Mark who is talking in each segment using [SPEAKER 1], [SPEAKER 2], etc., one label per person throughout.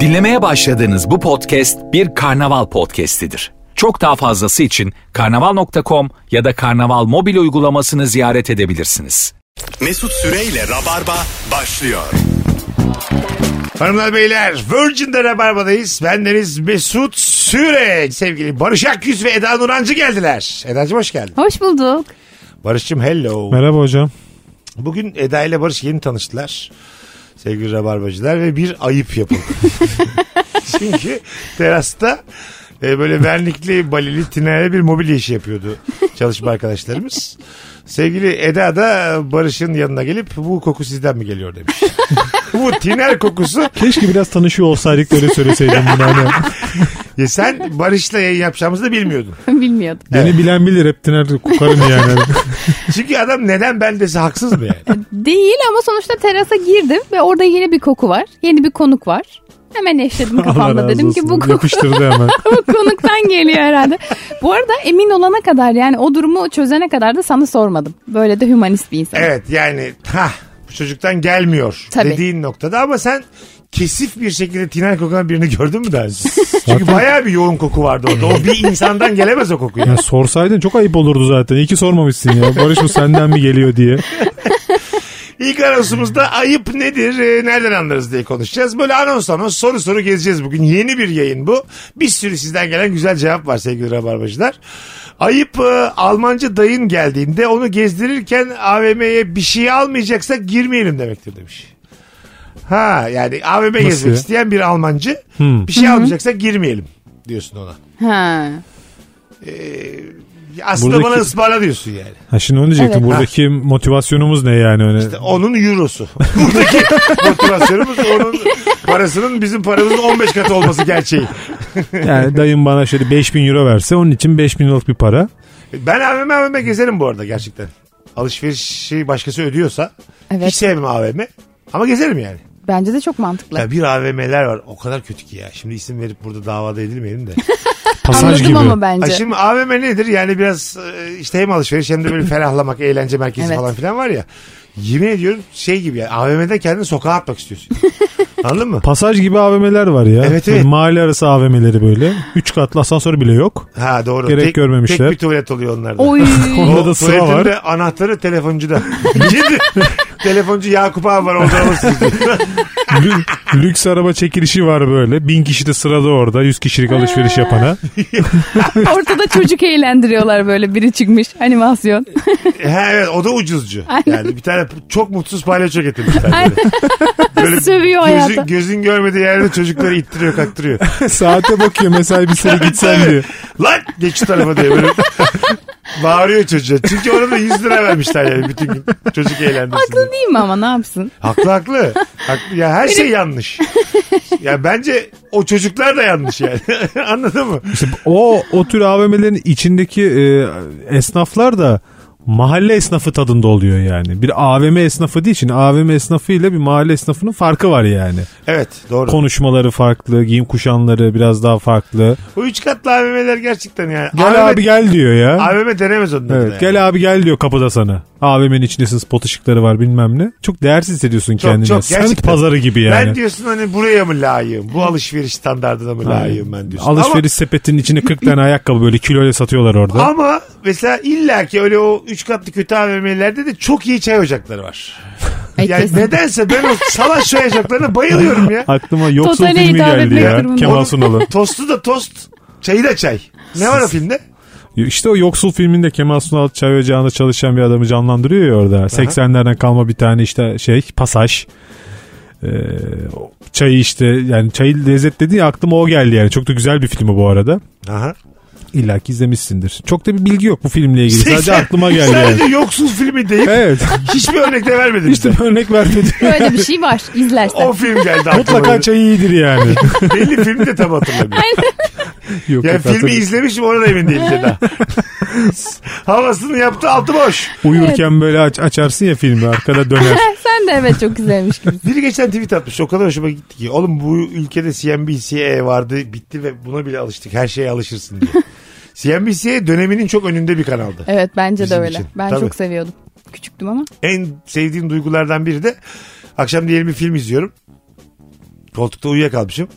[SPEAKER 1] Dinlemeye başladığınız bu podcast bir karnaval podcastidir. Çok daha fazlası için karnaval.com ya da karnaval mobil uygulamasını ziyaret edebilirsiniz.
[SPEAKER 2] Mesut Süreyle Rabarba başlıyor.
[SPEAKER 3] Hanımlar beyler Virgin'de Rabarba'dayız. Bendeniz Mesut Süre. Sevgili Barış Akyüz ve Eda Nurancı geldiler. Eda'cığım hoş geldin.
[SPEAKER 4] Hoş bulduk.
[SPEAKER 3] Barış'cığım hello.
[SPEAKER 5] Merhaba hocam.
[SPEAKER 3] Bugün Eda ile Barış yeni tanıştılar. Sevgili Rabarbacılar ve bir ayıp yapıldı. Çünkü terasta e, böyle vernikli, balili, tinayla bir mobilya işi yapıyordu çalışma arkadaşlarımız. Sevgili Eda da Barış'ın yanına gelip bu koku sizden mi geliyor demiş. bu tiner kokusu
[SPEAKER 5] Keşke biraz tanışıyor olsaydık da öyle söyleseydim bunu. Hani.
[SPEAKER 3] Ya sen Barış'la yayın yapacağımızı da bilmiyordun.
[SPEAKER 4] Bilmiyordum.
[SPEAKER 5] Beni bilen bilir hep tiner kokarım yani.
[SPEAKER 3] Çünkü adam neden ben dese haksız mı yani?
[SPEAKER 4] Değil ama sonuçta terasa girdim ve orada yeni bir koku var. Yeni bir konuk var. Hemen eşledim
[SPEAKER 5] Allah
[SPEAKER 4] kafamda.
[SPEAKER 5] razı
[SPEAKER 4] Dedim
[SPEAKER 5] olsun.
[SPEAKER 4] ki bu, koku,
[SPEAKER 5] Yapıştırdı hemen.
[SPEAKER 4] bu konuktan geliyor herhalde. Bu arada emin olana kadar yani o durumu çözene kadar da sana sormadım. Böyle de hümanist bir insan.
[SPEAKER 3] Evet yani ha bu çocuktan gelmiyor
[SPEAKER 4] Tabii.
[SPEAKER 3] dediğin noktada ama sen kesif bir şekilde tiner kokan birini gördün mü daha önce? Çünkü bayağı bir yoğun koku vardı orada. O bir insandan gelemez o koku. ya.
[SPEAKER 5] Ya sorsaydın çok ayıp olurdu zaten. İyi ki sormamışsın ya. Barış bu senden mi geliyor diye.
[SPEAKER 3] İlk anonsumuzda ayıp nedir, e, nereden anlarız diye konuşacağız. Böyle anons anons soru soru gezeceğiz bugün. Yeni bir yayın bu. Bir sürü sizden gelen güzel cevap var sevgili Rabarbacılar. Ayıp e, Almanca dayın geldiğinde onu gezdirirken AVM'ye bir şey almayacaksak girmeyelim demektir demiş. Ha yani AVM gezmek
[SPEAKER 5] ya? Hmm.
[SPEAKER 3] isteyen bir Almancı bir şey almayacaksak girmeyelim diyorsun ona.
[SPEAKER 4] Ha.
[SPEAKER 3] Aslında
[SPEAKER 5] Buradaki-
[SPEAKER 3] bana ısmarla diyorsun yani.
[SPEAKER 5] Ha şimdi onu diyecektim.
[SPEAKER 4] Evet.
[SPEAKER 5] Buradaki motivasyonumuz ne yani? Hani Öyle.
[SPEAKER 3] Onun eurosu. Buradaki motivasyonumuz onun parasının bizim paramızın 15 katı olması gerçeği.
[SPEAKER 5] Yani dayım bana şöyle 5000 euro verse onun için 5000 liralık bir para.
[SPEAKER 3] Ben AVM AVM gezerim bu arada gerçekten. Alışverişi başkası ödüyorsa
[SPEAKER 4] Evet.
[SPEAKER 3] hiç sevmem AVM. Ama gezerim yani.
[SPEAKER 4] Bence de çok mantıklı.
[SPEAKER 3] Ya bir AVM'ler var o kadar kötü ki ya. Şimdi isim verip burada davada edilmeyelim de.
[SPEAKER 5] Pasaj
[SPEAKER 4] Anladım
[SPEAKER 5] gibi.
[SPEAKER 4] ama bence.
[SPEAKER 3] Ay şimdi AVM nedir? Yani biraz e, işte hem alışveriş hem de böyle ferahlamak, eğlence merkezi
[SPEAKER 4] Evet.
[SPEAKER 3] falan filan var ya. Yemin ediyorum şey gibi ya. AVM'de kendini sokağa atmak istiyorsun. Anladın mı?
[SPEAKER 5] Pasaj gibi AVM'ler var ya.
[SPEAKER 3] Evet,
[SPEAKER 5] Böyle
[SPEAKER 3] evet.
[SPEAKER 5] Mahalle arası AVM'leri böyle. 3 katlı asansör bile yok.
[SPEAKER 3] Ha doğru.
[SPEAKER 5] Gerek
[SPEAKER 3] tek,
[SPEAKER 5] görmemişler.
[SPEAKER 3] Tek bir tuvalet oluyor onlarda.
[SPEAKER 4] Oy.
[SPEAKER 5] Onda da sıra
[SPEAKER 3] tuvaletin
[SPEAKER 5] var.
[SPEAKER 3] de anahtarı telefoncuda. Gidin. Telefoncu Yakup abi var orada alırsınız.
[SPEAKER 5] Lü- lüks araba çekilişi var böyle. Bin kişi de sırada orada. 100 kişilik alışveriş yapana.
[SPEAKER 4] Ortada çocuk eğlendiriyorlar böyle biri çıkmış animasyon.
[SPEAKER 3] Ha evet o da ucuzcu. Yani bir tane çok mutsuz palyaço getirmişler böyle. Böyle
[SPEAKER 4] Sövüyor
[SPEAKER 3] gözü-
[SPEAKER 4] hayata.
[SPEAKER 3] Gözün görmediği yerde çocukları ittiriyor kaktırıyor.
[SPEAKER 5] Saate bakıyor mesai bir sene gitsen diyor.
[SPEAKER 3] Lan geç şu tarafa diye böyle bağırıyor çocuğa. Çünkü ona da 100 lira vermişler yani bütün gün. Çocuk eğlendirsin diye.
[SPEAKER 4] Haklı değil mi ama ne yapsın?
[SPEAKER 3] Haklı haklı. haklı. Ya her şey yanlış. Ya bence o çocuklar da yanlış yani. Anladın mı?
[SPEAKER 5] İşte o, o tür AVM'lerin içindeki e, esnaflar da mahalle esnafı tadında oluyor yani. Bir AVM esnafı değil. Şimdi AVM esnafı ile bir mahalle esnafının farkı var yani.
[SPEAKER 3] Evet doğru.
[SPEAKER 5] Konuşmaları farklı, giyim kuşanları biraz daha farklı.
[SPEAKER 3] Bu üç katlı AVM'ler gerçekten yani.
[SPEAKER 5] Gel
[SPEAKER 3] AVM
[SPEAKER 5] abi gel diyor ya.
[SPEAKER 3] AVM denemez onları
[SPEAKER 5] Evet,
[SPEAKER 3] da yani.
[SPEAKER 5] gel abi gel diyor kapıda sana. AVM'nin içindesin spot ışıkları var bilmem ne. Çok değersiz hissediyorsun
[SPEAKER 3] Çok,
[SPEAKER 5] kendini.
[SPEAKER 3] çok,
[SPEAKER 5] Sen
[SPEAKER 3] gerçekten.
[SPEAKER 5] pazarı gibi yani.
[SPEAKER 3] Ben diyorsun hani buraya mı layığım? Bu alışveriş standartına mı layığım ben diyorsun.
[SPEAKER 5] Alışveriş sepetinin içine 40 tane ayakkabı böyle kiloyla satıyorlar orada.
[SPEAKER 3] Ama, ama mesela illaki öyle o üç katlı kötü AVM'lerde de çok iyi çay ocakları var.
[SPEAKER 4] Ay,
[SPEAKER 3] Yani
[SPEAKER 4] E, kesin.
[SPEAKER 3] nedense ben o salaş çay ocaklarına bayılıyorum ya.
[SPEAKER 5] Aklıma yoksul
[SPEAKER 4] Totale
[SPEAKER 5] filmi
[SPEAKER 4] hitap
[SPEAKER 5] geldi
[SPEAKER 4] etmek
[SPEAKER 5] ya.
[SPEAKER 4] durumunda.
[SPEAKER 5] Kemal
[SPEAKER 4] Onun-
[SPEAKER 5] Sunal'ın.
[SPEAKER 3] Tostu da tost, çayı da çay. Ne var o filmde?
[SPEAKER 5] İşte o yoksul filminde Kemal Sunal çay ocağında çalışan bir adamı canlandırıyor ya orada. 80'lerden kalma bir tane işte şey pasaj. Ee, o çayı işte yani çayı lezzet dedi ya aklıma o geldi yani. Çok da güzel bir filmi bu arada.
[SPEAKER 3] Aha.
[SPEAKER 5] İlla ki izlemişsindir. Çok da bir bilgi yok bu filmle ilgili. Sadece
[SPEAKER 3] Seksen-
[SPEAKER 5] aklıma geldi yani.
[SPEAKER 3] Şey, Sadece yoksul filmi deyip
[SPEAKER 5] Evet.
[SPEAKER 3] hiçbir örnek de vermedim.
[SPEAKER 5] İşte bir örnek vermedi.
[SPEAKER 4] Böyle bir şey var izlersen.
[SPEAKER 3] O film geldi aklıma.
[SPEAKER 5] Mutlaka çayı iyidir yani.
[SPEAKER 3] Belli filmi de tam hatırlamıyorum.
[SPEAKER 5] Yok,
[SPEAKER 3] Yani
[SPEAKER 5] yok,
[SPEAKER 3] filmi
[SPEAKER 5] hatırlıyorum.
[SPEAKER 3] izlemişim ona da emin değilim Ceda. Havasını yaptı altı boş.
[SPEAKER 5] Uyurken böyle aç, açarsın ya filmi arkada döner.
[SPEAKER 4] Sen de evet çok güzelmiş gibi.
[SPEAKER 3] Biri geçen tweet atmış o kadar hoşuma gitti ki. Oğlum bu ülkede CNBC'ye vardı bitti ve buna bile alıştık. Her şeye alışırsın diye. CNBC döneminin çok önünde bir kanaldı.
[SPEAKER 4] Evet bence
[SPEAKER 3] Bizim
[SPEAKER 4] de öyle.
[SPEAKER 3] için.
[SPEAKER 4] Ben
[SPEAKER 3] Tabii.
[SPEAKER 4] çok seviyordum. Küçüktüm ama.
[SPEAKER 3] En sevdiğim duygulardan biri de akşam diyelim bir film izliyorum. Koltukta uyuyakalmışım.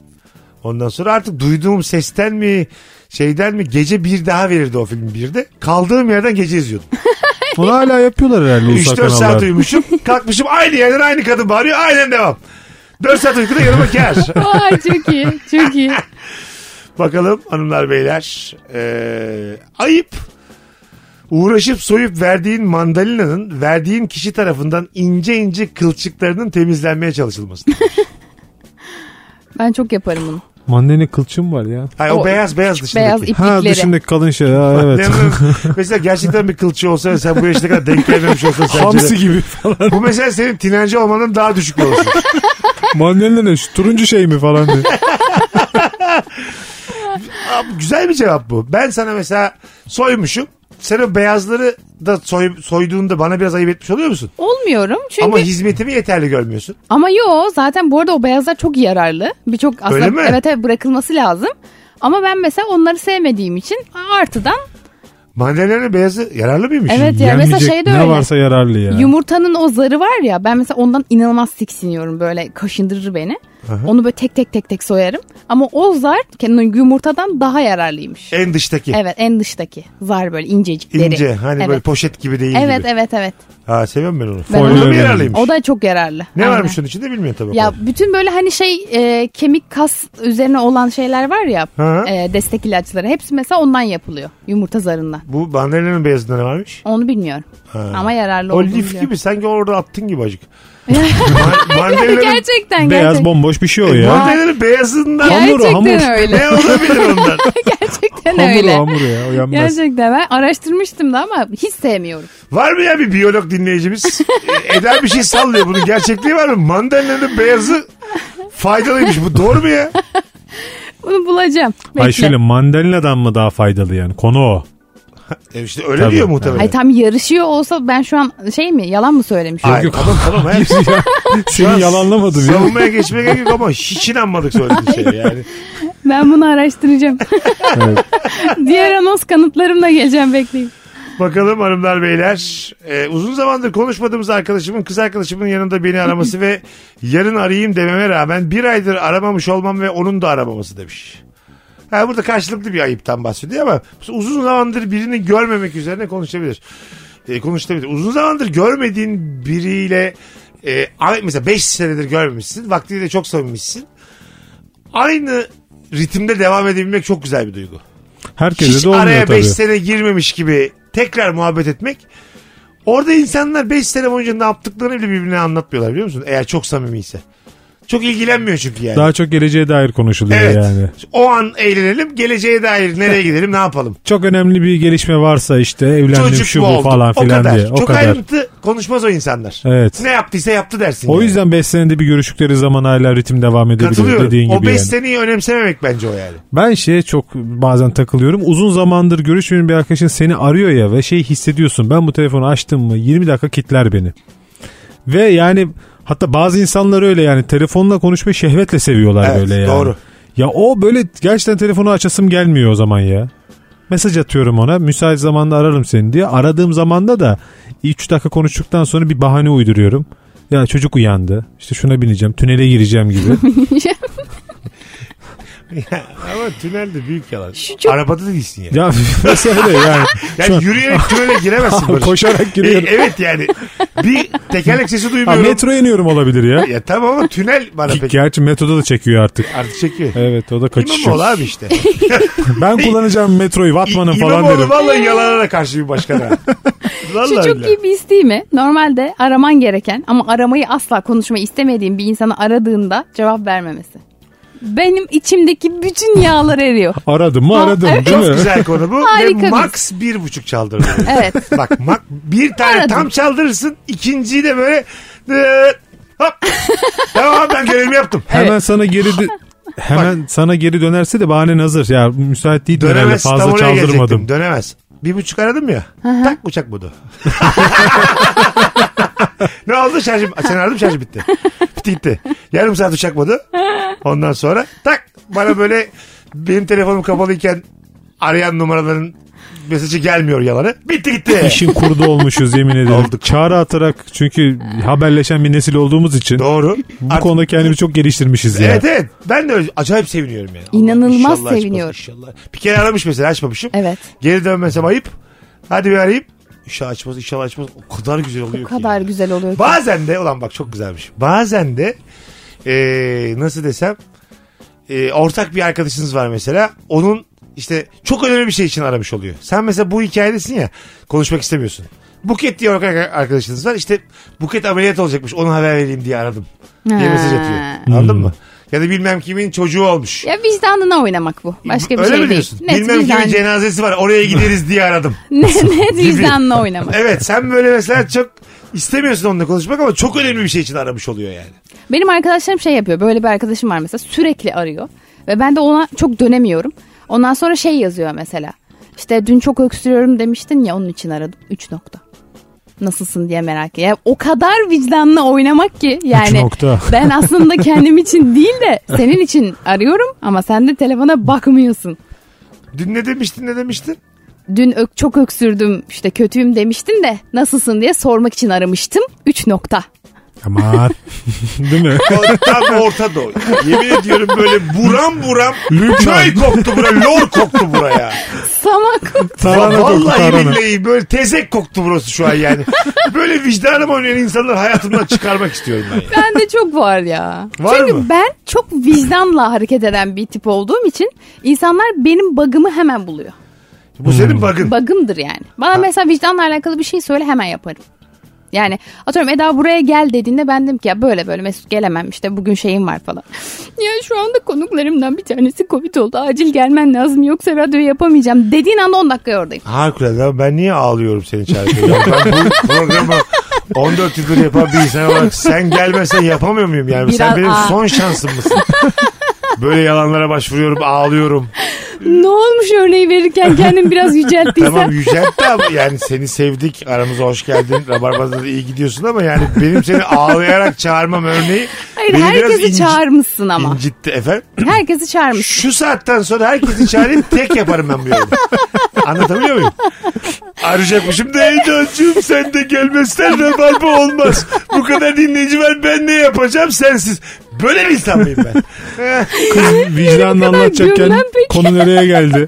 [SPEAKER 3] Ondan sonra artık duyduğum sesten mi şeyden mi gece bir daha verirdi o film birde. Kaldığım yerden gece izliyordum.
[SPEAKER 5] Bunu hala yapıyorlar herhalde ulusal
[SPEAKER 3] 3-4 saat
[SPEAKER 5] kanallarda.
[SPEAKER 3] uyumuşum. Kalkmışım aynı yerden aynı kadın bağırıyor. Aynen devam. 4 saat uykuda yanıma kar.
[SPEAKER 4] Aa, çok iyi. Çok iyi.
[SPEAKER 3] Bakalım hanımlar beyler. Ee, ayıp. Uğraşıp soyup verdiğin mandalinanın verdiğin kişi tarafından ince ince kılçıklarının temizlenmeye çalışılması.
[SPEAKER 4] Ben çok yaparım bunu.
[SPEAKER 5] Mandalina kılçım var ya.
[SPEAKER 3] Hayır, o,
[SPEAKER 4] O
[SPEAKER 3] beyaz beyaz dışındaki.
[SPEAKER 4] Beyaz
[SPEAKER 5] Ha
[SPEAKER 4] iplikleri.
[SPEAKER 5] dışındaki kalın şey. Ha, evet.
[SPEAKER 3] Yani mesela gerçekten bir kılçı olsa ve sen bu yaşına kadar denk gelmemiş olsa sence de-
[SPEAKER 5] Hamsi gibi falan.
[SPEAKER 3] Bu mesela senin tinerci olmanın daha düşük bir olsun.
[SPEAKER 5] Mandalina ne? Şu turuncu şey mi falan diye.
[SPEAKER 3] Abi, güzel bir cevap bu. Ben sana mesela soymuşum. Sen o beyazları da soy, soyduğunda bana biraz ayıp etmiş oluyor musun?
[SPEAKER 4] Olmuyorum çünkü
[SPEAKER 3] Ama
[SPEAKER 4] ama,
[SPEAKER 3] hizmetimi yeterli görmüyorsun.
[SPEAKER 4] yo zaten bu arada o beyazlar çok yararlı. Birçok aslında
[SPEAKER 3] mi?
[SPEAKER 4] evet evet bırakılması lazım. Ama ben mesela onları sevmediğim için artıdan
[SPEAKER 3] Mandalyanın beyazı yararlı mıymış?
[SPEAKER 4] evet ya mesela
[SPEAKER 5] Yenmeyecek
[SPEAKER 4] şey de
[SPEAKER 5] Ne
[SPEAKER 4] öyle.
[SPEAKER 5] varsa yararlı ya.
[SPEAKER 4] Yumurtanın o zarı var ya ben mesela ondan inanılmaz tiksiniyorum böyle kaşındırır beni. Onu böyle tek tek tek tek soyarım. Ama o zar kendi yumurtadan daha yararlıymış.
[SPEAKER 3] En dıştaki.
[SPEAKER 4] Evet en dıştaki zar böyle incecikleri.
[SPEAKER 3] E- İnce hani
[SPEAKER 4] evet.
[SPEAKER 3] böyle poşet gibi değil
[SPEAKER 4] Evet
[SPEAKER 3] gibi.
[SPEAKER 4] evet evet.
[SPEAKER 3] Ha seviyorum ben onu.
[SPEAKER 4] Ben
[SPEAKER 3] Foil
[SPEAKER 4] onu-
[SPEAKER 3] mı yararlıymış?
[SPEAKER 4] O da çok yararlı.
[SPEAKER 3] Ne
[SPEAKER 4] Aynen.
[SPEAKER 3] varmış onun içinde bilmiyorum tabii.
[SPEAKER 4] Ya
[SPEAKER 3] Ya,
[SPEAKER 4] bütün böyle hani şey e, kemik kas üzerine olan şeyler var ya
[SPEAKER 3] Hı.
[SPEAKER 4] e, destek ilaçları hepsi mesela ondan yapılıyor yumurta zarından.
[SPEAKER 3] bu mandalyanın beyazında ne varmış?
[SPEAKER 4] Onu bilmiyorum
[SPEAKER 3] Ha.
[SPEAKER 4] ama yararlı
[SPEAKER 3] O
[SPEAKER 4] olduğunu
[SPEAKER 3] lif
[SPEAKER 4] biliyorum.
[SPEAKER 3] gibi sanki orada attın gibi acık. Ma- Mandalina'nın
[SPEAKER 4] Gerçekten
[SPEAKER 5] Beyaz
[SPEAKER 4] gerçekten.
[SPEAKER 5] bomboş bir şey o ya.
[SPEAKER 3] Mandalina'nın beyazından
[SPEAKER 5] Hamur o,
[SPEAKER 4] gerçekten
[SPEAKER 5] hamur.
[SPEAKER 4] öyle.
[SPEAKER 3] ne olabilir ondan?
[SPEAKER 4] gerçekten
[SPEAKER 5] Hamur o
[SPEAKER 4] öyle.
[SPEAKER 5] hamur ya. O yenmez.
[SPEAKER 4] Gerçekten ben araştırmıştım da ama hiç sevmiyorum.
[SPEAKER 3] Var mı ya bir biyolog dinleyicimiz? E, Eder bir şey sallıyor bunun gerçekliği var mı? Mandalina'nın beyazı faydalıymış. Bu doğru mu ya?
[SPEAKER 4] Bunu bulacağım. Bekle.
[SPEAKER 5] Ay şöyle mandalinadan mı daha faydalı yani? Konu o.
[SPEAKER 3] E işte öyle
[SPEAKER 5] Tabii.
[SPEAKER 3] diyor muhtemelen.
[SPEAKER 4] Ay tam yarışıyor olsa ben şu an şey mi yalan mı söylemişim?
[SPEAKER 3] Ay, Tamam tamam. hayır.
[SPEAKER 5] Seni yalanlamadım ya.
[SPEAKER 3] Savunmaya geçmeye gerek yok ama hiç inanmadık söylediğin şeye yani.
[SPEAKER 4] Ben bunu araştıracağım. Diğer anons kanıtlarımla geleceğim bekleyin.
[SPEAKER 3] Bakalım hanımlar beyler. Ee, uzun zamandır konuşmadığımız arkadaşımın kız arkadaşımın yanında beni araması ve yarın arayayım dememe rağmen bir aydır aramamış olmam ve onun da aramaması demiş. Ha, burada karşılıklı bir ayıptan bahsediyor ama uzun zamandır birini görmemek üzerine konuşabilir. Ee, konuşabilir. Uzun zamandır görmediğin biriyle e, ay- mesela 5 senedir görmemişsin. Vaktiyle çok sevmişsin. Aynı ritimde devam edebilmek çok güzel bir duygu.
[SPEAKER 5] Herkese
[SPEAKER 3] Hiç
[SPEAKER 5] de olmuyor
[SPEAKER 3] araya 5
[SPEAKER 5] tabii.
[SPEAKER 3] sene girmemiş gibi tekrar muhabbet etmek. Orada insanlar 5 sene boyunca ne yaptıklarını bile birbirine anlatmıyorlar biliyor musun? Eğer çok samimiyse. Çok ilgilenmiyor çünkü yani.
[SPEAKER 5] Daha çok geleceğe dair konuşuluyor
[SPEAKER 3] evet.
[SPEAKER 5] yani.
[SPEAKER 3] O an eğlenelim. Geleceğe dair nereye gidelim ne yapalım?
[SPEAKER 5] Çok önemli bir gelişme varsa işte evlendim
[SPEAKER 3] Çocuk
[SPEAKER 5] şu
[SPEAKER 3] mu
[SPEAKER 5] bu
[SPEAKER 3] oldu?
[SPEAKER 5] falan
[SPEAKER 3] o
[SPEAKER 5] filan
[SPEAKER 3] kadar.
[SPEAKER 5] diye. O
[SPEAKER 3] çok
[SPEAKER 5] kadar.
[SPEAKER 3] ayrıntı konuşmaz o insanlar.
[SPEAKER 5] Evet.
[SPEAKER 3] Ne yaptıysa yaptı dersin.
[SPEAKER 5] O
[SPEAKER 3] yani.
[SPEAKER 5] yüzden 5 senede bir görüşükleri zaman hala ritim devam edebiliyor
[SPEAKER 3] Katılıyorum.
[SPEAKER 5] dediğin
[SPEAKER 3] O
[SPEAKER 5] gibi
[SPEAKER 3] 5
[SPEAKER 5] yani.
[SPEAKER 3] seneyi önemsememek bence o yani.
[SPEAKER 5] Ben şeye çok bazen takılıyorum. Uzun zamandır görüşmeyen bir arkadaşın seni arıyor ya ve şey hissediyorsun. Ben bu telefonu açtım mı 20 dakika kitler beni. Ve yani hatta bazı insanlar öyle yani telefonla konuşmayı şehvetle seviyorlar
[SPEAKER 3] Evet,
[SPEAKER 5] böyle yani.
[SPEAKER 3] doğru.
[SPEAKER 5] Ya o böyle gerçekten telefonu açasım gelmiyor o zaman ya. Mesaj atıyorum ona müsait zamanda ararım seni diye. Aradığım zamanda da 3 dakika konuştuktan sonra bir bahane uyduruyorum. Ya çocuk uyandı. İşte şuna bineceğim. Tünele gireceğim gibi.
[SPEAKER 3] Ama tünelde büyük yalan.
[SPEAKER 4] çok-
[SPEAKER 3] Arabada da değilsin yani.
[SPEAKER 5] ya nasıl öyle yani. Şu an-
[SPEAKER 3] Yani yürüyerek tünele giremezsin. Barış.
[SPEAKER 5] Koşarak giriyorum.
[SPEAKER 3] E, evet yani. Bir tekerlek sesi
[SPEAKER 5] Ha,
[SPEAKER 3] duymuyorum.
[SPEAKER 5] metro iniyorum olabilir ya.
[SPEAKER 3] Ya tamam ama tünel bana
[SPEAKER 5] Ki-
[SPEAKER 3] pek.
[SPEAKER 5] Gerçi metroda da çekiyor artık.
[SPEAKER 3] Artık çekiyor.
[SPEAKER 5] Evet o da
[SPEAKER 3] İmamoğlu
[SPEAKER 5] kaçışıyor.
[SPEAKER 3] abi işte.
[SPEAKER 5] Ben kullanacağım metroyu Vatman'ın
[SPEAKER 3] İ-
[SPEAKER 5] falan
[SPEAKER 3] İmamoğlu
[SPEAKER 5] derim.
[SPEAKER 3] vallahi yalanlara karşı bir başkan ha.
[SPEAKER 4] Şu
[SPEAKER 3] Vallahi
[SPEAKER 4] Şey çok
[SPEAKER 3] billahi.
[SPEAKER 4] iyi bir his değil mi? Normalde araman gereken ama aramayı asla konuşmayı istemediğin bir insanı aradığında cevap vermemesi. Benim içimdeki bütün yağlar eriyor.
[SPEAKER 5] Aradım mı
[SPEAKER 4] Ha,
[SPEAKER 5] aradım
[SPEAKER 4] evet.
[SPEAKER 5] değil mi?
[SPEAKER 3] Güzel konu bu.
[SPEAKER 4] Harika
[SPEAKER 3] Ve
[SPEAKER 4] bir-
[SPEAKER 3] max bir buçuk çaldırır.
[SPEAKER 4] Evet.
[SPEAKER 3] Bak mak bir tane
[SPEAKER 4] Aradım.
[SPEAKER 3] tam çaldırırsın. ikinciyi de böyle dıt, hop. tamam ben görevimi yaptım.
[SPEAKER 5] Hemen sana geri dö- hemen sana geri dönerse de bahane hazır. Ya müsait değil herhalde
[SPEAKER 3] Dönemez. tam
[SPEAKER 5] fazla
[SPEAKER 3] oraya
[SPEAKER 5] çaldırmadım.
[SPEAKER 3] gelecektim. Dönemez. Bir buçuk aradım ya. tak uçak budu. ne oldu şarjım? Sen aradım şarjı bitti. Bitti gitti. Yarım saat uçak budu. Ondan sonra tak bana böyle benim telefonum kapalıyken arayan numaraların mesajı gelmiyor yalanı. Bitti gitti.
[SPEAKER 5] İşin kurdu olmuşuz yemin ederim.
[SPEAKER 3] Olduk.
[SPEAKER 5] Çağrı atarak çünkü haberleşen bir nesil olduğumuz için
[SPEAKER 3] Doğru.
[SPEAKER 5] bu
[SPEAKER 3] Artık-
[SPEAKER 5] konuda kendimi çok geliştirmişiz ya.
[SPEAKER 3] Evet evet. Ben de öyle- acayip seviniyorum yani. Allah'ım
[SPEAKER 4] İnanılmaz
[SPEAKER 3] inşallah açmaz,
[SPEAKER 4] seviniyorum.
[SPEAKER 3] inşallah. Bir kere aramış mesela açmamışım.
[SPEAKER 4] Evet.
[SPEAKER 3] Geri dönmesem ayıp. Hadi bir arayayım. İnşallah açmaz inşallah açmaz. O kadar güzel oluyor
[SPEAKER 4] O
[SPEAKER 3] ki.
[SPEAKER 4] kadar güzel oluyor ki.
[SPEAKER 3] Bazen de ulan bak çok güzelmiş. Bazen de eee, nasıl desem eee, ortak bir arkadaşınız var mesela. Onun işte çok önemli bir şey için aramış oluyor. Sen mesela bu hikayedesin ya konuşmak istemiyorsun. Buket diye ortak arkadaşınız var. İşte Buket ameliyat olacakmış. Onu haber vereyim diye aradım. Diye
[SPEAKER 4] Ha.
[SPEAKER 3] mesaj atıyor. Anladın mı? Ya da bilmem kimin çocuğu olmuş.
[SPEAKER 4] Ya vicdanına oynamak bu. Başka bir
[SPEAKER 3] Öyle
[SPEAKER 4] şey
[SPEAKER 3] mi diyorsun?
[SPEAKER 4] değil. Net
[SPEAKER 3] bilmem kimin
[SPEAKER 4] vicdan.
[SPEAKER 3] cenazesi var. Oraya gideriz diye aradım.
[SPEAKER 4] Ne- net vicdanla oynamak.
[SPEAKER 3] Evet sen böyle mesela çok istemiyorsun onunla konuşmak ama çok önemli bir şey için aramış oluyor yani.
[SPEAKER 4] Benim arkadaşlarım şey yapıyor. Böyle bir arkadaşım var mesela sürekli arıyor. Ve ben de ona çok dönemiyorum. Ondan sonra şey yazıyor mesela. İşte dün çok öksürüyorum demiştin ya onun için aradım. 3 nokta. Nasılsın diye merak ya O kadar vicdanla oynamak ki yani.
[SPEAKER 5] nokta.
[SPEAKER 4] Ben aslında kendim için değil de senin için arıyorum ama sen de telefona bakmıyorsun.
[SPEAKER 3] Dün ne demiştin ne demiştin?
[SPEAKER 4] Dün ö- çok öksürdüm işte kötüyüm demiştin de nasılsın diye sormak için aramıştım. 3 nokta.
[SPEAKER 5] Aman. Değil mi?
[SPEAKER 3] O Tam Orta Doğu. Yemin ediyorum böyle buram buram köy koktu bura, lor koktu bura ya.
[SPEAKER 4] Samak.
[SPEAKER 5] Tarhana koktu,
[SPEAKER 3] Vallahi
[SPEAKER 5] tarhana.
[SPEAKER 3] billahi böyle tezek koktu burası şu an yani. Böyle vicdanım oynayan insanları hayatımdan çıkarmak istiyorum ben. Yani.
[SPEAKER 4] Ben de çok var ya.
[SPEAKER 3] Var
[SPEAKER 4] Çünkü
[SPEAKER 3] mı?
[SPEAKER 4] ben çok vicdanla hareket eden bir tip olduğum için insanlar benim bug'ımı hemen buluyor.
[SPEAKER 3] Bu senin bakın.
[SPEAKER 4] Bug'ımdır yani. Bana mesela vicdanla alakalı bir şey söyle hemen yaparım. Yani atıyorum Eda buraya gel dediğinde ben dedim ki ya böyle böyle Mesut gelemem işte bugün şeyim var falan. Ya şu anda konuklarımdan bir tanesi Covid oldu acil gelmen lazım yoksa radyoyu yapamayacağım dediğin anda 10 dakika oradayım.
[SPEAKER 3] Harikulade ama ben niye ağlıyorum senin çarpıda? ben bu programı 14 yıldır yapan bir insan olarak sen gelmesen yapamıyor muyum yani? sen
[SPEAKER 4] Biraz-
[SPEAKER 3] benim
[SPEAKER 4] Aa.
[SPEAKER 3] son şansım mısın? Böyle yalanlara başvuruyorum, ağlıyorum.
[SPEAKER 4] Ne olmuş örneği verirken kendim biraz yücelttiysem.
[SPEAKER 3] Hmm. Tamam yüceltti ama yani seni sevdik. Aramıza hoş geldin. Rabarba'da da iyi gidiyorsun ama yani benim seni ağlayarak çağırmam örneği
[SPEAKER 4] Hayır
[SPEAKER 3] beni
[SPEAKER 4] herkesi
[SPEAKER 3] inci-
[SPEAKER 4] çağırmışsın ama.
[SPEAKER 3] incitti efendim.
[SPEAKER 4] Herkesi çağırmışsın.
[SPEAKER 3] Şu saatten sonra herkesi çağırayım tek yaparım ben bu yolu. Anlatabiliyor muyum? Arayacakmışım da Ecan'cığım sen de gelmezsen Rabarba olmaz. Bu kadar dinleyici var ben ne yapacağım sensiz. Böyle bir insan mıyım ben?
[SPEAKER 5] Kız vicdanını
[SPEAKER 4] kadar
[SPEAKER 5] anlatacakken
[SPEAKER 4] gömlen peki.
[SPEAKER 5] konu nereye geldi?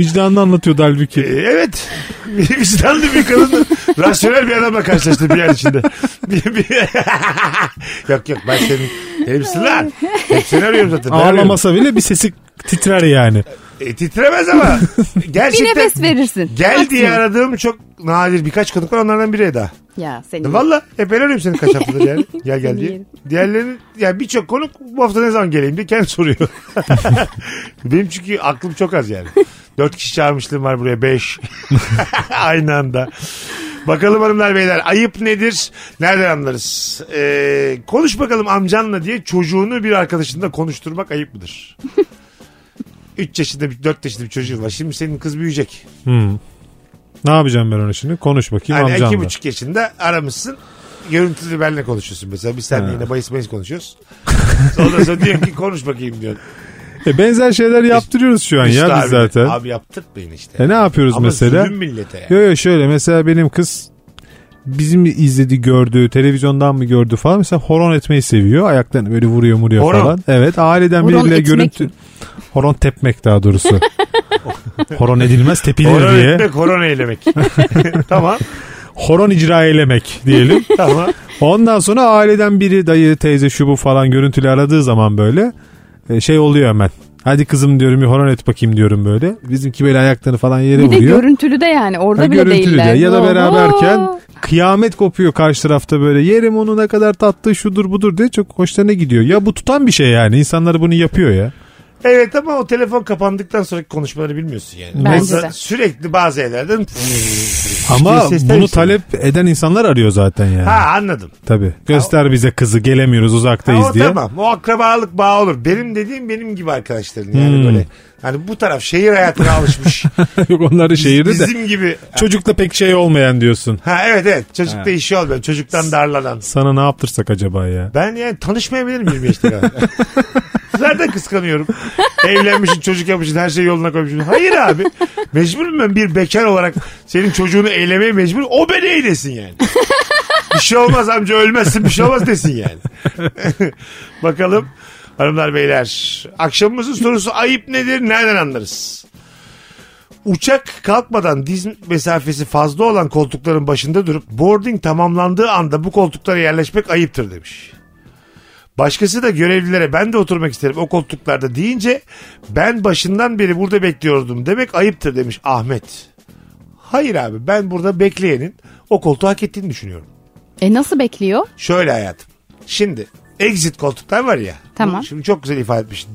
[SPEAKER 5] Vicdanını anlatıyordu
[SPEAKER 3] Ee,
[SPEAKER 5] halbuki.
[SPEAKER 3] Evet. Vicdanlı bir kadın. Rasyonel bir adamla karşılaştı bir yer içinde. Bir- bir- yok yok ben senin elimsin lan. Hep seni arıyorum zaten. ben arıyorum.
[SPEAKER 5] Ağlamasa bile bir sesi titrer yani.
[SPEAKER 3] E, titremez ama.
[SPEAKER 4] Bir
[SPEAKER 3] Gerçekten.
[SPEAKER 4] nefes verirsin.
[SPEAKER 3] Gel diye
[SPEAKER 4] Maksimum.
[SPEAKER 3] aradığım çok nadir birkaç konuk var onlardan biri Eda.
[SPEAKER 4] Ya senin.
[SPEAKER 3] Valla hep el arıyorum seni kaç haftadır yani. Gel gel diye.
[SPEAKER 4] Yerim.
[SPEAKER 3] Diğerlerinin yani birçok konuk bu hafta ne zaman geleyim diye kendi soruyor. Benim çünkü aklım çok az yani. Dört kişi çağırmışlığım var buraya. Beş. Aynı anda. Bakalım hanımlar beyler ayıp nedir? Nereden anlarız? Ee, konuş bakalım amcanla diye çocuğunu bir arkadaşınla konuşturmak ayıp mıdır? 3 yaşında bir 4 yaşında bir çocuğun var. Şimdi senin kız büyüyecek.
[SPEAKER 5] Hmm. Ne yapacağım ben onu şimdi? Konuş bakayım
[SPEAKER 3] Yani iki
[SPEAKER 5] amcanla.
[SPEAKER 3] buçuk yaşında aramışsın. Görüntülü benle konuşuyorsun mesela. Biz seninle
[SPEAKER 5] Ha.
[SPEAKER 3] yine bahis bahis konuşuyoruz. Ondan sonra diyor ki konuş bakayım diyor.
[SPEAKER 5] E, benzer şeyler yaptırıyoruz şu an
[SPEAKER 3] Üstü
[SPEAKER 5] ya
[SPEAKER 3] abi de,
[SPEAKER 5] biz zaten.
[SPEAKER 3] Abi yaptırtmayın işte.
[SPEAKER 5] E ne yapıyoruz
[SPEAKER 3] Ama
[SPEAKER 5] mesela?
[SPEAKER 3] zulüm millete yani.
[SPEAKER 5] Yo yo şöyle mesela benim kız bizim izledi gördü televizyondan mı gördü falan mesela horon etmeyi seviyor ayaklarını böyle vuruyor vuruyor
[SPEAKER 3] Horon.
[SPEAKER 5] falan. Evet aileden
[SPEAKER 4] Horon
[SPEAKER 5] biriyle
[SPEAKER 4] etmek.
[SPEAKER 5] görüntü horon tepmek daha doğrusu. horon edilmez tepilir
[SPEAKER 3] Korona
[SPEAKER 5] diye.
[SPEAKER 3] etmek, korona eylemek. tamam.
[SPEAKER 5] Horon icra eylemek diyelim.
[SPEAKER 3] Tamam.
[SPEAKER 5] Ondan sonra aileden biri dayı teyze şu bu falan görüntülü aradığı zaman böyle e, şey oluyor hemen. Hadi kızım diyorum bir horon et bakayım diyorum böyle. Bizimki böyle ayaklarını falan yere
[SPEAKER 4] Bir de
[SPEAKER 5] vuruyor.
[SPEAKER 4] görüntülü de yani orada
[SPEAKER 5] Ha,
[SPEAKER 4] bile
[SPEAKER 5] görüntülü
[SPEAKER 4] değiller.
[SPEAKER 5] de. ya da
[SPEAKER 4] Oo.
[SPEAKER 5] beraberken kıyamet kopuyor karşı tarafta böyle yerim onu ne kadar tatlı şudur budur diye çok hoşlarına gidiyor. Ya bu tutan bir şey yani insanlar bunu yapıyor ya.
[SPEAKER 3] Evet ama o telefon kapandıktan sonraki konuşmaları bilmiyorsun yani.
[SPEAKER 4] Bence
[SPEAKER 3] Mesela
[SPEAKER 4] de.
[SPEAKER 3] Sürekli bazı evlerden
[SPEAKER 5] Ama
[SPEAKER 3] Sesler
[SPEAKER 5] bunu
[SPEAKER 3] yükseliyor.
[SPEAKER 5] talep eden insanlar arıyor zaten yani.
[SPEAKER 3] ha anladım.
[SPEAKER 5] Tabii. Göster bize kızı gelemiyoruz
[SPEAKER 3] Ha,
[SPEAKER 5] uzaktayız
[SPEAKER 3] o
[SPEAKER 5] diye.
[SPEAKER 3] tamam. O akrabalık bağı olur. Benim dediğim benim gibi arkadaşların yani
[SPEAKER 5] Hmm.
[SPEAKER 3] böyle. Hani bu taraf şehir hayatına alışmış.
[SPEAKER 5] Yok onlar da şehirde de.
[SPEAKER 3] Bizim gibi.
[SPEAKER 5] Çocukla pek şey olmayan diyorsun.
[SPEAKER 3] Ha evet evet. Çocukta işi olmuyor. Çocuktan darlanan.
[SPEAKER 5] Sana ne yaptırsak acaba ya?
[SPEAKER 3] Ben yani tanışmayabilirim 20 yaşta kadar. Zaten kıskanıyorum. Evlenmişsin, çocuk yapmışsın, her şeyi yoluna koymuşsun. Hayır abi. Mecburum ben bir bekar olarak senin çocuğunu eylemeye mecbur. O beni eylesin yani. Bir şey olmaz amca ölmezsin bir şey olmaz desin yani. Bakalım hanımlar beyler. Akşamımızın sorusu ayıp nedir nereden anlarız? Uçak kalkmadan diz mesafesi fazla olan koltukların başında durup boarding tamamlandığı anda bu koltuklara yerleşmek ayıptır demiş. Başkası da görevlilere ben de oturmak isterim o koltuklarda deyince ben başından beri burada bekliyordum demek ayıptır demiş Ahmet. Hayır abi ben burada bekleyenin o koltuğu hak ettiğini düşünüyorum.
[SPEAKER 4] E nasıl bekliyor?
[SPEAKER 3] Şöyle hayatım. Şimdi exit koltuklar var ya.
[SPEAKER 4] Tamam.
[SPEAKER 3] Bu- Şimdi çok güzel ifade etmiş.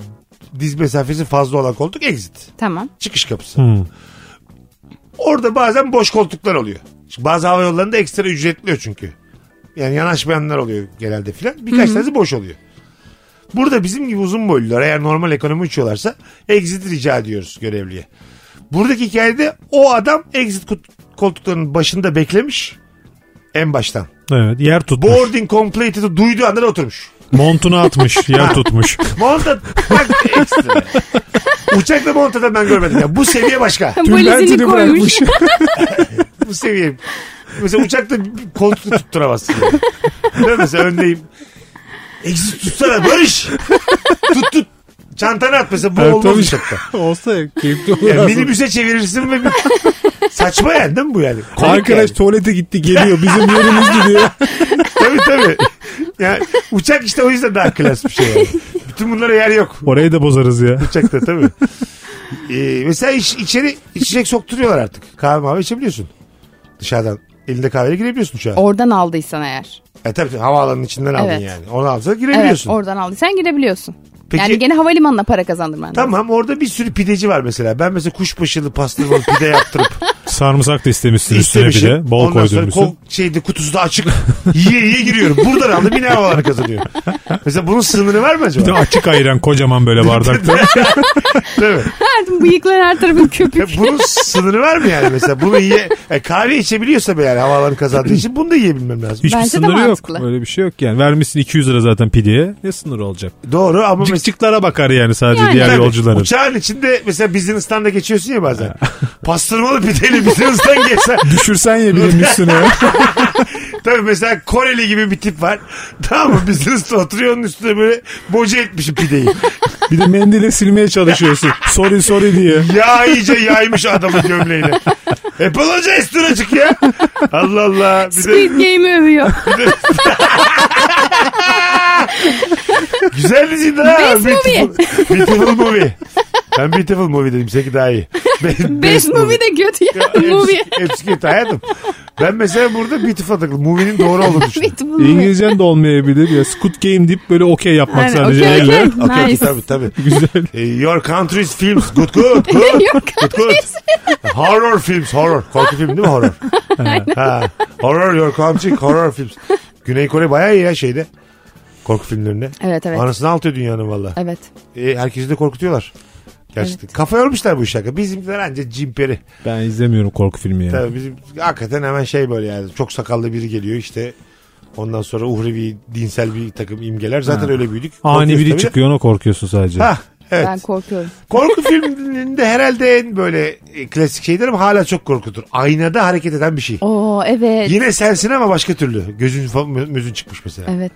[SPEAKER 3] Diz mesafesi fazla olan koltuk exit.
[SPEAKER 4] Tamam.
[SPEAKER 3] Çıkış kapısı. Orada bazen boş koltuklar oluyor. Şimdi bazı hava yollarında ekstra ücretliyor çünkü. Yani yanaşmayanlar oluyor genelde filan. Birkaç tanesi boş oluyor. Burada bizim gibi uzun boylular eğer normal ekonomi uçuyorlarsa exit rica ediyoruz görevliye. Buradaki hikayede o adam exit kut- koltuklarının başında beklemiş en baştan.
[SPEAKER 5] Evet yer tutmuş.
[SPEAKER 3] Boarding completed'ı duyduğu anda da oturmuş.
[SPEAKER 5] Montunu atmış yer tutmuş.
[SPEAKER 3] Monta bak ekstra. Uçakla montada ben görmedim ya. Bu seviye başka.
[SPEAKER 4] Valizini koymuş.
[SPEAKER 3] Bu seviye. Mesela uçakta koltuğu tutturamazsın. Yani. Değil mi? Mesela öndeyim. Eksik tutsana Barış. Tut tut. Çantanı at mesela bu olmaz uçakta.
[SPEAKER 5] Olsa keyifli olur.
[SPEAKER 3] Yani minibüse çevirirsin ve bir... saçma yani değil mi bu yani? Komik
[SPEAKER 5] Arkadaş
[SPEAKER 3] yani.
[SPEAKER 5] tuvalete gitti geliyor bizim yerimiz gidiyor.
[SPEAKER 3] Tabii tabii. Yani uçak işte o yüzden daha klas bir şey yani. Bütün bunlara yer yok.
[SPEAKER 5] Orayı da bozarız ya.
[SPEAKER 3] Uçakta tabii. Ee, mesela iç- içeri içecek sokturuyorlar artık. Kahve mavi içebiliyorsun. Dışarıdan. Elinde kahveyle girebiliyorsun uçağa.
[SPEAKER 4] Oradan aldıysan eğer.
[SPEAKER 3] E tabii tabii, havaalanının içinden aldın
[SPEAKER 4] Evet.
[SPEAKER 3] yani. Onu alsa
[SPEAKER 4] Evet
[SPEAKER 3] girebiliyorsun.
[SPEAKER 4] oradan aldıysan girebiliyorsun.
[SPEAKER 3] Peki-
[SPEAKER 4] Yani gene havalimanına para kazandırman. lazım.
[SPEAKER 3] Tamam orada bir sürü pideci var mesela. Ben mesela kuşbaşılı pastırmalı pide yaptırıp
[SPEAKER 5] Sarımsak da istemişsin üstüne bir
[SPEAKER 3] istemişim.
[SPEAKER 5] de. Bol
[SPEAKER 3] Ondan sonra
[SPEAKER 5] koydurmuşsun.
[SPEAKER 3] kol şeyde kutusu da açık. yiye yiye giriyorum. Buradan aldım yine havalara kazanıyor. Mesela bunun sınırı var mı
[SPEAKER 5] Bir de
[SPEAKER 3] acaba?
[SPEAKER 5] açık ayıran kocaman böyle bardakta.
[SPEAKER 3] Tabii.
[SPEAKER 4] Verdim bıyıklar her tarafın köpük.
[SPEAKER 3] E, bunun sınırı var mı yani mesela? Bunu yiye... E, kahve içebiliyorsa be yani havaları kazandığı için bunu da yiyebilmem lazım.
[SPEAKER 5] Hiçbir
[SPEAKER 4] Bence de
[SPEAKER 5] sınırı yok.
[SPEAKER 4] mantıklı.
[SPEAKER 5] Öyle bir şey yok yani. Vermişsin 200 lira zaten pideye. Ne sınır olacak?
[SPEAKER 3] Doğru ama mesela...
[SPEAKER 5] Cıkcıklara bakar yani sadece
[SPEAKER 4] Yani.
[SPEAKER 5] diğer
[SPEAKER 3] Tabii.
[SPEAKER 5] yolcuların.
[SPEAKER 3] Uçağın içinde mesela business'tan da geçiyorsun ya bazen. Pastırmalı pideyle business'tan geçsen.
[SPEAKER 5] Düşürsen ya birinin üstüne.
[SPEAKER 3] Tabii mesela Koreli gibi bir tip var. Tamam mı? Business'ta oturuyor onun üstüne böyle boca etmiş pideyi.
[SPEAKER 5] bir de mendile silmeye çalışıyorsun. Sorry sorry diye.
[SPEAKER 3] Ya iyice yaymış adamın gömleğini. Hep olunca üstüne çık ya. Allah Allah. Bir de
[SPEAKER 4] Squid Game'i övüyor.
[SPEAKER 3] güzel diziydi ha.
[SPEAKER 4] Best
[SPEAKER 3] Beautiful- Beautiful movie. Ben beautiful movie dedim. Seki daha iyi. Be-
[SPEAKER 4] Best movie de kötü ya. movie.
[SPEAKER 3] Hepsi, hepsi kötü hayatım. Ben mesela burada beautiful takıldım. Movie'nin doğru olduğunu düşündüm.
[SPEAKER 4] Best movie.
[SPEAKER 5] İngilizcen de olmayabilir ya. Squid Game deyip böyle okey yapmak
[SPEAKER 4] Aynen,
[SPEAKER 5] sadece
[SPEAKER 4] okey,
[SPEAKER 5] elle.
[SPEAKER 4] okey.
[SPEAKER 3] Okey, okey,
[SPEAKER 4] Nice.
[SPEAKER 3] tabii tabii.
[SPEAKER 5] Güzel.
[SPEAKER 3] E, Your country's films good good good.
[SPEAKER 4] Your
[SPEAKER 3] good, good. horror films horror. Korku film değil mi horror? ha. Horror your country horror films. Güney Kore bayağı iyi ya şeyde. Korku filmlerinde.
[SPEAKER 4] Evet evet.
[SPEAKER 3] Anasını altıyor dünyanın valla.
[SPEAKER 4] Evet.
[SPEAKER 3] E, herkesi de korkutuyorlar. Gerçekten. Kafa yormuşlar bu işe. Bizimkiler anca cimperi.
[SPEAKER 5] Ben izlemiyorum korku filmi ya.
[SPEAKER 3] Tabii bizim hakikaten hemen şey böyle yani. Çok sakallı biri geliyor işte. Ondan sonra uhrevi dinsel bir takım imgeler. Zaten
[SPEAKER 5] Ha.
[SPEAKER 3] öyle büyüdük.
[SPEAKER 5] Ani
[SPEAKER 3] Korkuyoruz
[SPEAKER 5] biri
[SPEAKER 3] tabii de.
[SPEAKER 5] çıkıyor ona korkuyorsun sadece.
[SPEAKER 3] Ha, evet.
[SPEAKER 4] Ben korkuyorum.
[SPEAKER 3] Korku filminde herhalde en böyle e, klasik şeydir ama hala çok korkutur. Aynada hareket eden bir şey.
[SPEAKER 4] Oo evet.
[SPEAKER 3] Yine sensin ama başka türlü. Gözün fa- müzün çıkmış mesela.
[SPEAKER 4] Evet.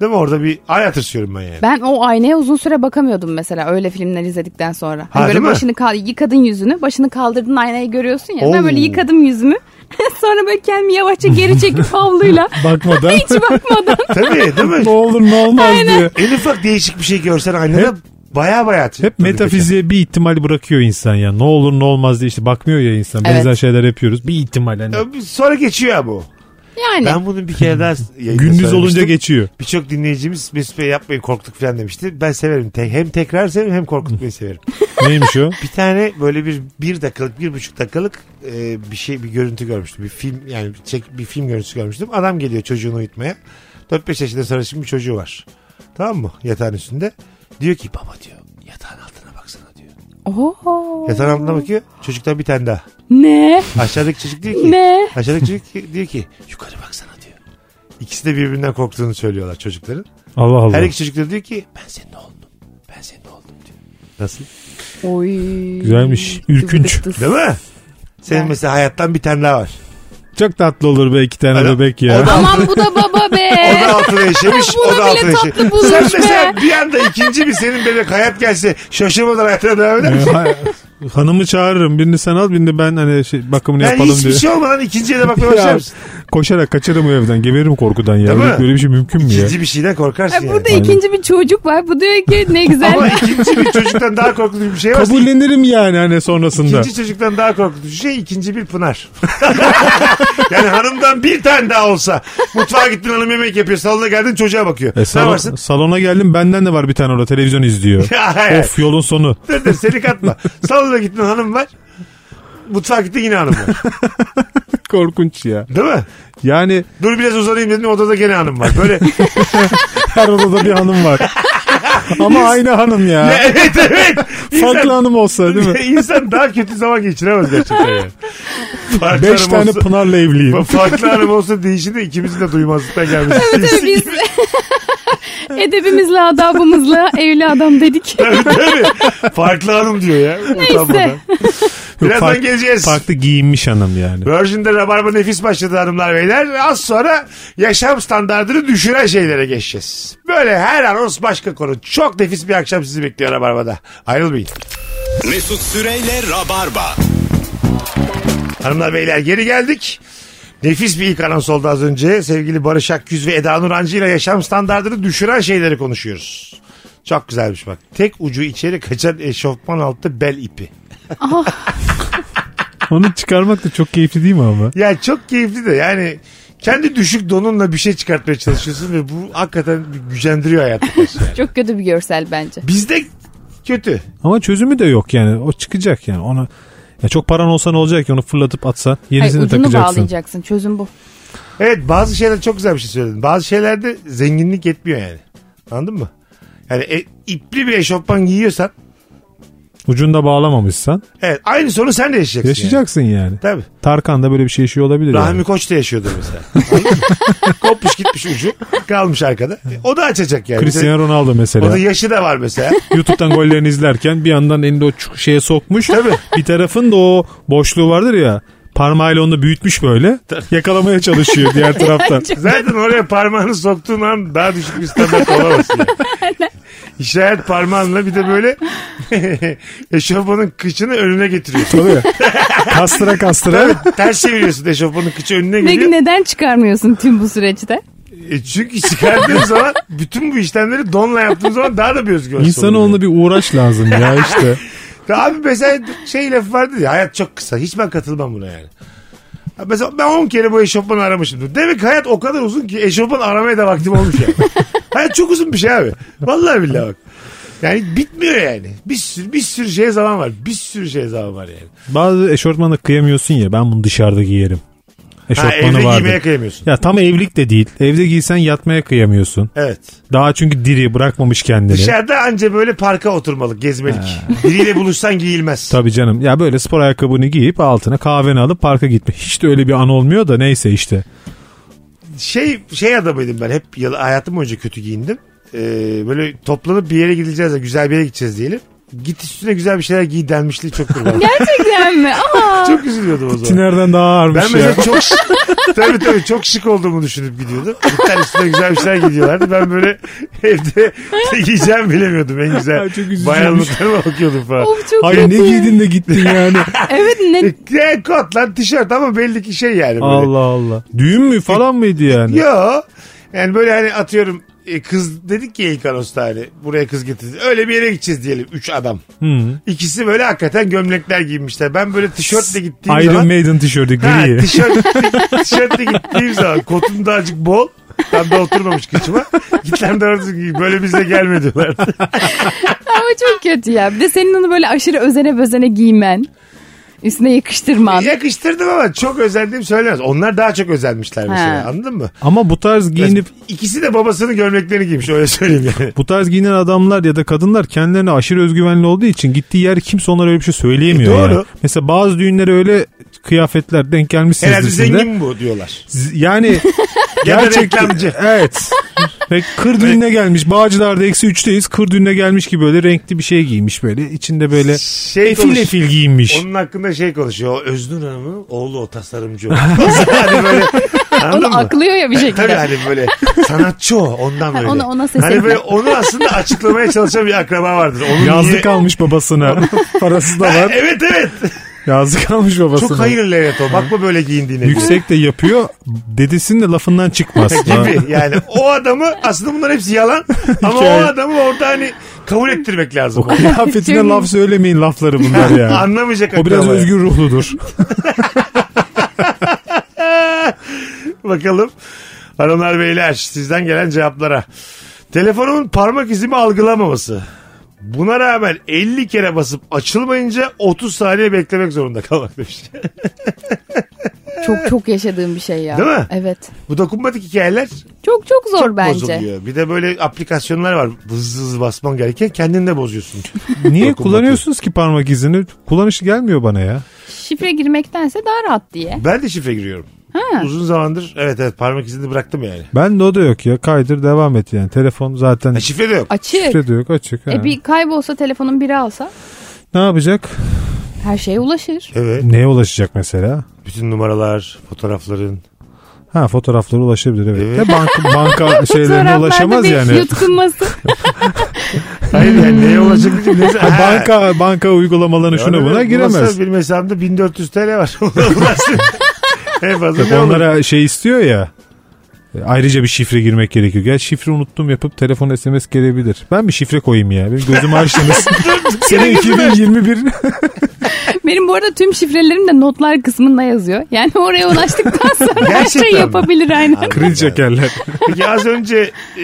[SPEAKER 3] Değil mi? Orada bir ay atırsıyorum ben yani.
[SPEAKER 4] Ben o aynaya uzun süre bakamıyordum mesela öyle filmler izledikten sonra. Hani
[SPEAKER 3] değil
[SPEAKER 4] böyle
[SPEAKER 3] mi?
[SPEAKER 4] başını kal yıkadın yüzünü, başını kaldırdın aynayı görüyorsun ya.
[SPEAKER 3] Oo.
[SPEAKER 4] Ben böyle yıkadım yüzümü. sonra böyle kendimi yavaşça geri çekip havluyla
[SPEAKER 5] Bakmadan
[SPEAKER 4] hiç bakmadan
[SPEAKER 3] Tabii değil
[SPEAKER 5] ne
[SPEAKER 3] mi?
[SPEAKER 5] olur ne olmaz diye.
[SPEAKER 3] en ufak değişik bir şey görsen aynada baya baya atıyor.
[SPEAKER 5] Hep metafiziğe bir ihtimal bırakıyor insan ya. Ne olur ne olmaz diye işte bakmıyor ya insan.
[SPEAKER 4] Evet.
[SPEAKER 5] Benzer şeyler yapıyoruz. Bir ihtimal hani.
[SPEAKER 3] Sonra geçiyor ya bu.
[SPEAKER 4] yani.
[SPEAKER 3] Ben bunu bir kere daha yayında
[SPEAKER 5] Gündüz
[SPEAKER 3] söylemiştim.
[SPEAKER 5] olunca geçiyor.
[SPEAKER 3] Birçok dinleyicimiz Mesut Bey yapmayın korktuk falan demişti. Ben severim. Te- hem tekrar severim hem korkutmayı severim.
[SPEAKER 5] Neymiş o?
[SPEAKER 3] bir tane böyle bir bir dakikalık bir buçuk dakikalık e, bir şey bir görüntü görmüştüm. Bir film yani bir çek, bir film görüntüsü görmüştüm. Adam geliyor çocuğunu uyutmaya. 4-5 yaşında sarışın bir çocuğu var. Tamam mı? Yatağın üstünde. Diyor ki baba diyor yatağın altına baksana diyor.
[SPEAKER 4] Oho.
[SPEAKER 3] Yatağın altına bakıyor. Çocuktan bir tane daha.
[SPEAKER 4] Ne?
[SPEAKER 3] Aşağıdaki çocuk diyor ki.
[SPEAKER 4] Ne?
[SPEAKER 3] Aşağıdaki çocuk ki- diyor ki yukarı baksana diyor. İkisi de birbirinden korktuğunu söylüyorlar çocukların.
[SPEAKER 5] Allah Allah.
[SPEAKER 3] Her iki çocuk da diyor ki ben senin oğlunum. Ben senin oldum diyor. Nasıl?
[SPEAKER 4] Oy.
[SPEAKER 5] Güzelmiş. Ürkünç.
[SPEAKER 4] Dıvı dıs.
[SPEAKER 3] Değil mi? Senin
[SPEAKER 4] Ben-
[SPEAKER 3] mesela hayattan bir tane daha var.
[SPEAKER 5] Çok tatlı olur be iki tane
[SPEAKER 3] Alo.
[SPEAKER 5] bebek ya.
[SPEAKER 3] O da-
[SPEAKER 4] Aman bu da baba
[SPEAKER 3] O da
[SPEAKER 4] be.
[SPEAKER 3] altına işemiş.
[SPEAKER 4] Bunu
[SPEAKER 3] o da
[SPEAKER 4] bile
[SPEAKER 3] altına
[SPEAKER 4] tatlı
[SPEAKER 3] işemiş.
[SPEAKER 4] bulmuş
[SPEAKER 3] Sen
[SPEAKER 4] be.
[SPEAKER 3] mesela bir anda ikinci bir senin bebek hayat gelse şaşırmadan hayatına devam eder misin?
[SPEAKER 5] Ee, Ha- Hanımı çağırırım. Birini sen al birini de ben hani şey, bakımını
[SPEAKER 3] Yani
[SPEAKER 5] yapalım
[SPEAKER 3] hiçbir
[SPEAKER 5] diye.
[SPEAKER 3] şey olmadan ikinciye de bakmaya başlar
[SPEAKER 5] Ya,
[SPEAKER 3] mısın?
[SPEAKER 5] koşarak kaçarım o evden. Geberirim korkudan ya.
[SPEAKER 3] Değil
[SPEAKER 5] Böyle,
[SPEAKER 3] mi?
[SPEAKER 5] böyle bir şey mümkün mü ya?
[SPEAKER 3] İkinci bir şeyden korkarsın
[SPEAKER 4] Ha,
[SPEAKER 3] yani.
[SPEAKER 4] Burada ikinci bir çocuk var. Bu diyor ki ne
[SPEAKER 3] Ama
[SPEAKER 4] güzel.
[SPEAKER 3] ikinci bir çocuktan daha korkutucu bir şey var.
[SPEAKER 5] Kabullenirim yani hani sonrasında.
[SPEAKER 3] İkinci çocuktan daha korkutucu şey ikinci bir Pınar. yani hanımdan bir tane daha olsa mutfağa gittin hanım yemek yapıyor salona geldin çocuğa bakıyor.
[SPEAKER 5] E,
[SPEAKER 3] ne
[SPEAKER 5] salon-
[SPEAKER 3] yaparsın?
[SPEAKER 5] salona geldim benden de var bir tane orada televizyon izliyor.
[SPEAKER 3] Hayır.
[SPEAKER 5] of yolun sonu.
[SPEAKER 3] Dur dur seni katma. Salona gittin hanım var. Mutfağa gittin yine hanım var.
[SPEAKER 5] Korkunç ya.
[SPEAKER 3] Değil mi?
[SPEAKER 5] Yani
[SPEAKER 3] Dur biraz uzanayım dedin odada gene hanım var. Böyle
[SPEAKER 5] her odada bir hanım var. Ama aynı hanım ya.
[SPEAKER 3] evet evet. İnsan-
[SPEAKER 5] Farklı hanım olsa değil mi?
[SPEAKER 3] İnsan daha kötü zaman geçiremez gerçekten yani. Farklı
[SPEAKER 5] Beş
[SPEAKER 3] hanım
[SPEAKER 5] tane
[SPEAKER 3] olsa-
[SPEAKER 5] Pınar'la evliyim.
[SPEAKER 3] Farklı hanım olsa değişini ikimizin de duymazlıktan gelmiş.
[SPEAKER 4] Evet, evet, biz edebimizle adabımızla evli adam dedik.
[SPEAKER 3] Tabii. Farklı hanım diyor ya. Utanmadan. Birazdan
[SPEAKER 5] Fark-
[SPEAKER 3] geleceğiz.
[SPEAKER 5] Farklı giyinmiş hanım yani.
[SPEAKER 3] Virgin'de Rabarba nefis başladı hanımlar beyler. Az sonra yaşam standartını düşüren şeylere geçeceğiz. Böyle her anons başka konu. Çok nefis bir akşam sizi bekliyor Rabarba'da. Ayrılmayın.
[SPEAKER 2] Mesut Süreyle Rabarba.
[SPEAKER 3] Hanımlar beyler geri geldik. Nefis bir ilk anons oldu az önce. Sevgili Barış Akgüz ve Eda Nurancı ile yaşam standartını düşüren şeyleri konuşuyoruz. Çok güzelmiş bak. Tek ucu içeri kaçan eşofman altı bel ipi.
[SPEAKER 5] Onu çıkarmak da çok keyifli değil mi ama?
[SPEAKER 3] Ya çok keyifli de yani kendi düşük donunla bir şey çıkartmaya çalışıyorsun ve bu hakikaten bir gücendiriyor hayatı.
[SPEAKER 4] Çok kötü bir görsel bence.
[SPEAKER 3] Bizde kötü.
[SPEAKER 5] Ama çözümü de yok yani. O çıkacak yani. Ona ya çok paran olsa ne olacak ki onu fırlatıp atsan
[SPEAKER 4] Hayır,
[SPEAKER 5] yenisini
[SPEAKER 4] ucunu
[SPEAKER 5] takacaksın.
[SPEAKER 4] bağlayacaksın. Çözüm bu.
[SPEAKER 3] Evet bazı şeyler çok güzel bir şey söyledin. Bazı şeylerde zenginlik yetmiyor yani. Anladın mı? Yani e, ipli bir eşofman giyiyorsan
[SPEAKER 5] Ucunda bağlamamışsan
[SPEAKER 3] evet aynı sorunu sen de yaşayacaksın.
[SPEAKER 5] yaşayacaksın yani.
[SPEAKER 3] Yani. Tabii.
[SPEAKER 5] Tarkan da böyle bir şey yaşıyor olabilir
[SPEAKER 3] Rahmi
[SPEAKER 5] yani.
[SPEAKER 3] Koç da yaşıyordur mesela. Anladın mı? Kopmuş gitmiş ucu. Kalmış arkada. E, O da açacak yani.
[SPEAKER 5] Cristiano Ronaldo
[SPEAKER 3] O da
[SPEAKER 5] mesela.
[SPEAKER 3] yaşı da var mesela.
[SPEAKER 5] YouTube'dan gollerini izlerken bir yandan elinde o çu- şeye sokmuş.
[SPEAKER 3] Tabii.
[SPEAKER 5] Bir tarafın da o boşluğu vardır ya. Parmağıyla onu da büyütmüş böyle. Yakalamaya çalışıyor diğer taraftan.
[SPEAKER 3] Zaten oraya parmağını soktuğun an daha düşük bir standart olamazsın. yani. İşaret parmağınla bir de böyle eşofmanın kıçını önüne getiriyorsun.
[SPEAKER 5] Tabii. kastıra kastıra.
[SPEAKER 3] Tabii, ters çeviriyorsun eşofmanın kıçı önüne
[SPEAKER 4] Peki
[SPEAKER 3] geliyor.
[SPEAKER 4] neden çıkarmıyorsun tüm bu süreçte?
[SPEAKER 3] E çünkü çıkardığın zaman bütün bu işlemleri donla yaptığın zaman daha da bir özgür
[SPEAKER 5] İnsanoğluna bir uğraş lazım ya işte.
[SPEAKER 3] Abi mesela şey lafı vardı ya hayat çok kısa. Hiç ben katılmam buna yani. Ha Mesela ben 10 kere bu eşofmanı aramışımdır. Demek ki hayat o kadar uzun ki eşofman aramaya da vaktim olmuş ya. hayat çok uzun bir şey abi. Vallahi billahi bak. Yani bitmiyor yani. Bir sürü, bir sürü şeye zaman var. Bir sürü şeye zaman var yani.
[SPEAKER 5] Bazı eşortmanı kıyamıyorsun ya ben bunu dışarıda giyerim.
[SPEAKER 3] Ha,
[SPEAKER 5] Eşortmanı
[SPEAKER 3] evde
[SPEAKER 5] vardı.
[SPEAKER 3] giymeye kıyamıyorsun.
[SPEAKER 5] Ya tam evlilik de değil. Evde giysen yatmaya kıyamıyorsun.
[SPEAKER 3] Evet.
[SPEAKER 5] Daha çünkü diri bırakmamış kendini.
[SPEAKER 3] Dışarıda anca böyle parka oturmalık, gezmelik. Biriyle buluşsan giyilmez.
[SPEAKER 5] Tabii canım. Ya böyle spor ayakkabını giyip altına kahveni alıp parka gitme. Hiç de öyle bir an olmuyor da neyse işte.
[SPEAKER 3] şey şey adamıydım ben hep yıl, hayatım boyunca kötü giyindim. Ee, böyle toplanıp bir yere gideceğiz ya güzel bir yere gideceğiz diyelim. Git üstüne güzel bir şeyler giy denmişliği çok kırmadım.
[SPEAKER 4] Gerçekten mi? Aa,
[SPEAKER 3] çok üzülüyordum o zaman.
[SPEAKER 5] Tinerden daha
[SPEAKER 3] Ben
[SPEAKER 5] ağırmış ya.
[SPEAKER 3] mesela çok şık- tabii tabii çok şık olduğumu düşünüp gidiyordum. Gitler üstüne güzel bir şeyler gidiyorlardı. Ben böyle evde ne giyeceğim bilemiyordum en güzel.
[SPEAKER 5] Ay, çok üzücüymüş.
[SPEAKER 3] Bayanlıklarıma bakıyordum falan.
[SPEAKER 4] of çok
[SPEAKER 5] Ay
[SPEAKER 4] kötü.
[SPEAKER 5] ne giydin de gittin yani.
[SPEAKER 4] Evet ne?
[SPEAKER 3] E, kot lan tişört ama belli ki şey yani. Böyle.
[SPEAKER 5] Allah Allah. Düğün mü falan mıydı yani?
[SPEAKER 3] Yo. Yani böyle hani atıyorum e, kız dedik ki ilk anosta hani buraya kız getirdi. Öyle bir yere gideceğiz diyelim. Üç adam.
[SPEAKER 5] Hı.
[SPEAKER 3] İkisi böyle hakikaten gömlekler giymişler. Ben böyle tişörtle gittiğim
[SPEAKER 5] Iron
[SPEAKER 3] zaman.
[SPEAKER 5] Maiden tişörtü
[SPEAKER 3] Ha,
[SPEAKER 5] gri.
[SPEAKER 3] tişört, tişörtle gittiğim zaman kotum da azıcık bol. Tam da oturmamış kıçıma. Gitler de orası giy. Böyle bize gelme diyorlar.
[SPEAKER 4] Ama çok kötü ya. Bir de senin onu böyle aşırı özene bözene giymen. Üstüne yakıştırman.
[SPEAKER 3] Yakıştırdım ama çok özendiğim söylemez. Onlar daha çok özenmişler mesela.
[SPEAKER 4] Ha.
[SPEAKER 3] Anladın mı?
[SPEAKER 5] Ama bu tarz giyinip
[SPEAKER 3] İkisi de babasının gömleklerini giymiş. Öyle söyleyeyim yani.
[SPEAKER 5] bu tarz giyinen adamlar ya da kadınlar kendilerine aşırı özgüvenli olduğu için gittiği yer kimse onlara öyle bir şey söyleyemiyor.
[SPEAKER 3] E, doğru.
[SPEAKER 5] yani. Mesela bazı düğünlere öyle kıyafetler denk gelmişsinizdir.
[SPEAKER 3] Herhalde
[SPEAKER 5] siz de.
[SPEAKER 3] zengin bu diyorlar.
[SPEAKER 5] Z- Yani
[SPEAKER 3] Ya da reklamcı.
[SPEAKER 5] Evet. Ve kır düğününe gelmiş. Bağcılar'da eksi üçteyiz. Kır düğününe gelmiş gibi böyle renkli bir şey giymiş böyle. İçinde böyle
[SPEAKER 3] Şey
[SPEAKER 5] efil
[SPEAKER 3] konuş-
[SPEAKER 5] efil giyinmiş.
[SPEAKER 3] Onun hakkında şey konuşuyor. O Öznur Hanım'ın oğlu o tasarımcı. o. hani böyle anladın
[SPEAKER 4] Onu
[SPEAKER 3] mı?
[SPEAKER 4] aklıyor ya bir
[SPEAKER 3] Tabii
[SPEAKER 4] şekilde.
[SPEAKER 3] hani böyle sanatçı o ondan böyle.
[SPEAKER 4] ona- ona
[SPEAKER 3] Hani
[SPEAKER 4] sesleniyor.
[SPEAKER 3] böyle onu aslında açıklamaya çalışan bir akraba vardır. Onun niye-
[SPEAKER 5] Yazlık almış babasına. Parası da var.
[SPEAKER 3] Evet evet.
[SPEAKER 5] Yazlık almış babasına.
[SPEAKER 3] Çok hayırlı evet o. Bakma böyle giyindiğine.
[SPEAKER 5] Yüksek de yapıyor. Dedesinin de lafından çıkmaz.
[SPEAKER 3] gibi yani o adamı aslında bunlar hepsi yalan ama o
[SPEAKER 5] Hikaye.
[SPEAKER 3] adamı orada hani kabul ettirmek lazım.
[SPEAKER 5] Kıyafetine laf söylemeyin lafları bunlar ya.
[SPEAKER 3] Anlamayacak
[SPEAKER 5] O biraz
[SPEAKER 3] akraba.
[SPEAKER 5] özgür ruhludur.
[SPEAKER 3] Bakalım hanımlar beyler sizden gelen cevaplara. Telefonumun parmak izimi algılamaması. Buna rağmen 50 kere basıp açılmayınca 30 saniye beklemek zorunda kalmak demiş.
[SPEAKER 4] Çok çok yaşadığım bir şey ya.
[SPEAKER 3] Değil mi?
[SPEAKER 4] Evet.
[SPEAKER 3] Bu dokunmatik hikayeler
[SPEAKER 4] Çok çok zor bence.
[SPEAKER 3] bozuluyor. Bir de böyle aplikasyonlar var. Hızlı hızlı basman gereken kendini de bozuyorsun.
[SPEAKER 5] Niye
[SPEAKER 3] Dokunmatik.
[SPEAKER 5] kullanıyorsunuz ki parmak izini? Kullanışı gelmiyor bana ya.
[SPEAKER 4] Şifre girmektense daha rahat diye.
[SPEAKER 3] Ben de şifre giriyorum. Uzun zamandır evet evet parmak izini bıraktım yani.
[SPEAKER 5] Ben de o da yok ya. Kaydır devam et yani. Telefon zaten
[SPEAKER 3] Ha, şifre de yok.
[SPEAKER 4] Açık.
[SPEAKER 5] şifre de yok açık. ha.
[SPEAKER 4] E bir kaybolsa telefonun biri alsa
[SPEAKER 5] Ne yapacak?
[SPEAKER 4] her şeye ulaşır.
[SPEAKER 3] Evet.
[SPEAKER 5] Neye ulaşacak mesela?
[SPEAKER 3] Bütün numaralar, fotoğrafların.
[SPEAKER 5] Ha fotoğraflara ulaşabilir evet.
[SPEAKER 3] Evet.
[SPEAKER 5] De banka, banka şeylerine
[SPEAKER 4] Fotoğraflarda
[SPEAKER 5] ulaşamaz
[SPEAKER 4] bir
[SPEAKER 5] yani.
[SPEAKER 4] Yutkunması.
[SPEAKER 3] Hayır yani neye ulaşacak diyeceğim. Neyse, ha.
[SPEAKER 5] Ha, banka banka uygulamalarına şuna
[SPEAKER 3] Yani
[SPEAKER 5] buna
[SPEAKER 3] ben
[SPEAKER 5] giremez.
[SPEAKER 3] Bulasa bilmesi anda 1400 TL var. Ulaşsın. en fazla ne olur?
[SPEAKER 5] Onlara şey istiyor ya. e, Ayrıca bir şifre girmek gerekiyor. Gel şifre unuttum yapıp telefon SMS gelebilir. Ben bir şifre koyayım ya. Benim gözümü açtınız. Sene 2021.
[SPEAKER 4] Benim bu arada tüm şifrelerim de notlar kısmında yazıyor. Yani oraya ulaştıktan sonra her
[SPEAKER 3] Gerçekten
[SPEAKER 4] şeyi
[SPEAKER 3] mi?
[SPEAKER 4] yapabilir aynen.
[SPEAKER 5] Cringe şekerler.
[SPEAKER 3] Peki az önce e,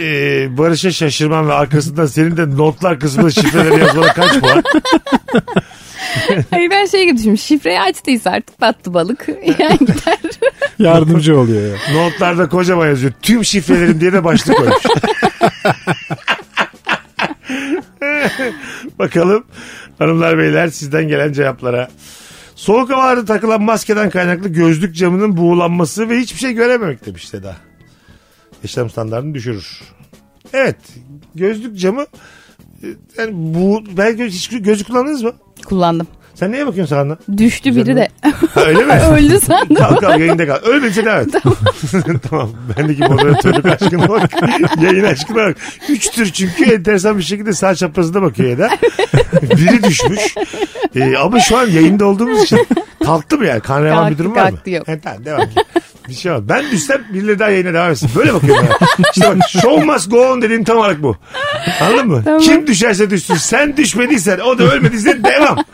[SPEAKER 3] Barış'a şaşırmam ve arkasından senin de notlar kısmında şifreleri yazmana kaç puan?
[SPEAKER 4] Hayır ben şey gibi düşünmüşüm. Şifreyi açtıysa artık battı balık. Yani gider.
[SPEAKER 5] Yardımcı oluyor ya.
[SPEAKER 3] Notlarda kocaman yazıyor. Tüm şifrelerim diye de başlık koymuş. Bakalım hanımlar beyler sizden gelen cevaplara. Soğuk havalarda takılan maskeden kaynaklı gözlük camının buğulanması ve hiçbir şey görememek demiş Seda. Yaşam standartını düşürür. Evet gözlük camı e, yani bu ben gö- hiç gözlük kullandınız mı?
[SPEAKER 4] Kullandım.
[SPEAKER 3] Sen neye bakıyorsun sağında?
[SPEAKER 4] Düştü biri de.
[SPEAKER 3] Ha, öyle mi?
[SPEAKER 4] Öldü sandım.
[SPEAKER 3] Kal kal yayında kal. Ölmediyse devam et. tamam. Bendeki moderatörlük aşkına bak. Yayın aşkına bak. Üç tür çünkü enteresan bir şekilde sağ çaprazına bakıyor Eda. Biri düşmüş. Ee, ama şu an yayında olduğumuz için kalktı mı yani? Kan revan bir
[SPEAKER 4] Kalktı,
[SPEAKER 3] durum var mı?
[SPEAKER 4] kalktı, yok.
[SPEAKER 3] He, tamam devam et. Bir şey var. Ben düşsem birileri daha yayına devam etsin. Böyle bakıyorum ben. İşte bak show must go on dediğim tam olarak bu. Anladın mı?
[SPEAKER 4] Tamam.
[SPEAKER 3] Kim düşerse düşsün. Sen düşmediysen o da ölmediyse devam.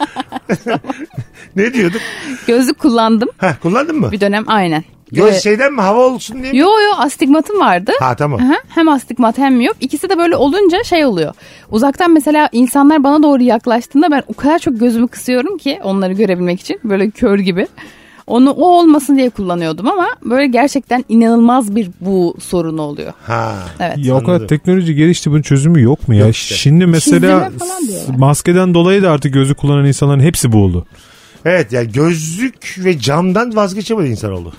[SPEAKER 3] ne diyorduk?
[SPEAKER 4] Gözlük kullandım
[SPEAKER 3] Ha, kullandın mı?
[SPEAKER 4] bir dönem aynen.
[SPEAKER 3] Göz
[SPEAKER 4] Ee,
[SPEAKER 3] şeyden mi hava olsun diye mi?
[SPEAKER 4] Yo yo astigmatım vardı.
[SPEAKER 3] Ha tamam.
[SPEAKER 4] Aha, hem astigmat hem miyop. İkisi de böyle olunca şey oluyor. Uzaktan mesela insanlar bana doğru yaklaştığında ben o kadar çok gözümü kısıyorum ki onları görebilmek için. Böyle kör gibi. Onu o olmasın diye kullanıyordum ama böyle gerçekten inanılmaz bir bu sorunu oluyor.
[SPEAKER 3] Ha.
[SPEAKER 4] Evet.
[SPEAKER 5] Ya o kadar
[SPEAKER 3] Anladım.
[SPEAKER 5] teknoloji gelişti bunun çözümü yok mu ya?
[SPEAKER 3] Yok işte.
[SPEAKER 5] Şimdi mesela
[SPEAKER 4] Çizdirme falan diyorlar.
[SPEAKER 5] maskeden dolayı da artık gözü kullanan insanların hepsi buğulu.
[SPEAKER 3] Evet yani gözlük ve camdan vazgeçemedi insanoğlu.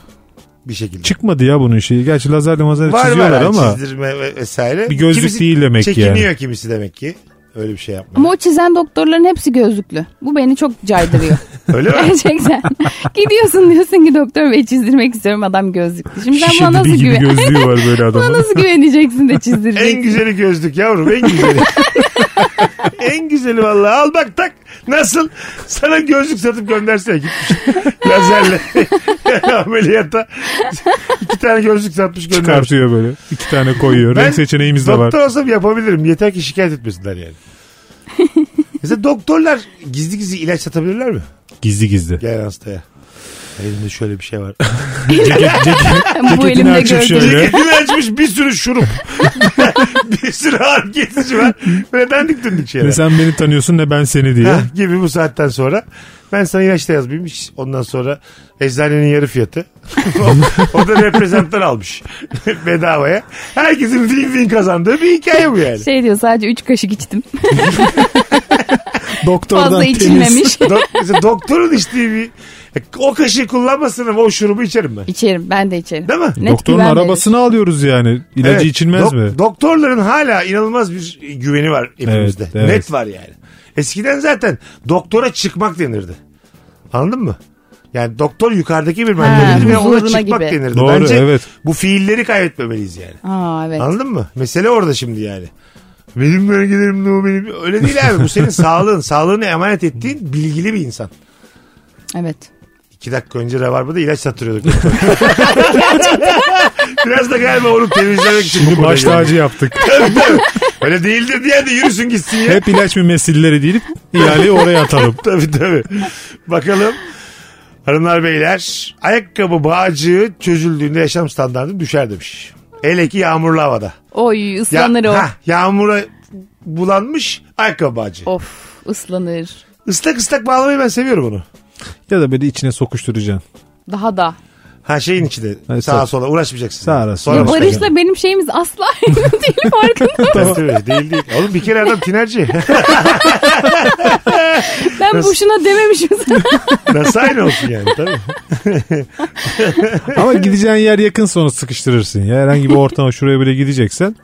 [SPEAKER 3] Bir şekilde.
[SPEAKER 5] Çıkmadı ya bunun şeyi. Gerçi lazerle mazerle çiziyorlar
[SPEAKER 3] yani
[SPEAKER 5] ama
[SPEAKER 3] Çizdirme ve- vesaire.
[SPEAKER 5] Bir gözlük değil demek ki
[SPEAKER 3] çekiniyor
[SPEAKER 5] yani.
[SPEAKER 3] kimisi demek ki. Öyle bir şey yapmıyor.
[SPEAKER 4] Ama o çizen doktorların hepsi gözlüklü. Bu beni çok caydırıyor.
[SPEAKER 3] Öyle mi?
[SPEAKER 4] Gerçekten. Gidiyorsun diyorsun ki doktor bey çizdirmek istiyorum adam gözlüklü. Şimdi sen bana
[SPEAKER 5] şişe
[SPEAKER 4] nasıl
[SPEAKER 5] dibi şey gibi
[SPEAKER 4] güven?
[SPEAKER 5] gözlüğü var böyle
[SPEAKER 4] Bana
[SPEAKER 5] adamın.
[SPEAKER 4] nasıl güveneceksin de çizdireceksin?
[SPEAKER 3] en güzeli gözlük yavrum en güzeli. en güzeli vallahi al bak tak. Nasıl? Sana gözlük satıp göndersene gitmiş. Lazerle. Ameliyata. İki tane gözlük satmış göndermiş.
[SPEAKER 5] Çıkartıyor böyle. İki tane koyuyor.
[SPEAKER 3] Ben
[SPEAKER 5] Renk seçeneğimiz de var.
[SPEAKER 3] Doktor olsam yapabilirim. Yeter ki şikayet etmesinler yani. Mesela doktorlar gizli gizli ilaç satabilirler mi?
[SPEAKER 5] Gizli gizli.
[SPEAKER 3] Gelen hastaya. Elimde şöyle bir şey var.
[SPEAKER 5] Ceket- ceket-
[SPEAKER 4] Bu
[SPEAKER 5] Ceketini
[SPEAKER 4] elimde
[SPEAKER 5] açıp
[SPEAKER 4] gözlüklü.
[SPEAKER 5] şöyle.
[SPEAKER 3] Ceketini açmış bir sürü şurup. bir sürü ağrı kesici var. Böyle dandik dündik şeyler.
[SPEAKER 5] ne sen beni tanıyorsun ne ben seni diye.
[SPEAKER 3] Hah, gibi bu saatten sonra. Ben sana ilaç da yazmayayım. Hiç Ondan sonra eczanenin yarı fiyatı. o, o da reprezentan almış. Bedavaya. Herkesin win win kazandığı bir hikaye bu yani.
[SPEAKER 4] Şey diyor sadece 3 kaşık içtim.
[SPEAKER 5] Doktordan
[SPEAKER 4] Fazla
[SPEAKER 5] temiz.
[SPEAKER 4] içilmemiş.
[SPEAKER 3] Dok- mesela doktorun içtiği bir e, o kaşığı kullanmasın ama o şurubu içerim ben.
[SPEAKER 4] İçerim ben de içerim.
[SPEAKER 3] Değil mi?
[SPEAKER 4] Net
[SPEAKER 5] Doktorun
[SPEAKER 4] güven verir.
[SPEAKER 5] arabasını alıyoruz yani. İlacı
[SPEAKER 3] Evet.
[SPEAKER 5] içilmez
[SPEAKER 3] Dok-
[SPEAKER 5] mi?
[SPEAKER 3] Doktorların hala inanılmaz bir güveni var hepimizde.
[SPEAKER 5] Evet, evet.
[SPEAKER 3] Net var yani. Eskiden zaten doktora çıkmak denirdi. Anladın mı? Yani doktor yukarıdaki bir mertebedir ve ona
[SPEAKER 4] huzuruna
[SPEAKER 3] çıkmak
[SPEAKER 4] gibi.
[SPEAKER 3] denirdi.
[SPEAKER 5] Doğru,
[SPEAKER 3] Bence
[SPEAKER 5] evet.
[SPEAKER 3] bu fiilleri kaybetmemeliyiz yani.
[SPEAKER 4] Aa evet.
[SPEAKER 3] Anladın mı? Mesele orada şimdi yani. Benim bölgelerim ne o benim. Öyle değil abi. Bu senin sağlığın. Sağlığını emanet ettiğin bilgili bir insan.
[SPEAKER 4] Evet.
[SPEAKER 3] İki dakika önce Rabarba'da ilaç satırıyorduk. Biraz da galiba onu temizlemek için. bu
[SPEAKER 5] Şimdi
[SPEAKER 3] konuya
[SPEAKER 5] baş
[SPEAKER 3] geldik.
[SPEAKER 5] tacı yaptık.
[SPEAKER 3] Tabii, tabii. Öyle değildir diye de yürüsün gitsin ya.
[SPEAKER 5] Hep ilaç mümessilleri değil ihaleyi oraya atalım.
[SPEAKER 3] tabii tabii. Bakalım. Hanımlar beyler ayakkabı bağcığı çözüldüğünde yaşam standartı düşer demiş. Hele ki yağmurlu havada.
[SPEAKER 4] Oy
[SPEAKER 3] Ya-
[SPEAKER 4] ıslanır o.
[SPEAKER 3] hah, yağmura bulanmış ayakkabı bağcığı.
[SPEAKER 4] Of ıslanır.
[SPEAKER 3] Islak ıslak bağlamayı ben seviyorum onu.
[SPEAKER 5] Ya da böyle içine sokuşturacaksın.
[SPEAKER 4] Daha da.
[SPEAKER 3] Ha şeyin içinde
[SPEAKER 5] Evet,
[SPEAKER 3] sağa
[SPEAKER 5] tabii.
[SPEAKER 3] sola uğraşmayacaksın.
[SPEAKER 5] Sağa sola.
[SPEAKER 3] Sonra
[SPEAKER 5] Ya
[SPEAKER 3] başka-
[SPEAKER 5] Barış-
[SPEAKER 4] E, Barış'la benim şeyimiz asla aynı değil farkında.
[SPEAKER 3] Tabii, tabii. değil değil. Oğlum bir kere adam tinerci.
[SPEAKER 4] Ben
[SPEAKER 3] Nasıl?
[SPEAKER 4] boşuna dememişim sana.
[SPEAKER 3] Nasıl aynı olsun yani tabii.
[SPEAKER 5] Ama gideceğin yer yakın sonra sıkıştırırsın. Ya herhangi bir ortama şuraya bile gideceksen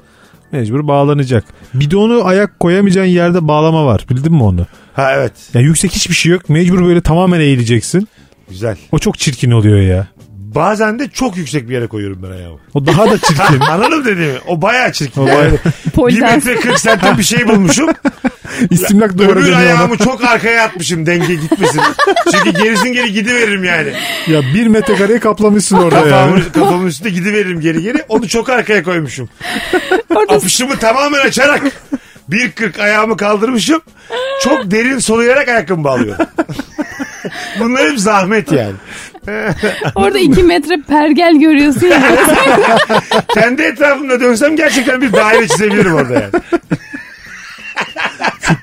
[SPEAKER 5] mecbur bağlanacak. Bidonu ayak koyamayacağın yerde bağlama var. Bildin mi onu?
[SPEAKER 3] Ha evet
[SPEAKER 5] Ya yüksek hiçbir şey yok. Mecbur böyle tamamen eğileceksin.
[SPEAKER 3] güzel.
[SPEAKER 5] O çok çirkin oluyor ya.
[SPEAKER 3] Bazen de çok yüksek bir yere koyuyorum ben ayağımı.
[SPEAKER 5] O daha da çirkin.
[SPEAKER 3] Anladım dediğimi. O bayağı çirkin.
[SPEAKER 5] O bayağı-
[SPEAKER 3] Yani bir
[SPEAKER 4] Polden.
[SPEAKER 3] metre 40 santim bir şey bulmuşum.
[SPEAKER 5] İstimlak duvara
[SPEAKER 3] Öbür
[SPEAKER 5] dönüyor
[SPEAKER 3] ayağımı çok arkaya atmışım denge gitmesin. Çünkü gerisin geri gidiveririm yani.
[SPEAKER 5] ona. Ya bir metrekareye kaplamışsın orada ya.
[SPEAKER 3] Kafamın, kafamın üstünde gidiveririm geri geri. Onu çok arkaya koymuşum.
[SPEAKER 4] Orada
[SPEAKER 3] Apışımı tamamen açarak 1.40 ayağımı kaldırmışım. Çok derin soluyarak ayakkabımı bağlıyorum. Bunlar hep zahmet yani.
[SPEAKER 4] Orada iki metre pergel görüyorsun ya.
[SPEAKER 3] Kendi etrafımda dönsem gerçekten bir daire çizebilirim orada yani.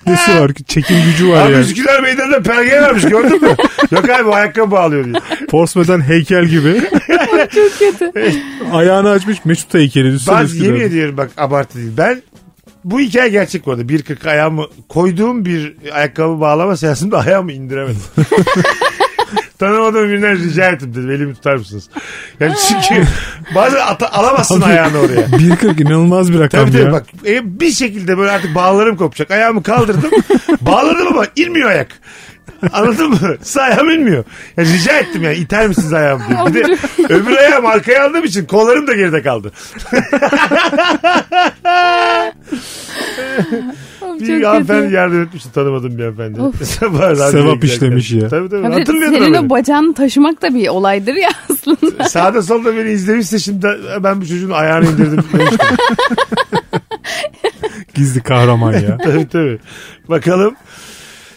[SPEAKER 5] Nesi var? Çekim gücü var
[SPEAKER 3] Abi
[SPEAKER 5] ya.
[SPEAKER 3] Üsküdar Meydanı'nda pergel varmış gördün mü? Yok abi o ayakkabı bağlıyor diye.
[SPEAKER 5] Porsmeden heykel gibi.
[SPEAKER 4] Çok kötü.
[SPEAKER 5] Ayağını açmış Mesut heykeli. Üstüne
[SPEAKER 3] Ben
[SPEAKER 5] Üsküdar'da.
[SPEAKER 3] yemin ediyorum bak abartı değil. Ben bu hikaye gerçek bu arada. 1.40 ayağımı koyduğum bir ayakkabı bağlama seansımda ayağımı indiremedim. Tanımadığım birinden rica ettim dedim. Elimi tutar mısınız? Yani çünkü bazen ata- alamazsın
[SPEAKER 5] Abi,
[SPEAKER 3] ayağını oraya.
[SPEAKER 5] 1.40 inanılmaz bir rakam
[SPEAKER 3] Tabii tabii
[SPEAKER 5] ya.
[SPEAKER 3] bak e, bir şekilde böyle artık bağlarım kopacak. Ayağımı kaldırdım. bağladım ama inmiyor ayak. Anladın mı? Sağ ayağım inmiyor. Yani rica ettim yani iter misiniz ayağımı diye. Bir de öbür ayağım arkaya aldığım için kollarım da geride kaldı.
[SPEAKER 4] Çok
[SPEAKER 3] Bir
[SPEAKER 4] kötü.
[SPEAKER 3] hanımefendi yardım etmişti tanımadığım bir hanımefendi.
[SPEAKER 4] Of.
[SPEAKER 3] Sabah radyoya
[SPEAKER 5] Sevap
[SPEAKER 3] giderken.
[SPEAKER 5] işlemiş ya.
[SPEAKER 3] Tabii tabii
[SPEAKER 4] Ya bir de
[SPEAKER 3] hatırlıyorum
[SPEAKER 4] Senin
[SPEAKER 3] da
[SPEAKER 4] o bacağını taşımak da bir olaydır ya aslında.
[SPEAKER 3] beni. Sağda solda beni izlemişse şimdi ben bu çocuğun ayağını indirdim. demiştim.
[SPEAKER 5] Gizli kahraman ya.
[SPEAKER 3] tabii tabii. Bakalım.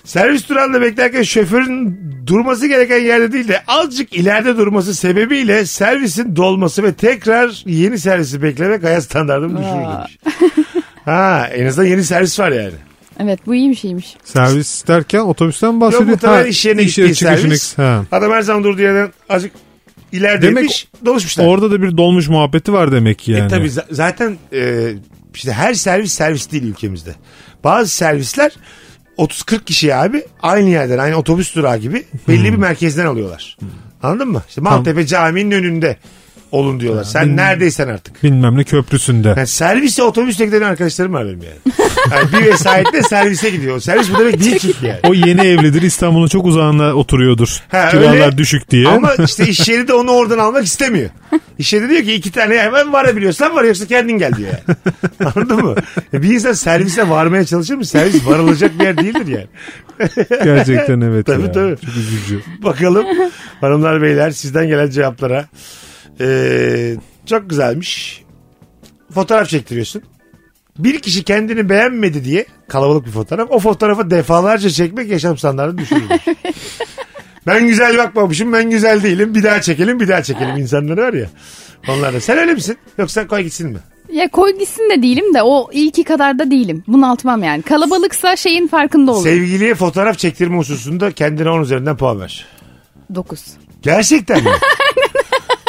[SPEAKER 3] Servis durağında beklerken şoförün durması gereken yerde değil de azıcık ileride durması sebebiyle servisin dolması ve tekrar yeni servisi beklemek hayat standartımı düşürür demiş. Ha en azından yeni servis var yani.
[SPEAKER 4] Evet bu iyi bir şeymiş.
[SPEAKER 5] Servis derken otobüsten bahsediyor.
[SPEAKER 3] Yok muhtemelen
[SPEAKER 5] Ha,
[SPEAKER 3] iş yerine
[SPEAKER 5] iş
[SPEAKER 3] gittiği
[SPEAKER 5] çıkışını-
[SPEAKER 3] servis.
[SPEAKER 5] Ha.
[SPEAKER 3] Adam her zaman durduğu yerden azıcık ilerideymiş doluşmuşlar.
[SPEAKER 5] Orada da bir dolmuş muhabbeti var demek ki yani.
[SPEAKER 3] E tabii za- zaten e, işte her servis servis değil ülkemizde. Bazı servisler 30-40 kişi abi aynı yerden aynı otobüs durağı gibi belli bir merkezden alıyorlar. Anladın mı? İşte Maltepe Camii'nin önünde olun diyorlar. Sen neredeysen artık.
[SPEAKER 5] Bilmem ne köprüsünde.
[SPEAKER 3] Yani servise otobüsle giden arkadaşlarım var benim yani. yani bir vesayetle servise gidiyor. Servis bu demek değil çünkü yani.
[SPEAKER 5] o yeni evlidir İstanbul'un çok uzağında oturuyordur.
[SPEAKER 3] Ha,
[SPEAKER 5] Kiralar
[SPEAKER 3] öyle.
[SPEAKER 5] düşük diye.
[SPEAKER 3] Ama işte iş yeri de onu oradan almak istemiyor. İş yeri diyor ki iki tane hemen varabiliyorsan var yoksa kendin gel diyor yani. Anladın mı? E Bir insan servise varmaya çalışır mı? Servis varılacak bir yer değildir yani.
[SPEAKER 5] Gerçekten evet
[SPEAKER 3] Tabii,
[SPEAKER 5] ya.
[SPEAKER 3] tabii.
[SPEAKER 5] Çok üzücü.
[SPEAKER 3] Bakalım hanımlar beyler sizden gelen cevaplara. Ee, çok güzelmiş. Fotoğraf çektiriyorsun. Bir kişi kendini beğenmedi diye kalabalık bir fotoğraf. O fotoğrafı defalarca çekmek yaşam standartını düşürür. ben güzel bakmamışım ben güzel değilim bir daha çekelim bir daha çekelim insanları var ya. Onlar da sen öyle misin yoksa koy gitsin mi?
[SPEAKER 4] Ya koy gitsin de değilim de o ilki kadar da değilim. Bunaltmam yani. Kalabalıksa şeyin farkında olur.
[SPEAKER 3] Sevgiliye fotoğraf çektirme hususunda kendine 10 üzerinden puan ver.
[SPEAKER 4] 9.
[SPEAKER 3] Gerçekten mi?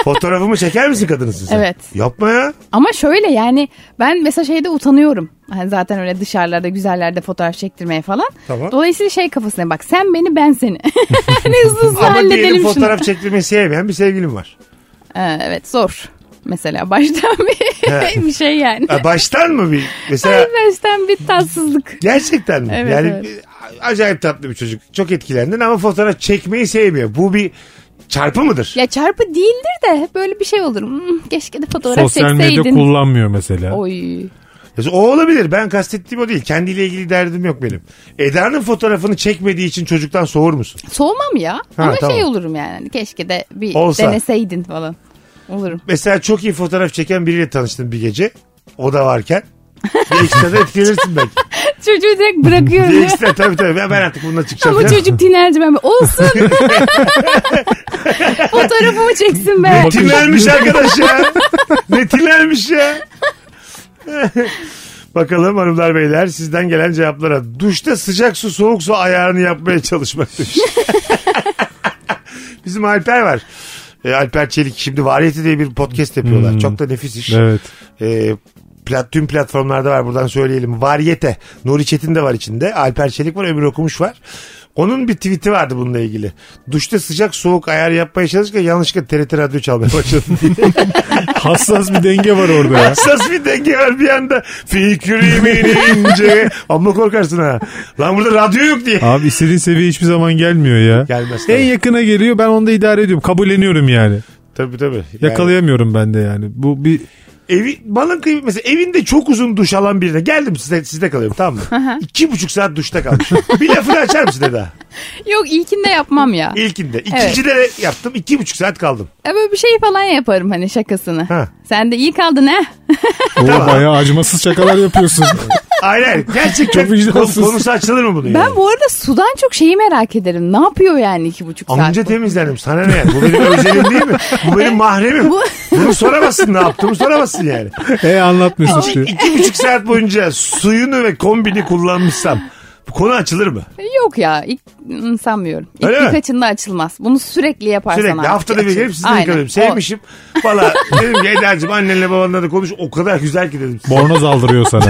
[SPEAKER 3] Fotoğrafımı çeker misin kadınsın sen?
[SPEAKER 4] Evet.
[SPEAKER 3] Yapma ya.
[SPEAKER 4] Ama şöyle yani ben mesela şeyde utanıyorum. Hani zaten öyle dışarılarda güzellerde fotoğraf çektirmeye falan.
[SPEAKER 3] Tamam.
[SPEAKER 4] Dolayısıyla şey kafasına bak sen beni ben seni. ne hızlı hızlı
[SPEAKER 3] Ama diyelim
[SPEAKER 4] halledelim şunu.
[SPEAKER 3] fotoğraf çektirmeyi sevmeyen bir sevgilim var.
[SPEAKER 4] Ee, evet zor. Mesela baştan bir, bir şey yani.
[SPEAKER 3] Ha, baştan mı bir mesela
[SPEAKER 4] Ay, baştan bir tatsızlık.
[SPEAKER 3] gerçekten mi?
[SPEAKER 4] Evet,
[SPEAKER 3] yani
[SPEAKER 4] evet.
[SPEAKER 3] bir- acayip tatlı bir çocuk. Çok etkilendin ama fotoğraf çekmeyi sevmiyor. Bu bir çarpı mıdır?
[SPEAKER 4] Ya çarpı değildir de böyle bir şey olur. Hmm, keşke de fotoğraf
[SPEAKER 5] Sosyal medya
[SPEAKER 4] çekseydin.
[SPEAKER 5] kullanmıyor mesela.
[SPEAKER 4] Oy.
[SPEAKER 3] O olabilir. Ben kastettiğim o değil. Kendiyle ilgili derdim yok benim. Eda'nın fotoğrafını çekmediği için çocuktan soğur musun?
[SPEAKER 4] Soğumam ya.
[SPEAKER 3] Ha,
[SPEAKER 4] Ama
[SPEAKER 3] tamam.
[SPEAKER 4] şey olurum yani. Hani Keşke de bir
[SPEAKER 3] Olsa.
[SPEAKER 4] deneseydin falan. Olurum.
[SPEAKER 3] Mesela çok iyi fotoğraf çeken biriyle tanıştım bir gece. O da varken. Bir ekstra da etkilenirsin belki.
[SPEAKER 4] Çocuğu direkt bırakıyorum.
[SPEAKER 3] Bir
[SPEAKER 4] ya.
[SPEAKER 3] ekstra tabii tabii. Ben ben artık bununla çıkacağım.
[SPEAKER 4] Ama
[SPEAKER 3] falan.
[SPEAKER 4] çocuk dinlerdi ben. Olsun. Fotoğrafımı çeksin be.
[SPEAKER 3] Netinlenmiş arkadaş ya. Netinlenmiş ya. Bakalım hanımlar beyler sizden gelen cevaplara. Duşta sıcak su soğuk su ayarını yapmaya çalışmak demiş. Bizim Alper var. E, Alper Çelik şimdi Variyeti diye bir podcast yapıyorlar. Çok da nefis iş.
[SPEAKER 5] Evet.
[SPEAKER 3] E, plat, tüm platformlarda var buradan söyleyelim. Variyete. Nuri Çetin de var içinde. Alper Çelik var Ömür Okumuş var. Onun bir tweet'i vardı bununla ilgili. Duşta sıcak soğuk ayar yapmaya çalışırken yanlışlıkla TRT radyo çalmaya başladı diye.
[SPEAKER 5] Hassas bir denge var orada ya.
[SPEAKER 3] Hassas bir denge var bir anda. Fikrimin ince. Amma korkarsın ha. Lan burada radyo yok diye.
[SPEAKER 5] Abi istediğin seviye hiçbir zaman gelmiyor ya.
[SPEAKER 3] Gelmez
[SPEAKER 5] En
[SPEAKER 3] tabii.
[SPEAKER 5] yakına geliyor ben onda idare ediyorum. Kabulleniyorum yani.
[SPEAKER 3] Tabii tabii. Yani
[SPEAKER 5] Yakalayamıyorum ben de yani. Bu bir
[SPEAKER 3] evi, bana kıy- mesela evinde çok uzun duş alan birine geldim size, sizde kalıyorum tamam mı? İki buçuk saat duşta kalmışım. bir lafını açar mısın Eda?
[SPEAKER 4] Yok ilkinde yapmam ya.
[SPEAKER 3] İlkinde. İkincide de yaptım. iki buçuk saat kaldım.
[SPEAKER 4] E böyle bir şey falan yaparım hani şakasını.
[SPEAKER 3] Ha.
[SPEAKER 4] Sen de iyi kaldın ha.
[SPEAKER 5] o bayağı acımasız şakalar yapıyorsun.
[SPEAKER 3] Aynen. aynen. Gerçekten
[SPEAKER 5] Çok
[SPEAKER 3] kon-
[SPEAKER 5] vicdansız.
[SPEAKER 3] konusu açılır mı bunun?
[SPEAKER 4] Ben bu arada sudan çok şeyi merak ederim. Ne yapıyor yani iki buçuk saat?
[SPEAKER 3] Anca
[SPEAKER 4] bu?
[SPEAKER 3] temizlendim. Sana ne yani? Bu benim özelim değil mi? Bu benim mahremim.
[SPEAKER 4] bu-
[SPEAKER 3] Bunu soramazsın ne yaptığımı soramazsın yani.
[SPEAKER 5] e anlat Mesut
[SPEAKER 3] İki,
[SPEAKER 5] diyor.
[SPEAKER 3] iki buçuk saat boyunca suyunu ve kombini kullanmışsam bu konu açılır mı?
[SPEAKER 4] Yok ya ilk, hmm, sanmıyorum. İlk
[SPEAKER 3] Öyle mi?
[SPEAKER 4] birkaçında açılmaz. Bunu sürekli yaparsan
[SPEAKER 3] Sürekli
[SPEAKER 4] artık
[SPEAKER 3] haftada bir
[SPEAKER 4] açılır.
[SPEAKER 3] gelip sizi
[SPEAKER 4] Aynen.
[SPEAKER 3] yıkanıyorum.
[SPEAKER 4] O-
[SPEAKER 3] Sevmişim. Valla dedim ki Eda'cığım annenle babanla da konuş o kadar güzel ki dedim.
[SPEAKER 5] Bornoz aldırıyor sana.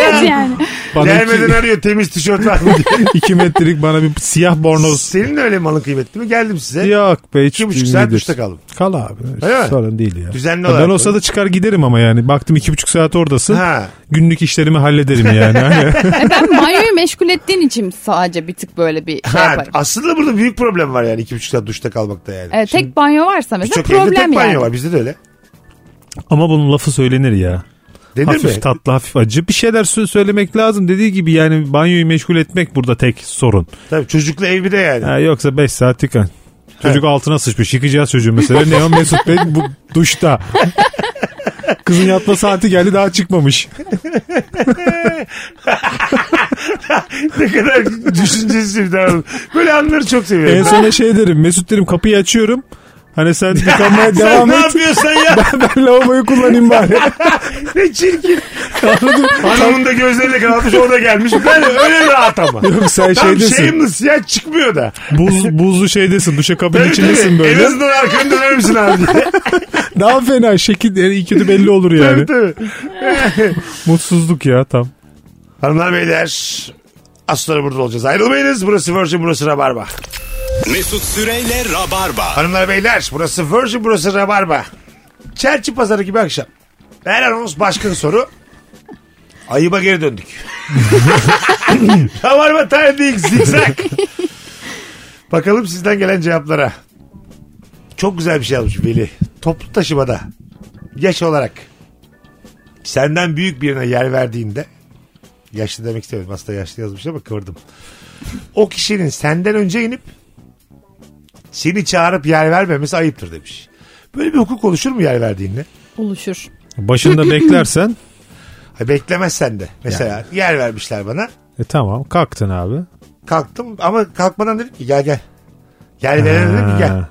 [SPEAKER 4] Evet yani.
[SPEAKER 5] Bana iki,
[SPEAKER 3] Gelmeden arıyor temiz tişört var mı diye.
[SPEAKER 5] iki metrelik bana bir siyah bornoz.
[SPEAKER 3] Senin de öyle malın kıymetli mi? Geldim size.
[SPEAKER 5] Yok be hiç
[SPEAKER 3] İki buçuk
[SPEAKER 5] değil
[SPEAKER 3] saat
[SPEAKER 5] midir?
[SPEAKER 3] duşta kaldım.
[SPEAKER 5] Kal abi.
[SPEAKER 3] Öyle mi?
[SPEAKER 5] Sorun değil ya.
[SPEAKER 3] Düzenli
[SPEAKER 5] Ya
[SPEAKER 3] olarak
[SPEAKER 5] Ben olsa
[SPEAKER 3] böyle.
[SPEAKER 5] da çıkar giderim ama yani. Baktım iki buçuk saat oradasın.
[SPEAKER 3] Ha.
[SPEAKER 5] Günlük işlerimi hallederim yani. Hani
[SPEAKER 4] E ben banyoyu meşgul ettiğin için sadece bir tık böyle bir şey
[SPEAKER 3] Ha,
[SPEAKER 4] yaparım.
[SPEAKER 3] aslında burada büyük problem var yani iki buçuk saat duşta kalmakta yani.
[SPEAKER 4] E, tek banyo varsa
[SPEAKER 3] Birçok
[SPEAKER 4] mesela problem
[SPEAKER 3] evde tek banyo
[SPEAKER 4] yani.
[SPEAKER 3] var bizde de öyle.
[SPEAKER 5] Ama bunun lafı söylenir ya.
[SPEAKER 3] Denir
[SPEAKER 5] hafif
[SPEAKER 3] mi?
[SPEAKER 5] tatlı hafif acı bir şeyler sö- söylemek lazım. Dediği gibi yani banyoyu meşgul etmek burada tek sorun.
[SPEAKER 3] Tabii çocuklu ev bir de yani.
[SPEAKER 5] Ha, yoksa 5 saat tıkan. Çocuk altına sıçmış. Yıkayacağız çocuğu mesela. Ne o Mesut Bey bu duşta. Kızın yatma saati geldi daha çıkmamış.
[SPEAKER 3] ne kadar düşüncesiz bir davranış. Böyle anları çok seviyorum.
[SPEAKER 5] en sona şey derim. Mesut derim kapıyı açıyorum. Hani sen yıkanmaya
[SPEAKER 3] Sen
[SPEAKER 5] devam
[SPEAKER 3] ne
[SPEAKER 5] et.
[SPEAKER 3] yapıyorsan ya?
[SPEAKER 5] Ben lavaboyu kullanayım bari.
[SPEAKER 3] ne çirkin.
[SPEAKER 5] Anladın?
[SPEAKER 3] Hanımın da gözleriyle kanatmış o da gelmiş. Ben öyle rahat ama.
[SPEAKER 5] Yok sen
[SPEAKER 3] Tam
[SPEAKER 5] şeydesin.
[SPEAKER 3] shameless ya çıkmıyor da.
[SPEAKER 5] Buz, buzlu şey şeydesin. Duşakabinin
[SPEAKER 3] Tabii
[SPEAKER 5] içindesin
[SPEAKER 3] tabii. En
[SPEAKER 5] böyle.
[SPEAKER 3] azından arkanı döner misin abi diye.
[SPEAKER 5] Daha fena şekil yani iyi kötü belli olur
[SPEAKER 3] Tabii,
[SPEAKER 5] yani.
[SPEAKER 3] tabii.
[SPEAKER 5] Mutsuzluk ya tam.
[SPEAKER 3] Hanımlar beyler az sonra burada olacağız. Ayrılmayınız. Burası Virgin, burası Rabarba.
[SPEAKER 2] Mesut Süreyle Rabarba.
[SPEAKER 3] Hanımlar beyler burası Virgin, burası Rabarba. Çerçi pazarı gibi akşam. Her anons başka soru. Ayıba geri döndük. Rabarba timing zikzak. Bakalım sizden gelen cevaplara. Çok güzel bir şey almış Veli. Toplu taşımada yaş olarak senden büyük birine yer verdiğinde yaşlı demek istemedim aslında yaşlı yazmış ama kıvırdım. O kişinin senden önce inip seni çağırıp yer vermemesi ayıptır demiş. Böyle bir hukuk oluşur mu yer verdiğinde?
[SPEAKER 4] Oluşur.
[SPEAKER 5] Başında beklersen
[SPEAKER 3] Ha, beklemezsen de. Mesela yer vermişler bana.
[SPEAKER 5] e tamam kalktın abi.
[SPEAKER 3] Kalktım ama kalkmadan dedim ki gel gel. Yer verene dedim ki Ee, gel.
[SPEAKER 5] Ha.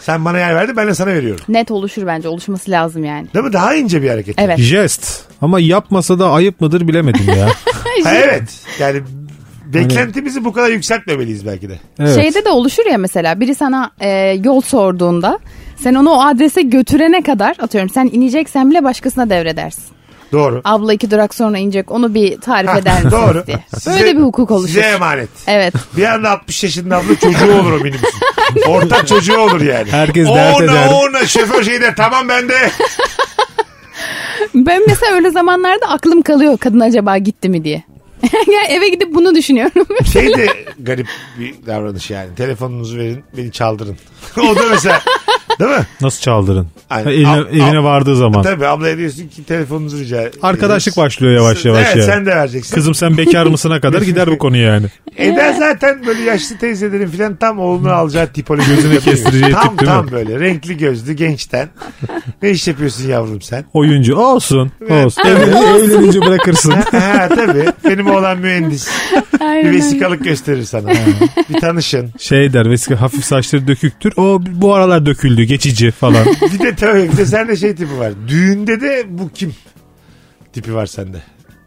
[SPEAKER 3] Sen bana yer verdin ben de sana veriyorum.
[SPEAKER 4] Net oluşur bence. Oluşması lazım yani.
[SPEAKER 3] Değil mi? Daha ince bir hareket.
[SPEAKER 4] Evet.
[SPEAKER 5] Jest ama yapmasa da ayıp mıdır bilemedim ya.
[SPEAKER 3] Ha,
[SPEAKER 4] Şey,
[SPEAKER 3] evet. Yani
[SPEAKER 5] Hani-
[SPEAKER 3] beklentimizi bu
[SPEAKER 4] Şey-
[SPEAKER 3] kadar yükseltmemeliyiz belki de.
[SPEAKER 5] Evet.
[SPEAKER 4] Şeyde de oluşur ya mesela biri sana e, yol sorduğunda Sen onu o adrese götürene kadar atıyorum sen ineceksen bile başkasına devredersin.
[SPEAKER 3] Doğru.
[SPEAKER 4] Abla iki durak sonra inecek onu bir tarif eder misiniz
[SPEAKER 3] Doğru.
[SPEAKER 4] diye.
[SPEAKER 3] Size-
[SPEAKER 4] Böyle bir hukuk oluşur.
[SPEAKER 3] Size emanet.
[SPEAKER 4] Evet.
[SPEAKER 3] Bir anda 60 yaşında abla çocuğu olur o minibüsün. Ortak çocuğu olur yani.
[SPEAKER 5] Herkes
[SPEAKER 3] ona,
[SPEAKER 5] dert eder.
[SPEAKER 3] Ona şoför şey der tamam ben de.
[SPEAKER 4] Ben mesela öyle zamanlarda aklım kalıyor kadın acaba gitti mi diye. yani eve gidip bunu düşünüyorum.
[SPEAKER 3] Şey de garip bir davranış yani. Telefonunuzu verin beni çaldırın. o da mesela değil mi?
[SPEAKER 5] Nasıl çaldırın?
[SPEAKER 3] Aynen.
[SPEAKER 5] Ha, Evine,
[SPEAKER 3] Al-
[SPEAKER 5] evine
[SPEAKER 3] al-
[SPEAKER 5] vardığı zaman.
[SPEAKER 3] Tabii ablaya diyorsun ki telefonunuzu rica
[SPEAKER 5] Arkadaşlık
[SPEAKER 3] ediyoruz.
[SPEAKER 5] başlıyor yavaş yavaş
[SPEAKER 3] Evet
[SPEAKER 5] ya.
[SPEAKER 3] sen de vereceksin.
[SPEAKER 5] Kızım sen bekar mısına kadar gider bu konu yani.
[SPEAKER 3] Eda zaten böyle yaşlı teyzelerin filan tam oğlunu alacağı tipoloji.
[SPEAKER 5] Gözüne kestireceği
[SPEAKER 3] tam,
[SPEAKER 5] tip değil
[SPEAKER 3] Tam
[SPEAKER 5] mi?
[SPEAKER 3] böyle renkli gözlü gençten. ne iş yapıyorsun yavrum sen?
[SPEAKER 5] Oyuncu olsun. Olsun. Evlen- Evlenince bırakırsın.
[SPEAKER 3] ha tabii benim oğlan mühendis. Bir vesikalık gösterir sana. bir tanışın.
[SPEAKER 5] Şey der vesika hafif saçları döküktür. O bu aralar döküldü geçici falan.
[SPEAKER 3] Bir de tabii bir de sende şey tipi var. Düğünde de bu kim tipi var sende.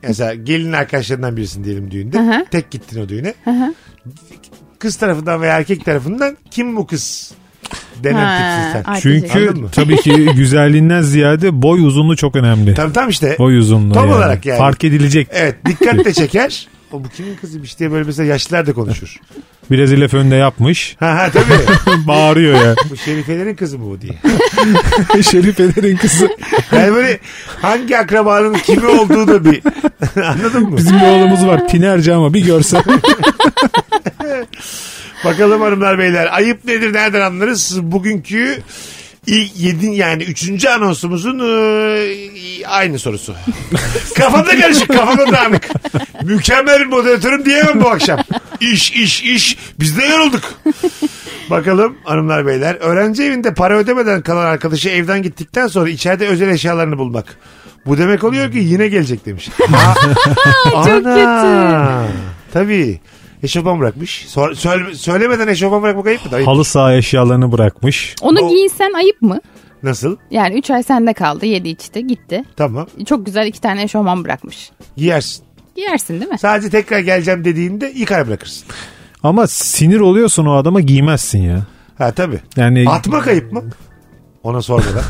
[SPEAKER 3] Mesela gelin arkadaşlarından birisin diyelim düğünde.
[SPEAKER 4] Aha.
[SPEAKER 3] Tek gittin o düğüne. Kız tarafından veya erkek tarafından kim bu kız denen tipsin sen.
[SPEAKER 5] Çünkü
[SPEAKER 3] Anladın mı?
[SPEAKER 5] tabii ki güzelliğinden ziyade boy uzunluğu çok önemli.
[SPEAKER 3] Tam tam işte.
[SPEAKER 5] Boy uzunluğu
[SPEAKER 3] Tam
[SPEAKER 5] yani.
[SPEAKER 3] olarak yani.
[SPEAKER 5] Fark edilecek.
[SPEAKER 3] Evet dikkat de çeker. O bu kimin kızıymış diye böyle mesela yaşlılar da konuşur.
[SPEAKER 5] Biraz ile fönde yapmış.
[SPEAKER 3] Ha ha tabii.
[SPEAKER 5] Bağırıyor ya.
[SPEAKER 3] Bu Şerifelerin kızı mı bu diye.
[SPEAKER 5] Şerifelerin kızı.
[SPEAKER 3] Yani böyle hangi akrabanın kimi olduğu da bir anladın mı?
[SPEAKER 5] Bizim bir oğlumuz var Tinerci ama bir görsen.
[SPEAKER 3] Bakalım hanımlar beyler ayıp nedir nereden anlarız? Bugünkü ilk yedi yani üçüncü anonsumuzun e, aynı sorusu. kafamda karışık kafamda dağınık. Mükemmel bir moderatörüm diyemem bu akşam. İş iş iş biz de yorulduk. Bakalım hanımlar beyler öğrenci evinde para ödemeden kalan arkadaşı evden gittikten sonra içeride özel eşyalarını bulmak. Bu demek oluyor ki yine gelecek demiş. Çok kötü. Tabii. Eşofman bırakmış. Sor- söyle- söylemeden eşofman bırakmak ayıp mı? Ayıp.
[SPEAKER 5] Halı saha eşyalarını bırakmış.
[SPEAKER 4] Onu
[SPEAKER 3] O-
[SPEAKER 4] giyinsen ayıp mı?
[SPEAKER 3] Nasıl?
[SPEAKER 4] Yani 3 ay sende kaldı yedi içti gitti.
[SPEAKER 3] Tamam.
[SPEAKER 4] Çok güzel iki tane eşofman bırakmış.
[SPEAKER 3] Giyersin.
[SPEAKER 4] Giyersin değil mi?
[SPEAKER 3] Sadece tekrar geleceğim dediğinde yıkar bırakırsın.
[SPEAKER 5] Ama sinir oluyorsun o adama giymezsin ya.
[SPEAKER 3] Ha tabii.
[SPEAKER 5] Yani
[SPEAKER 3] Atmak ayıp mı? Ona sormadan.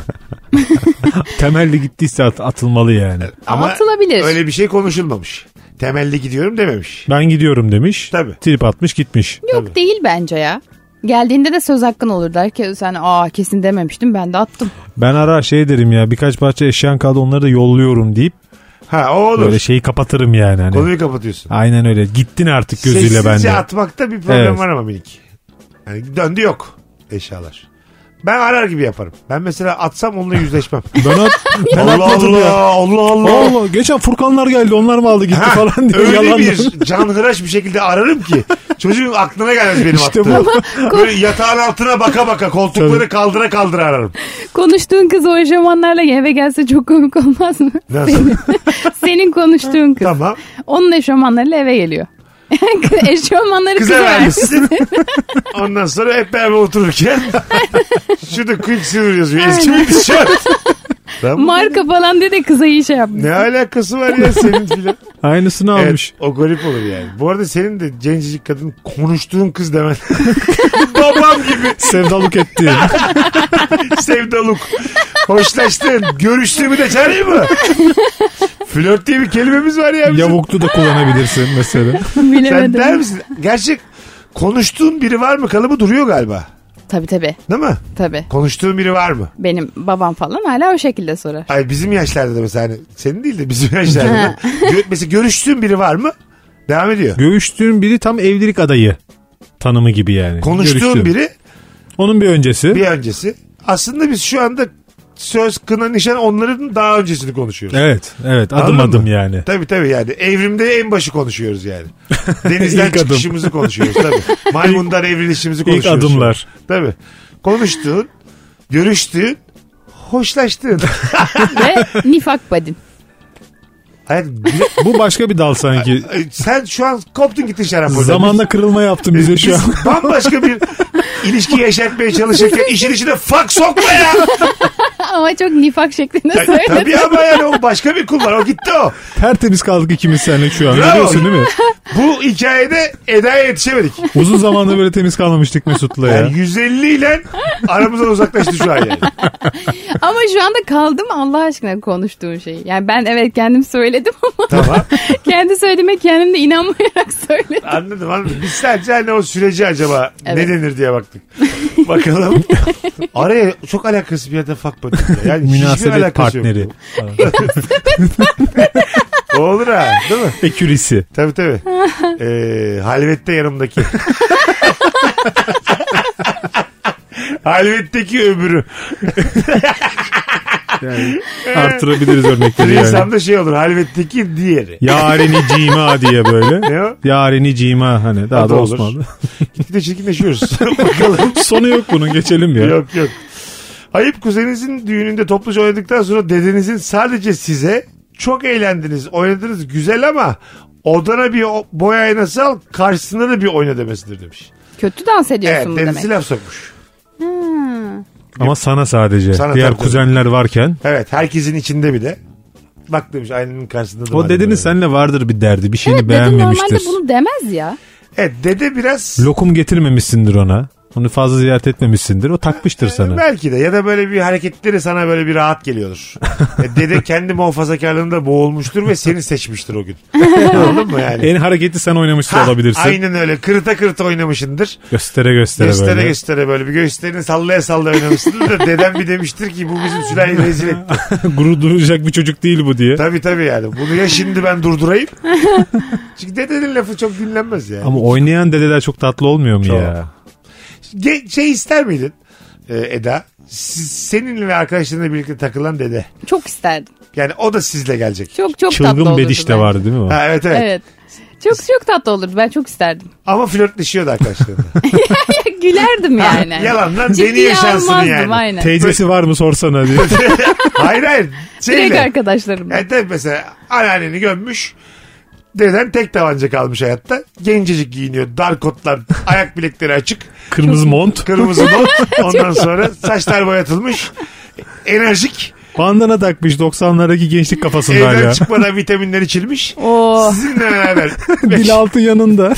[SPEAKER 5] temelli gittiyse at- atılmalı yani.
[SPEAKER 3] Ama
[SPEAKER 4] Atılabilir.
[SPEAKER 3] Öyle bir şey konuşulmamış. Temelli gidiyorum dememiş.
[SPEAKER 5] Ben gidiyorum demiş.
[SPEAKER 3] Tabii.
[SPEAKER 5] Trip atmış gitmiş.
[SPEAKER 4] Yok değil bence ya. Geldiğinde de söz hakkın olur der ki sen aa kesin dememiştim ben de attım.
[SPEAKER 5] Ben ara şey derim ya birkaç parça eşyan kaldı onları da yolluyorum deyip
[SPEAKER 3] Ha o olur.
[SPEAKER 5] böyle şey- şeyi kapatırım yani. Hani.
[SPEAKER 3] Konuyu kapatıyorsun.
[SPEAKER 5] Aynen öyle. Gittin artık gözüyle
[SPEAKER 3] Sessizce
[SPEAKER 5] bende.
[SPEAKER 3] atmakta bir problem
[SPEAKER 5] Evet.
[SPEAKER 3] var ama minik. Yani döndü yok eşyalar. Ben arar gibi yaparım. Ben mesela atsam onunla yüzleşmem.
[SPEAKER 5] Ben, at, ben
[SPEAKER 3] Allah
[SPEAKER 5] atmadım
[SPEAKER 3] Allah,
[SPEAKER 5] ya.
[SPEAKER 3] Allah Allah.
[SPEAKER 5] Allah geçen Furkanlar geldi onlar mı aldı gitti
[SPEAKER 3] Ha,
[SPEAKER 5] falan diye
[SPEAKER 3] öyle
[SPEAKER 5] yalanlar.
[SPEAKER 3] bir canhıraş bir şekilde ararım ki çocuğun aklına gelmez benim
[SPEAKER 5] İşte
[SPEAKER 3] attığım. Böyle yatağın altına baka baka koltukları
[SPEAKER 5] Tabii.
[SPEAKER 3] kaldıra kaldıra ararım.
[SPEAKER 4] Konuştuğun kız o eşofmanlarla eve gelse çok komik olmaz mı?
[SPEAKER 3] Nasıl?
[SPEAKER 4] Senin konuştuğun kız.
[SPEAKER 3] tamam.
[SPEAKER 4] Onun eşofmanlarıyla eve geliyor. eşofmanları
[SPEAKER 3] Kıza
[SPEAKER 4] kıza vermiş.
[SPEAKER 3] vermişsin. Ondan sonra hep beraber otururken şurada Quicksilver yazıyor. Eski bir tişört. Tamam.
[SPEAKER 4] Marka falan diye de kıza iyi şey yapmış.
[SPEAKER 3] ne alakası var ya senin filan?
[SPEAKER 5] Aynısını almış.
[SPEAKER 3] Evet, o garip olur yani. Bu arada senin de gencecik kadın konuştuğun kız demen. Babam gibi
[SPEAKER 5] Sevdalık etti.
[SPEAKER 3] sevdaluk. Hoşlaştın. Görüştüğümü de çağırayım mı? Flört diye bir kelimemiz var ya. bizim.
[SPEAKER 5] Yavuklu da kullanabilirsin mesela.
[SPEAKER 3] Sen der
[SPEAKER 4] Bilemedim.
[SPEAKER 3] misin? Gerçek konuştuğun biri var mı kalıbı duruyor galiba.
[SPEAKER 4] Tabii tabii
[SPEAKER 3] Değil mi?
[SPEAKER 4] tabii.
[SPEAKER 3] Konuştuğun biri var mı?
[SPEAKER 4] Benim babam falan hala o şekilde sorar.
[SPEAKER 3] Ay bizim yaşlarda da mesela hani senin değil de bizim yaşlarda. Gö- mesela görüştüğün biri var mı? Devam ediyor.
[SPEAKER 5] Görüştüğün biri tam evlilik adayı tanımı gibi yani.
[SPEAKER 3] Konuştuğun
[SPEAKER 5] Görüştüğün.
[SPEAKER 3] biri
[SPEAKER 5] Onun bir öncesi.
[SPEAKER 3] bir öncesi. Aslında biz şu anda söz, kına, nişan onların daha öncesini konuşuyoruz.
[SPEAKER 5] Evet, evet. Adım
[SPEAKER 3] Anladın
[SPEAKER 5] adım
[SPEAKER 3] mı?
[SPEAKER 5] yani.
[SPEAKER 3] Tabii tabii yani evrimde en başı konuşuyoruz yani. Denizden
[SPEAKER 5] İlk adım.
[SPEAKER 3] çıkışımızı konuşuyoruz tabii. Maymundan evrilişimizi
[SPEAKER 5] İlk
[SPEAKER 3] konuşuyoruz.
[SPEAKER 5] adımlar.
[SPEAKER 3] Tabii. Konuştuğun, görüştüğün, hoşlaştığın.
[SPEAKER 4] Ve nifak badin.
[SPEAKER 3] Hayat, bir-
[SPEAKER 5] Bu başka bir dal sanki.
[SPEAKER 3] sen şu an koptun gittin şarap oradan.
[SPEAKER 5] Zamanda kırılma yaptın bize şu an.
[SPEAKER 3] Biz bambaşka bir ilişki yaşatmaya çalışırken işin içine fuck sokma ya.
[SPEAKER 4] Ama çok nifak şeklinde
[SPEAKER 3] Ta-
[SPEAKER 4] söyledi.
[SPEAKER 3] Tabii ama yani o başka bir kulvar. O gitti o.
[SPEAKER 5] Tertemiz kaldık ikimiz seninle şu an.
[SPEAKER 3] Bravo.
[SPEAKER 5] Biliyorsun değil mi?
[SPEAKER 3] Bu hikayede Eda'ya yetişemedik.
[SPEAKER 5] Uzun zamanda böyle temiz kalmamıştık Mesut'la ya.
[SPEAKER 3] Yani 150 ile aramızdan uzaklaştı şu an yani.
[SPEAKER 4] Ama şu anda kaldım Allah aşkına konuştuğun şeyi. Yani ben evet kendim söyledim ama
[SPEAKER 3] Tamam.
[SPEAKER 4] kendi söylediğime kendim de inanmayarak söyledim.
[SPEAKER 3] Anladım anladım. Biz sadece hani o süreci acaba
[SPEAKER 4] Evet.
[SPEAKER 3] ne denir diye baktık. Bakalım. Araya çok alakası bir yerde fuck buddy. Yani hiçbir
[SPEAKER 5] Münasebet
[SPEAKER 3] alakası yok.
[SPEAKER 5] partneri.
[SPEAKER 3] Olur ha değil mi?
[SPEAKER 5] Ekürisi.
[SPEAKER 3] Tabii tabii. Ee, halvette yanımdaki. Halvetteki öbürü.
[SPEAKER 5] Artırabiliriz örnekleri yani.
[SPEAKER 3] İnsan da şey olur. Halvetteki diğeri.
[SPEAKER 5] Yareni cima diye böyle.
[SPEAKER 3] Ne o?
[SPEAKER 5] Yareni cima hani daha
[SPEAKER 3] O
[SPEAKER 5] da
[SPEAKER 3] da olur.
[SPEAKER 5] Osmanlı.
[SPEAKER 3] Gitgide çirkinleşiyoruz. Bakalım.
[SPEAKER 5] Sonu yok bunun geçelim ya.
[SPEAKER 3] Yok yok. Ayıp kuzeninizin düğününde topluca oynadıktan sonra dedenizin sadece size çok eğlendiniz, oynadınız güzel ama odana bir o- boy aynası al karşısına da bir oyna demesidir demiş.
[SPEAKER 4] Kötü dans
[SPEAKER 3] Evet
[SPEAKER 4] ediyorsun bu
[SPEAKER 3] dedesi
[SPEAKER 4] demek.
[SPEAKER 3] laf sokmuş.
[SPEAKER 5] Ama sana sadece.
[SPEAKER 3] Sana
[SPEAKER 5] Diğer
[SPEAKER 3] tabii, tabii.
[SPEAKER 5] kuzenler varken.
[SPEAKER 3] Evet herkesin içinde bir de. Bak demiş aynanın karşısında da var
[SPEAKER 5] O dedenin
[SPEAKER 3] böyle.
[SPEAKER 5] seninle vardır bir derdi. Bir şeyini
[SPEAKER 4] Evet dedim
[SPEAKER 5] beğenmemiştir.
[SPEAKER 4] normalde bunu demez ya.
[SPEAKER 3] Evet E, dede biraz
[SPEAKER 5] Lokum getirmemişsindir ona. Onu fazla ziyaret etmemişsindir. O takmıştır sana.
[SPEAKER 3] belki de ya da böyle bir hareketleri sana böyle bir rahat geliyordur. E, dede kendi muhafazakarlığında boğulmuştur ve seni seçmiştir o gün. Anladın mı yani?
[SPEAKER 5] En hareketli sen oynamış da
[SPEAKER 3] Ha,
[SPEAKER 5] E, olabilirsin.
[SPEAKER 3] Aynen öyle. Kırıta kırıta oynamışındır.
[SPEAKER 5] Göstere göstere,
[SPEAKER 3] Göstere
[SPEAKER 5] böyle.
[SPEAKER 3] göstere böyle bir gösterini sallaya sallaya oynamışsındır da dedem bir demiştir ki bu bizim sülaleyi rezil etti.
[SPEAKER 5] Gurur duracak bir çocuk değil bu diye.
[SPEAKER 3] tabii tabii yani. Bunu ya şimdi ben durdurayım. Çünkü dedenin lafı çok dinlenmez yani.
[SPEAKER 5] Ama oynayan dedeler çok tatlı olmuyor mu
[SPEAKER 3] Çok.
[SPEAKER 5] ya?
[SPEAKER 3] Ge- şey ister miydin e, Eda? Siz, seninle ve arkadaşlarınla birlikte takılan dede.
[SPEAKER 4] Çok isterdim.
[SPEAKER 3] Yani o da sizle gelecek.
[SPEAKER 4] Çok çok tatlı
[SPEAKER 5] Çılgın
[SPEAKER 4] olurdu.
[SPEAKER 5] bediş de
[SPEAKER 4] bence.
[SPEAKER 5] vardı değil mi? o?
[SPEAKER 3] Ha, evet, evet
[SPEAKER 4] Evet. Çok çok tatlı olurdu. Ben çok isterdim.
[SPEAKER 3] Ama flörtleşiyordu arkadaşlarına.
[SPEAKER 4] Gülerdim yani.
[SPEAKER 3] Yalan lan
[SPEAKER 4] Ciddiye
[SPEAKER 3] deniyor şansını
[SPEAKER 4] almazdım,
[SPEAKER 3] yani.
[SPEAKER 4] Aynen.
[SPEAKER 5] Teyzesi var mı sorsana diye.
[SPEAKER 3] hayır hayır.
[SPEAKER 4] Direkt
[SPEAKER 3] Şeyle.
[SPEAKER 4] arkadaşlarım.
[SPEAKER 3] Yani tabii mesela anneanneni gömmüş. Deden tek tabanca kalmış hayatta. Gencecik giyiniyor. Dar kotlar, ayak bilekleri açık.
[SPEAKER 5] Kırmızı mont.
[SPEAKER 3] Kırmızı mont. Ondan sonra saçlar boyatılmış. Enerjik.
[SPEAKER 5] Bandana takmış 90'lardaki gençlik kafasından
[SPEAKER 3] Evden
[SPEAKER 5] ya.
[SPEAKER 3] çıkmadan vitaminler içilmiş.
[SPEAKER 4] Oo.
[SPEAKER 3] Sizinle beraber.
[SPEAKER 5] Dil altın yanında.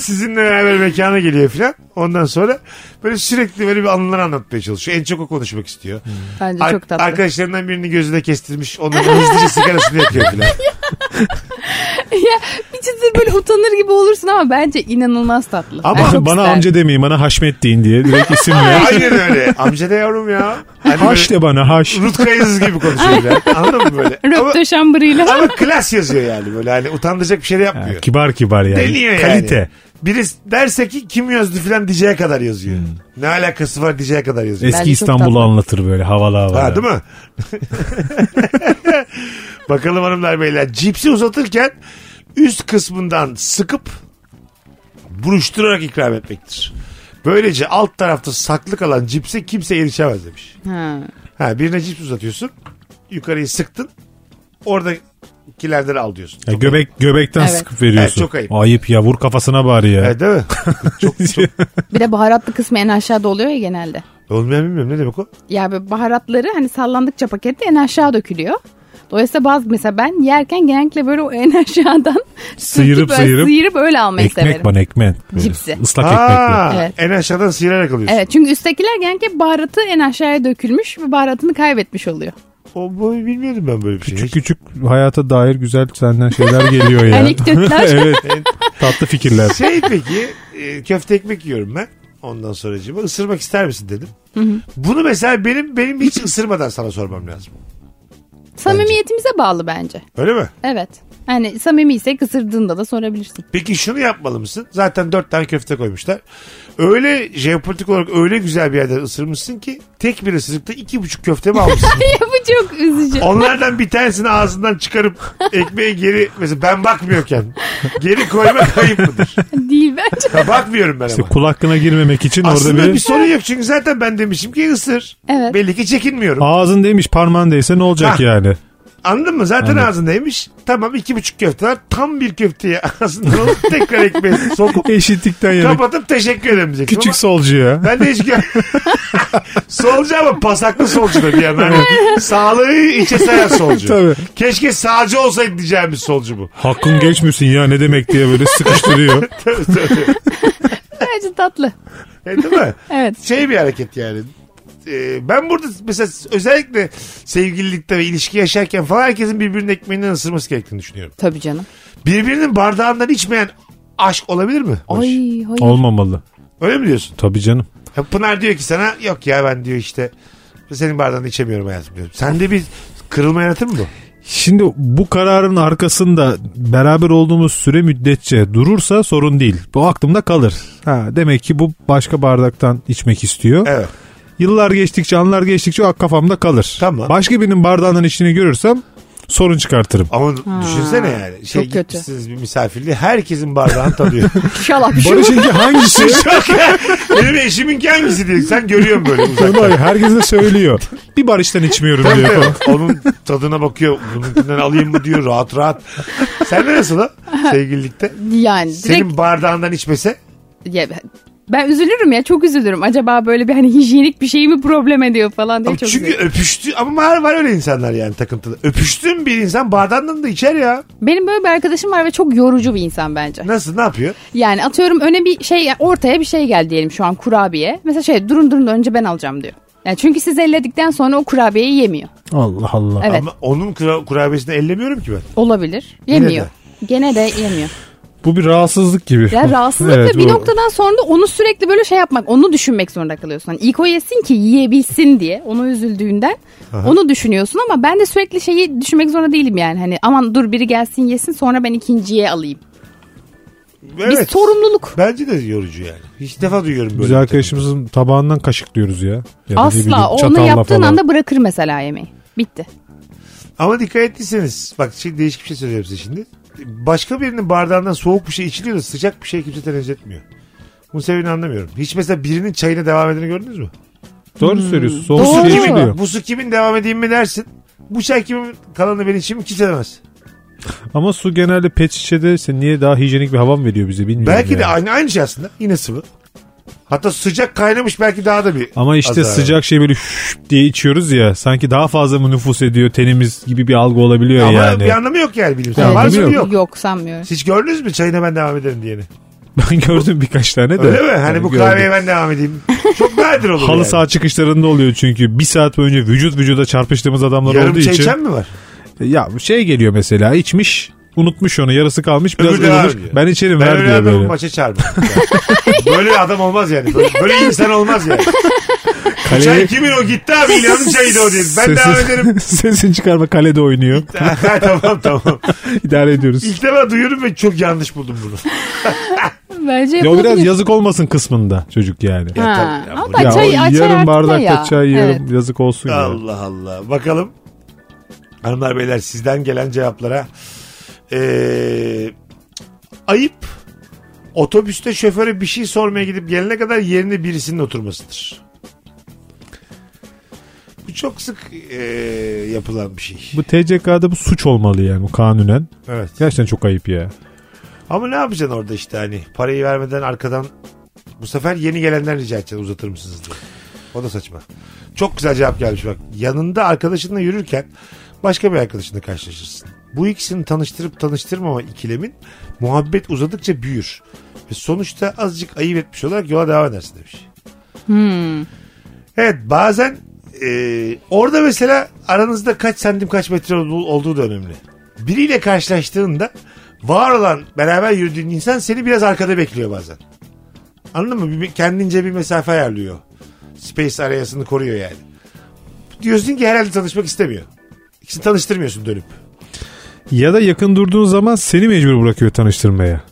[SPEAKER 3] Sizinle beraber mekana geliyor filan. Ondan sonra böyle sürekli böyle bir anılar anlatmaya çalışıyor. En çok o konuşmak istiyor.
[SPEAKER 4] Bence
[SPEAKER 3] Ar-
[SPEAKER 4] çok tatlı.
[SPEAKER 3] Arkadaşlarından birini gözüne kestirmiş. Onun hızlıca sigarasını yakıyor filan.
[SPEAKER 4] ya bir ciddi böyle utanır gibi olursun ama bence inanılmaz tatlı.
[SPEAKER 3] Ama
[SPEAKER 4] Ben çok
[SPEAKER 5] bana
[SPEAKER 4] isterdim.
[SPEAKER 5] amca demeyin bana Haşmet deyin diye. Direkt isim ver.
[SPEAKER 3] Aynen öyle. Amca da yavrum ya. Hani
[SPEAKER 5] Haş
[SPEAKER 3] böyle
[SPEAKER 5] de bana haş.
[SPEAKER 3] Rut Kayasız gibi konuşuyor yani. Anladın mı böyle? Ama,
[SPEAKER 4] Röpte şambırıyla.
[SPEAKER 3] ama klas yazıyor yani böyle hani utandıracak bir şey de yapmıyor.
[SPEAKER 5] Ha, kibar kibar yani.
[SPEAKER 3] Deniyor yani.
[SPEAKER 5] Kalite.
[SPEAKER 3] Biri derse ki kim yazdı filan diyeceğe kadar yazıyor.
[SPEAKER 5] Hmm.
[SPEAKER 3] Ne alakası var diyeceğe kadar yazıyor.
[SPEAKER 5] Eski
[SPEAKER 4] çok
[SPEAKER 5] İstanbul'u
[SPEAKER 4] tatlı.
[SPEAKER 5] anlatır böyle havalı havalı.
[SPEAKER 3] Ha değil mi? Bakalım hanımlar beyler. Cipsi uzatırken üst kısmından sıkıp buruşturarak ikram etmektir. Böylece alt tarafta saklı kalan cipse kimse erişemez demiş.
[SPEAKER 4] Ha.
[SPEAKER 3] Ha birine cips uzatıyorsun. Yukarıyı sıktın. Oradakilerden al diyorsun.
[SPEAKER 5] Ya göbek göbekten
[SPEAKER 4] Evet.
[SPEAKER 5] sıkıp veriyorsun.
[SPEAKER 3] Evet, çok ayıp.
[SPEAKER 5] ya vur kafasına bari ya.
[SPEAKER 3] Evet değil mi?
[SPEAKER 4] Bir de baharatlı kısmı en aşağıda oluyor ya genelde.
[SPEAKER 3] Olmayan bilmiyorum ne demek o?
[SPEAKER 4] Ya böyle baharatları hani sallandıkça pakette en aşağı dökülüyor. Dolayısıyla bazı mesela ben yerken genellikle böyle o en aşağıdan
[SPEAKER 5] Sıyırıp
[SPEAKER 4] böyle
[SPEAKER 5] sıyırıp.
[SPEAKER 4] sıyırıp öyle almayı
[SPEAKER 5] ekmek
[SPEAKER 4] severim.
[SPEAKER 5] bana ekmen. Böyle
[SPEAKER 4] Cipsi.
[SPEAKER 5] Islak
[SPEAKER 3] Aa,
[SPEAKER 5] ekmekle.
[SPEAKER 4] Evet.
[SPEAKER 3] En aşağıdan sıyırarak alıyorsun.
[SPEAKER 4] Evet çünkü üsttekiler genellikle baharatı en aşağıya dökülmüş ve baharatını kaybetmiş oluyor.
[SPEAKER 3] O boy bilmiyordum ben böyle bir şey.
[SPEAKER 5] Küçük küçük hayata dair güzel senden şeyler geliyor
[SPEAKER 4] Hani
[SPEAKER 5] ya.
[SPEAKER 4] Anekdotlar.
[SPEAKER 5] evet. Tatlı fikirler.
[SPEAKER 3] Şey peki e, köfte ekmek yiyorum ben. Ondan sonra cima ısırmak ister misin dedim. Bunu mesela benim benim hiç ısırmadan sana sormam lazım.
[SPEAKER 4] Samimiyetimize bağlı bence.
[SPEAKER 3] Öyle mi?
[SPEAKER 4] Evet. Hani samimiysek ısırdığında da sorabilirsin.
[SPEAKER 3] Peki şunu yapmalı mısın? Zaten dört tane köfte koymuşlar. Öyle jeopolitik olarak öyle güzel bir yerden ısırmışsın ki tek bir ısırıkta iki buçuk köfte mi almışsın?
[SPEAKER 4] Ya bu çok üzücü.
[SPEAKER 3] Onlardan bir tanesini ağzından çıkarıp ekmeği geri mesela ben bakmıyorken geri koymak ayıp mıdır?
[SPEAKER 4] Değil bence.
[SPEAKER 3] Ya bakmıyorum ben
[SPEAKER 5] İşte
[SPEAKER 3] ama.
[SPEAKER 5] kul hakkına girmemek için
[SPEAKER 3] Aslında
[SPEAKER 5] orada
[SPEAKER 3] bir...
[SPEAKER 5] bir,
[SPEAKER 3] sorun yok çünkü zaten ben demişim ki ısır.
[SPEAKER 4] Evet.
[SPEAKER 3] Belli ki çekinmiyorum.
[SPEAKER 5] ağzın değmiş parmağın değse ne olacak
[SPEAKER 3] Ha.
[SPEAKER 5] yani?
[SPEAKER 3] Anladın mı? Zaten ağzındaymış. Tamam iki buçuk köfte var. Tam bir köfteye ağzında alıp tekrar ekmeği sokup
[SPEAKER 5] Eşitlikten yana.
[SPEAKER 3] kapatıp teşekkür ederim diyecektim
[SPEAKER 5] Küçük
[SPEAKER 3] ama-
[SPEAKER 5] solcu ya.
[SPEAKER 3] Ben de hiç gö- solcu ama pasaklı solcu da bir yandan. Hani sağlığı içe sayan solcu.
[SPEAKER 5] Tabii.
[SPEAKER 3] Keşke sağcı olsaydı diyeceğimiz solcu bu.
[SPEAKER 5] Hakkın geçmesin ya ne demek diye böyle sıkıştırıyor.
[SPEAKER 4] Bence tatlı.
[SPEAKER 3] E, değil mi?
[SPEAKER 4] Evet.
[SPEAKER 3] Şey bir hareket yani. E, ben burada mesela özellikle sevgililikte ve ilişki yaşarken falan herkesin birbirinin ekmeğinden ısırması gerektiğini düşünüyorum.
[SPEAKER 4] Tabii canım.
[SPEAKER 3] Birbirinin bardağından içmeyen aşk olabilir mi? Barış?
[SPEAKER 4] Ay hayır.
[SPEAKER 5] Olmamalı.
[SPEAKER 3] Öyle mi diyorsun?
[SPEAKER 5] Tabii canım.
[SPEAKER 3] Ya Pınar diyor ki sana yok ya ben diyor işte senin bardağını içemiyorum hayatım diyor. Sende bir kırılma yaratır mı bu?
[SPEAKER 5] Şimdi bu kararın arkasında beraber olduğumuz süre müddetçe durursa sorun değil. Bu aklımda kalır. Ha, demek ki bu başka bardaktan içmek istiyor.
[SPEAKER 3] Evet.
[SPEAKER 5] Yıllar geçtikçe, anlar geçtikçe o kafamda kalır.
[SPEAKER 3] Tamam.
[SPEAKER 5] Başka birinin bardağının içini görürsem sorun çıkartırım.
[SPEAKER 3] Ama düşünsene yani. Şey
[SPEAKER 4] çok kötü.
[SPEAKER 3] gitmişsiniz bir misafirliğe herkesin bardağını tadıyor.
[SPEAKER 4] Şalap şu.
[SPEAKER 5] Barış'ınki hangisi?
[SPEAKER 3] Benim eşiminki hangisi diye sen görüyorsun böyle uzak.
[SPEAKER 5] Onu herkese söylüyor. Bir barıştan içmiyorum diyor. falan.
[SPEAKER 3] Onun tadına bakıyor. Bununkinden alayım mı diyor rahat rahat. Sen de nasıl o sevgililikte?
[SPEAKER 4] Yani direkt
[SPEAKER 3] Senin bardağından içmese
[SPEAKER 4] Ya ben- ben üzülürüm ya çok üzülürüm. Acaba böyle bir hani hijyenik bir şey mi problem ediyor falan diye
[SPEAKER 3] Ama
[SPEAKER 4] çok
[SPEAKER 3] çünkü
[SPEAKER 4] üzülürüm.
[SPEAKER 3] öpüştü ama var, var öyle insanlar yani takıntılı. Öpüştüğün bir insan bardağından da içer ya.
[SPEAKER 4] Benim böyle bir arkadaşım var ve çok yorucu bir insan bence.
[SPEAKER 3] Nasıl ne yapıyor?
[SPEAKER 4] Yani atıyorum öne bir şey yani ortaya bir şey geldi diyelim şu an kurabiye. Mesela şey durun durun önce ben alacağım diyor. Yani çünkü siz elledikten sonra o kurabiyeyi yemiyor.
[SPEAKER 5] Allah Allah.
[SPEAKER 4] Evet
[SPEAKER 3] Ama onun kura- kurabiyesini ellemiyorum ki ben.
[SPEAKER 4] olabilir. Yemiyor. Gene de yemiyor.
[SPEAKER 5] Bu bir rahatsızlık gibi.
[SPEAKER 4] Ya rahatsızlık
[SPEAKER 5] Evet,
[SPEAKER 4] ve bir
[SPEAKER 5] bu-
[SPEAKER 4] noktadan sonra da onu sürekli böyle şey yapmak, onu düşünmek zorunda kalıyorsun. Hani ilk o yesin ki yiyebilsin diye, onu üzüldüğünden onu düşünüyorsun ama ben de sürekli şeyi düşünmek zorunda değilim yani. Hani aman dur biri gelsin yesin sonra ben ikinciye alayım.
[SPEAKER 3] Evet.
[SPEAKER 4] Bir sorumluluk.
[SPEAKER 3] Bence de yorucu yani. Hiç defa duyuyorum böyle.
[SPEAKER 5] Güzel
[SPEAKER 3] bir takıntı.
[SPEAKER 5] arkadaşımızın tabağından kaşıklıyoruz ya. Ya da ne bileyim,
[SPEAKER 4] Asla onu
[SPEAKER 5] çatalla
[SPEAKER 4] yaptığın
[SPEAKER 5] falan.
[SPEAKER 4] anda bırakır mesela yemeği. Bitti.
[SPEAKER 3] Ama dikkat ettiyseniz bak şimdi değişik bir şey söylüyorum size şimdi. Başka birinin bardağından soğuk bir şey içiliyor da sıcak bir şey kimse tenezzül etmiyor. Bunu sebebini anlamıyorum. Hiç mesela birinin çayına devam edeni gördünüz mü?
[SPEAKER 5] Doğru söylüyorsun.
[SPEAKER 3] Bu
[SPEAKER 5] Soğuk
[SPEAKER 3] su
[SPEAKER 5] su
[SPEAKER 3] kimin?
[SPEAKER 5] içiliyor.
[SPEAKER 3] Bu su kimin devam edeyim mi dersin? Bu çay kimin kalanı benim için mi kimse demez.
[SPEAKER 5] Ama su genelde pet şişede ise niye daha hijyenik bir havam veriyor bize bilmiyorum.
[SPEAKER 3] Belki de
[SPEAKER 5] yani.
[SPEAKER 3] aynı, aynı şey aslında. Yine sıvı. Hatta sıcak kaynamış belki daha da bir
[SPEAKER 5] Ama işte
[SPEAKER 3] azar.
[SPEAKER 5] sıcak şey böyle şşş diye içiyoruz ya. Sanki daha fazla mı nüfus ediyor tenimiz gibi bir algı olabiliyor
[SPEAKER 3] Ama
[SPEAKER 5] yani.
[SPEAKER 3] bir anlamı yok yani bilimsel.
[SPEAKER 5] Bir
[SPEAKER 3] Var mı
[SPEAKER 5] anlamı
[SPEAKER 3] yok.
[SPEAKER 5] yok.
[SPEAKER 4] sanmıyorum.
[SPEAKER 3] Hiç gördünüz mü çayına ben devam ederim diyeni?
[SPEAKER 5] Ben gördüm birkaç tane de.
[SPEAKER 3] Öyle mi? Hani bu
[SPEAKER 5] Gördüm.
[SPEAKER 3] kahveye ben devam edeyim. Çok nadir olur
[SPEAKER 5] Halı
[SPEAKER 3] yani.
[SPEAKER 5] saha çıkışlarında oluyor çünkü bir saat boyunca vücut vücuda çarpıştığımız adamlar
[SPEAKER 3] Yarım
[SPEAKER 5] olduğu
[SPEAKER 3] çay
[SPEAKER 5] için.
[SPEAKER 3] içen mi var?
[SPEAKER 5] Ya şey geliyor mesela içmiş unutmuş onu yarısı kalmış biraz
[SPEAKER 3] Öbürü de
[SPEAKER 5] ılınır.
[SPEAKER 3] abi diyor.
[SPEAKER 5] Ben içerim
[SPEAKER 3] Ben
[SPEAKER 5] ver
[SPEAKER 3] öyle
[SPEAKER 5] diyor
[SPEAKER 3] adamı
[SPEAKER 5] böyle.
[SPEAKER 3] maça çağırmam. böyle adam olmaz yani. Böyle, böyle insan olmaz yani.
[SPEAKER 5] Kaleye-
[SPEAKER 3] Çay kimin o gitti abi İlhan'ın çayıydı o diye. Ben
[SPEAKER 5] Sesi-
[SPEAKER 3] devam ederim.
[SPEAKER 5] Sesini çıkarma kalede oynuyor.
[SPEAKER 3] Ha, tamam tamam.
[SPEAKER 5] İdare ediyoruz.
[SPEAKER 3] İlk defa duyuyorum ve çok yanlış buldum bunu.
[SPEAKER 4] Bence
[SPEAKER 5] Ya o
[SPEAKER 4] yapılabilir.
[SPEAKER 5] biraz yazık olmasın kısmında çocuk yani.
[SPEAKER 4] Ha,
[SPEAKER 3] tabii ya,
[SPEAKER 4] ama
[SPEAKER 5] Ya
[SPEAKER 4] çay,
[SPEAKER 5] o
[SPEAKER 4] ay, çay
[SPEAKER 5] yarım
[SPEAKER 4] artık da
[SPEAKER 5] bardakta
[SPEAKER 4] ya.
[SPEAKER 5] çay yarım
[SPEAKER 4] Evet.
[SPEAKER 5] yazık olsun ya.
[SPEAKER 3] Allah Allah. Bakalım. Hanımlar beyler sizden gelen cevaplara. Ee, ayıp otobüste şoföre bir şey sormaya gidip gelene kadar yerine birisinin oturmasıdır. Bu çok sık ee, yapılan bir şey.
[SPEAKER 5] Bu TCK'da bu suç olmalı yani bu kanunen.
[SPEAKER 3] Evet.
[SPEAKER 5] Gerçekten çok ayıp ya.
[SPEAKER 3] Ama ne yapacaksın orada işte hani parayı vermeden arkadan bu sefer yeni gelenden rica edeceksin uzatır mısınız diye. O da saçma. Çok güzel cevap gelmiş bak. Yanında arkadaşınla yürürken başka bir arkadaşınla karşılaşırsın. Bu ikisini tanıştırıp tanıştırmama ikilemin muhabbet uzadıkça büyür. Ve sonuçta azıcık ayıp etmiş olarak yola devam edersin demiş. Evet bazen e, orada mesela aranızda kaç santim kaç metre olduğu, olduğu da önemli. Biriyle karşılaştığında var olan beraber yürüdüğün insan seni biraz arkada bekliyor bazen. Anladın mı? Bir- kendince bir mesafe ayarlıyor. Space arayasını koruyor yani. Diyorsun ki herhalde tanışmak istemiyor. İkisini tanıştırmıyorsun dönüp.
[SPEAKER 5] Ya da yakın durduğun zaman seni mecbur bırakıyor tanıştırmaya.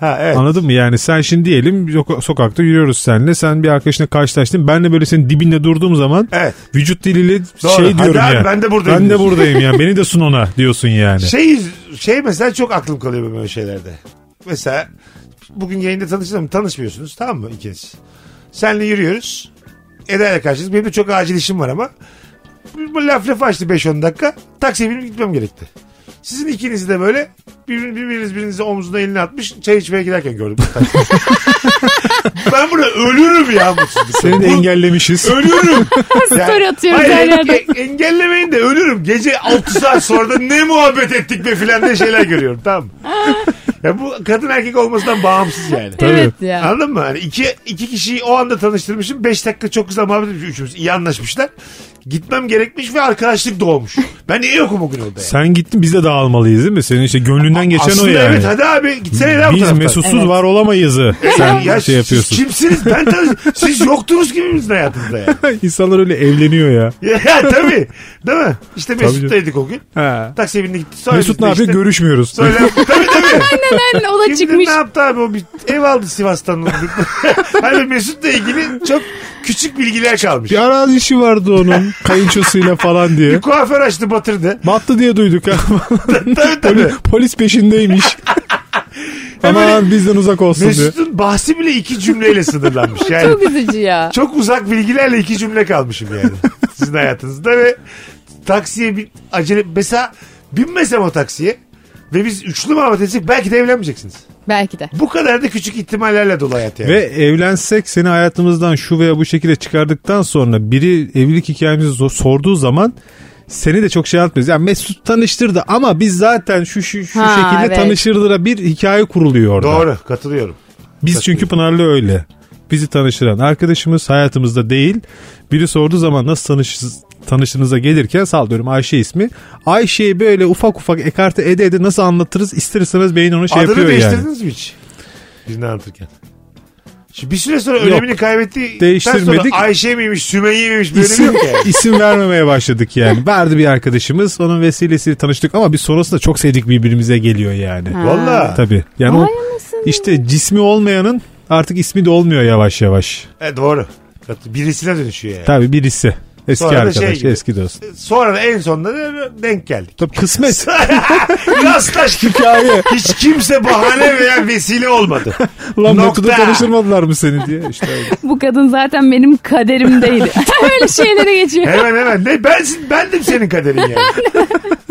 [SPEAKER 3] Ha evet.
[SPEAKER 5] Anladın mı? Yani sen şimdi diyelim yok- sokakta yürüyoruz seninle. Sen bir arkadaşına karşılaştın. Ben de böyle senin dibinde durduğum zaman
[SPEAKER 3] Evet.
[SPEAKER 5] vücut diliyle
[SPEAKER 3] Doğru.
[SPEAKER 5] şey
[SPEAKER 3] Hadi
[SPEAKER 5] diyorum
[SPEAKER 3] abi,
[SPEAKER 5] ya.
[SPEAKER 3] ben de buradayım
[SPEAKER 5] Ben de
[SPEAKER 3] diyorsun.
[SPEAKER 5] buradayım ya. Beni de sun ona diyorsun yani.
[SPEAKER 3] Şey, şey mesela çok aklım kalıyor benim öyle şeylerde. Mesela bugün yayında tanıştım tanışmıyorsunuz tamam mı ikiniz? Senle yürüyoruz. Eda'yla karşıyız. Benim de çok acil işim var ama bu laf lafı açtı 5-10 dakika. Taksiye binip gitmem gerekti. Sizin ikiniz de böyle birbiriniz, birbiriniz birinize omzuna elini atmış çay içmeye giderken gördüm. ben burada ölürüm ya mutsuzluktan.
[SPEAKER 5] Seni de
[SPEAKER 3] Bu-
[SPEAKER 5] engellemişiz.
[SPEAKER 3] Ölürüm.
[SPEAKER 4] Story atıyoruz
[SPEAKER 3] Hayır,
[SPEAKER 4] her yerde.
[SPEAKER 3] e- engellemeyin de ölürüm. Gece 6 saat sonra da ne muhabbet ettik be filan diye şeyler görüyorum tamam mı? Ya bu kadın erkek olmasından bağımsız yani.
[SPEAKER 4] Evet ya.
[SPEAKER 3] Anladın mı? Hani iki, iki kişiyi o anda tanıştırmışım. Beş dakika çok güzel muhabbet etmiş üçümüz. İyi anlaşmışlar. Gitmem gerekmiş ve arkadaşlık doğmuş. Ben niye yokum o gün orada ya?
[SPEAKER 5] Sen gittin biz de dağılmalıyız değil mi? Senin işte gönlünden geçen
[SPEAKER 3] Aslında
[SPEAKER 5] o yani.
[SPEAKER 3] evet hani hadi abi gitsene lan bu
[SPEAKER 5] biz
[SPEAKER 3] taraftan.
[SPEAKER 5] mesutsuz
[SPEAKER 4] Evet.
[SPEAKER 5] var olamayızı. Sen
[SPEAKER 3] Ya
[SPEAKER 5] şey
[SPEAKER 3] siz
[SPEAKER 5] yapıyorsun.
[SPEAKER 3] kimsiniz? Ben tanış Siz yoktunuz gibi bizim hayatımızda ya.
[SPEAKER 5] İnsanlar öyle evleniyor ya.
[SPEAKER 3] ya tabii. Değil mi? İşte
[SPEAKER 5] canım.
[SPEAKER 3] Mesut'taydık o gün. Taksiye bindik gitti. Sonra
[SPEAKER 5] Mesut
[SPEAKER 3] biz de
[SPEAKER 5] ne yapıyor?
[SPEAKER 3] işte-
[SPEAKER 5] Görüşmüyoruz.
[SPEAKER 3] Söyle. tabii tabii.
[SPEAKER 4] Aynen o da
[SPEAKER 3] Kim bilir
[SPEAKER 4] çıkmış.
[SPEAKER 3] ne yaptı abi o bir ev aldı Sivas'tan. hani Mesut'la ilgili çok küçük bilgiler kalmış.
[SPEAKER 5] Bir arazi işi vardı onun kayınçosuyla falan diye.
[SPEAKER 3] Bir kuaför açtı batırdı.
[SPEAKER 5] Battı diye duyduk ha.
[SPEAKER 3] tabii tabii.
[SPEAKER 5] Poli- Polis peşindeymiş. Aman bizden uzak olsun diye.
[SPEAKER 3] Mesut'un bahsi bile iki cümleyle sınırlanmış. Yani
[SPEAKER 4] Çok üzücü ya.
[SPEAKER 3] çok uzak bilgilerle iki cümle kalmışım yani. Sizin hayatınızda ve taksiye bir acele mesela binmesem o taksiye ve biz üçlü muhabbet etsek belki de evlenmeyeceksiniz.
[SPEAKER 4] Belki de.
[SPEAKER 3] Bu kadar da küçük ihtimallerle dolu hayat yani.
[SPEAKER 5] Ve evlensek seni hayatımızdan şu veya bu şekilde çıkardıktan sonra biri evlilik hikayemizi so- sorduğu zaman seni de çok şey anlatmıyoruz. Yani Mesut tanıştırdı ama biz zaten şu şu, şu
[SPEAKER 4] Ha,
[SPEAKER 5] şekilde
[SPEAKER 4] evet.
[SPEAKER 5] tanıştırdıra bir hikaye kuruluyor orada.
[SPEAKER 3] Doğru katılıyorum.
[SPEAKER 5] Biz çünkü Pınar'la öyle. Bizi tanıştıran arkadaşımız hayatımızda değil. Biri sorduğu zaman nasıl tanış tanıştığınıza gelirken sallıyorum Ayşe ismi. Ayşe'yi böyle ufak ufak ekarte ede ede nasıl anlatırız ister istemez beyin onu şey
[SPEAKER 3] Adını
[SPEAKER 5] yapıyor yani.
[SPEAKER 3] değiştirdiniz mi hiç? Birini anlatırken. Şimdi bir süre sonra önemini kaybettiği
[SPEAKER 5] Değiştirmedik.
[SPEAKER 3] sonra Ayşe miymiş, Sümeyye miymiş bir önemi
[SPEAKER 5] İsim,
[SPEAKER 3] yok yani.
[SPEAKER 5] isim vermemeye başladık yani. Verdi bir arkadaşımız onun vesilesiyle tanıştık ama biz sonrasında çok sevdik birbirimize geliyor yani.
[SPEAKER 3] Valla.
[SPEAKER 5] Tabii. Yani o
[SPEAKER 4] Vay anasını.
[SPEAKER 5] işte cismi olmayanın artık ismi de olmuyor yavaş yavaş.
[SPEAKER 3] E, doğru. Kat- Birisine dönüşüyor yani.
[SPEAKER 5] Tabii birisi. Eski
[SPEAKER 3] Sonra da şey
[SPEAKER 5] arkadaş,
[SPEAKER 3] gibi.
[SPEAKER 5] eski dost.
[SPEAKER 3] Sonra da en sonunda da denk geldik.
[SPEAKER 5] Tabii kısmet.
[SPEAKER 3] Rastlaş
[SPEAKER 5] hikaye.
[SPEAKER 3] hiç kimse bahane veya vesile olmadı.
[SPEAKER 5] Lan
[SPEAKER 3] Nokta.
[SPEAKER 5] Bakı'da tanıştırmadılar mı seni diye. İşte öyle.
[SPEAKER 4] Bu kadın zaten benim kaderimdeydi. Öyle şeylere geçiyor.
[SPEAKER 3] Hemen hemen. Ne, ben, bendim senin kaderin yani.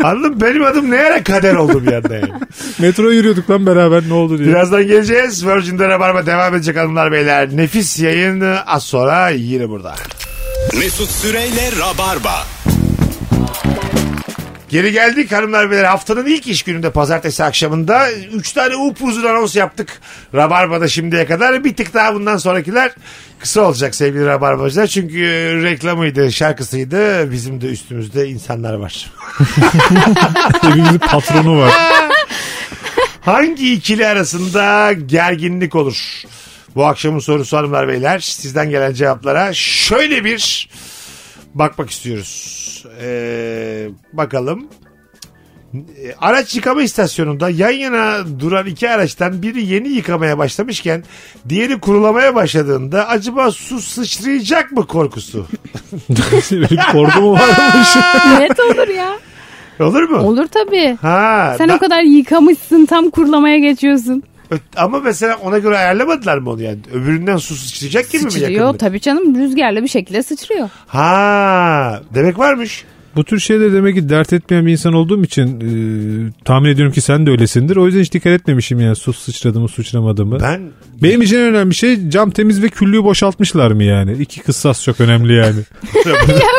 [SPEAKER 3] Anladın mı? Benim adım ne ara kader oldu bir anda yani.
[SPEAKER 5] Metro yürüyorduk lan beraber ne oldu diye.
[SPEAKER 3] Birazdan geleceğiz. Virgin'de Rabarba devam edecek hanımlar beyler. Nefis yayın az sonra yine burada.
[SPEAKER 2] Mesut Süreyle Rabarba.
[SPEAKER 3] Geri geldik hanımlar beyler. Haftanın ilk iş gününde pazartesi akşamında 3 tane upuzun anons yaptık. Rabarba'da şimdiye kadar. Bir tık daha bundan sonrakiler kısa olacak sevgili Rabarbacılar. Çünkü reklamıydı, şarkısıydı. Bizim de üstümüzde insanlar var.
[SPEAKER 5] Evimizin patronu var.
[SPEAKER 3] Hangi ikili arasında gerginlik olur? Bu akşamın sorusu hanımlar beyler. Sizden gelen cevaplara şöyle bir bakmak istiyoruz. Ee, bakalım. Ee, Araç yıkama istasyonunda yan yana duran iki araçtan biri yeni yıkamaya başlamışken diğeri kurulamaya başladığında acaba su sıçrayacak mı korkusu?
[SPEAKER 5] Böyle bir korku mu varmış?
[SPEAKER 4] Net olur ya.
[SPEAKER 3] Olur mu?
[SPEAKER 4] Olur tabii.
[SPEAKER 3] Ha,
[SPEAKER 4] Sen
[SPEAKER 3] da-
[SPEAKER 4] o kadar yıkamışsın tam kurulamaya geçiyorsun.
[SPEAKER 3] ö- ama mesela ona göre ayarlamadılar mı onu yani? Öbüründen su sıçrayacak gibi mi
[SPEAKER 4] Sıçrıyor
[SPEAKER 3] yakındı?
[SPEAKER 4] tabii canım rüzgarla bir şekilde sıçrıyor.
[SPEAKER 3] Ha demek varmış.
[SPEAKER 5] Bu tür şeyler demek ki dert etmeyen bir insan olduğum için e, tahmin ediyorum ki sen de öylesindir. O yüzden hiç dikkat etmemişim yani su sıçradı mı sıçramadı mı.
[SPEAKER 3] Ben
[SPEAKER 5] Benim için en önemli şey cam temiz ve küllüğü boşaltmışlar mı yani? İki kıssas çok önemli yani.
[SPEAKER 4] ya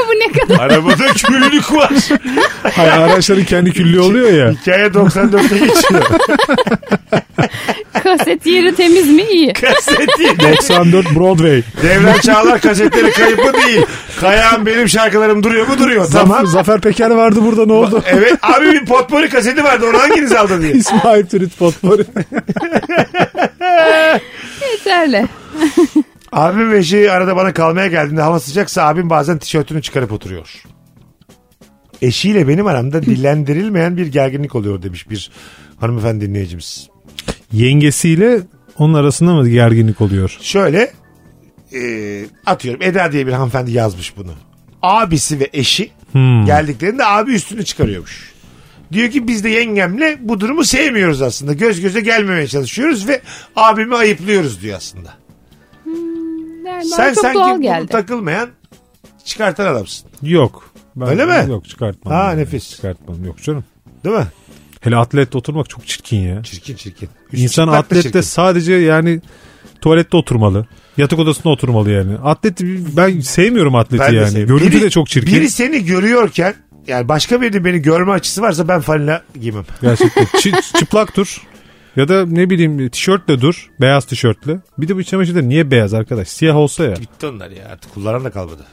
[SPEAKER 4] bu ne kadar
[SPEAKER 3] arabada küllük var.
[SPEAKER 5] Hayır, araçların kendi küllüğü oluyor ya.
[SPEAKER 3] Hikaye 94'te geçiyor.
[SPEAKER 4] kaset yeri temiz mi iyi.
[SPEAKER 3] Kaset değil.
[SPEAKER 5] 94 Broadway.
[SPEAKER 3] Devran Çağlar kasetleri kayıp mı değil. Kayağım benim şarkılarım duruyor mu duruyor.
[SPEAKER 5] Tamam.
[SPEAKER 3] Tamam.
[SPEAKER 5] Zafer Peker vardı burada ne oldu?
[SPEAKER 3] Evet abi bir potpori kaseti vardı onu hanginiz aldı diye.
[SPEAKER 5] İsmail Türüt Potpourri.
[SPEAKER 4] Yeterli.
[SPEAKER 3] Abim ve eşi arada bana kalmaya geldiğinde hava sıcaksa abim bazen tişörtünü çıkarıp oturuyor. Eşiyle benim aramda dillendirilmeyen bir gerginlik oluyor demiş bir hanımefendi dinleyicimiz.
[SPEAKER 5] Yengesiyle onun arasında mı gerginlik oluyor?
[SPEAKER 3] Şöyle e, atıyorum Eda diye bir hanımefendi yazmış bunu. Abisi ve eşi
[SPEAKER 5] Hmm.
[SPEAKER 3] geldiklerinde abi üstünü çıkarıyormuş. Diyor ki biz de yengemle bu durumu sevmiyoruz aslında. Göz göze gelmemeye çalışıyoruz ve abimi ayıplıyoruz diyor aslında.
[SPEAKER 4] Yani bana
[SPEAKER 3] Sen
[SPEAKER 4] çok
[SPEAKER 3] sanki
[SPEAKER 4] doğal
[SPEAKER 3] bunu
[SPEAKER 4] geldi.
[SPEAKER 3] takılmayan çıkartan adamsın.
[SPEAKER 5] Yok. Ben-
[SPEAKER 3] Öyle mi?
[SPEAKER 5] Yok çıkartmam.
[SPEAKER 3] Ha,
[SPEAKER 5] Yani.
[SPEAKER 3] nefis.
[SPEAKER 5] Çıkartmam yok canım.
[SPEAKER 3] Değil mi?
[SPEAKER 5] Hele atletle oturmak çok çirkin ya.
[SPEAKER 3] Çirkin çirkin.
[SPEAKER 5] İnsan
[SPEAKER 3] çıplak şey da
[SPEAKER 5] atlette
[SPEAKER 3] çirkin.
[SPEAKER 5] sadece yani tuvalette oturmalı. Yatak odasında oturmalı yani. Atlet ben sevmiyorum atleti
[SPEAKER 3] Ben de
[SPEAKER 5] yani.
[SPEAKER 3] sevmiyorum.
[SPEAKER 5] Görüntü
[SPEAKER 3] Biri-
[SPEAKER 5] de çok çirkin.
[SPEAKER 3] Biri seni görüyorken yani başka birinin beni görme açısı varsa ben fanila giymem.
[SPEAKER 5] Gerçekten. Çı- çıplak dur. Ya da ne bileyim tişörtle dur. Beyaz tişörtle. Bir de bu iç çamaşırları niye beyaz arkadaş? Siyah olsa ya.
[SPEAKER 3] Bitti onlar ya artık kullanan da kalmadı.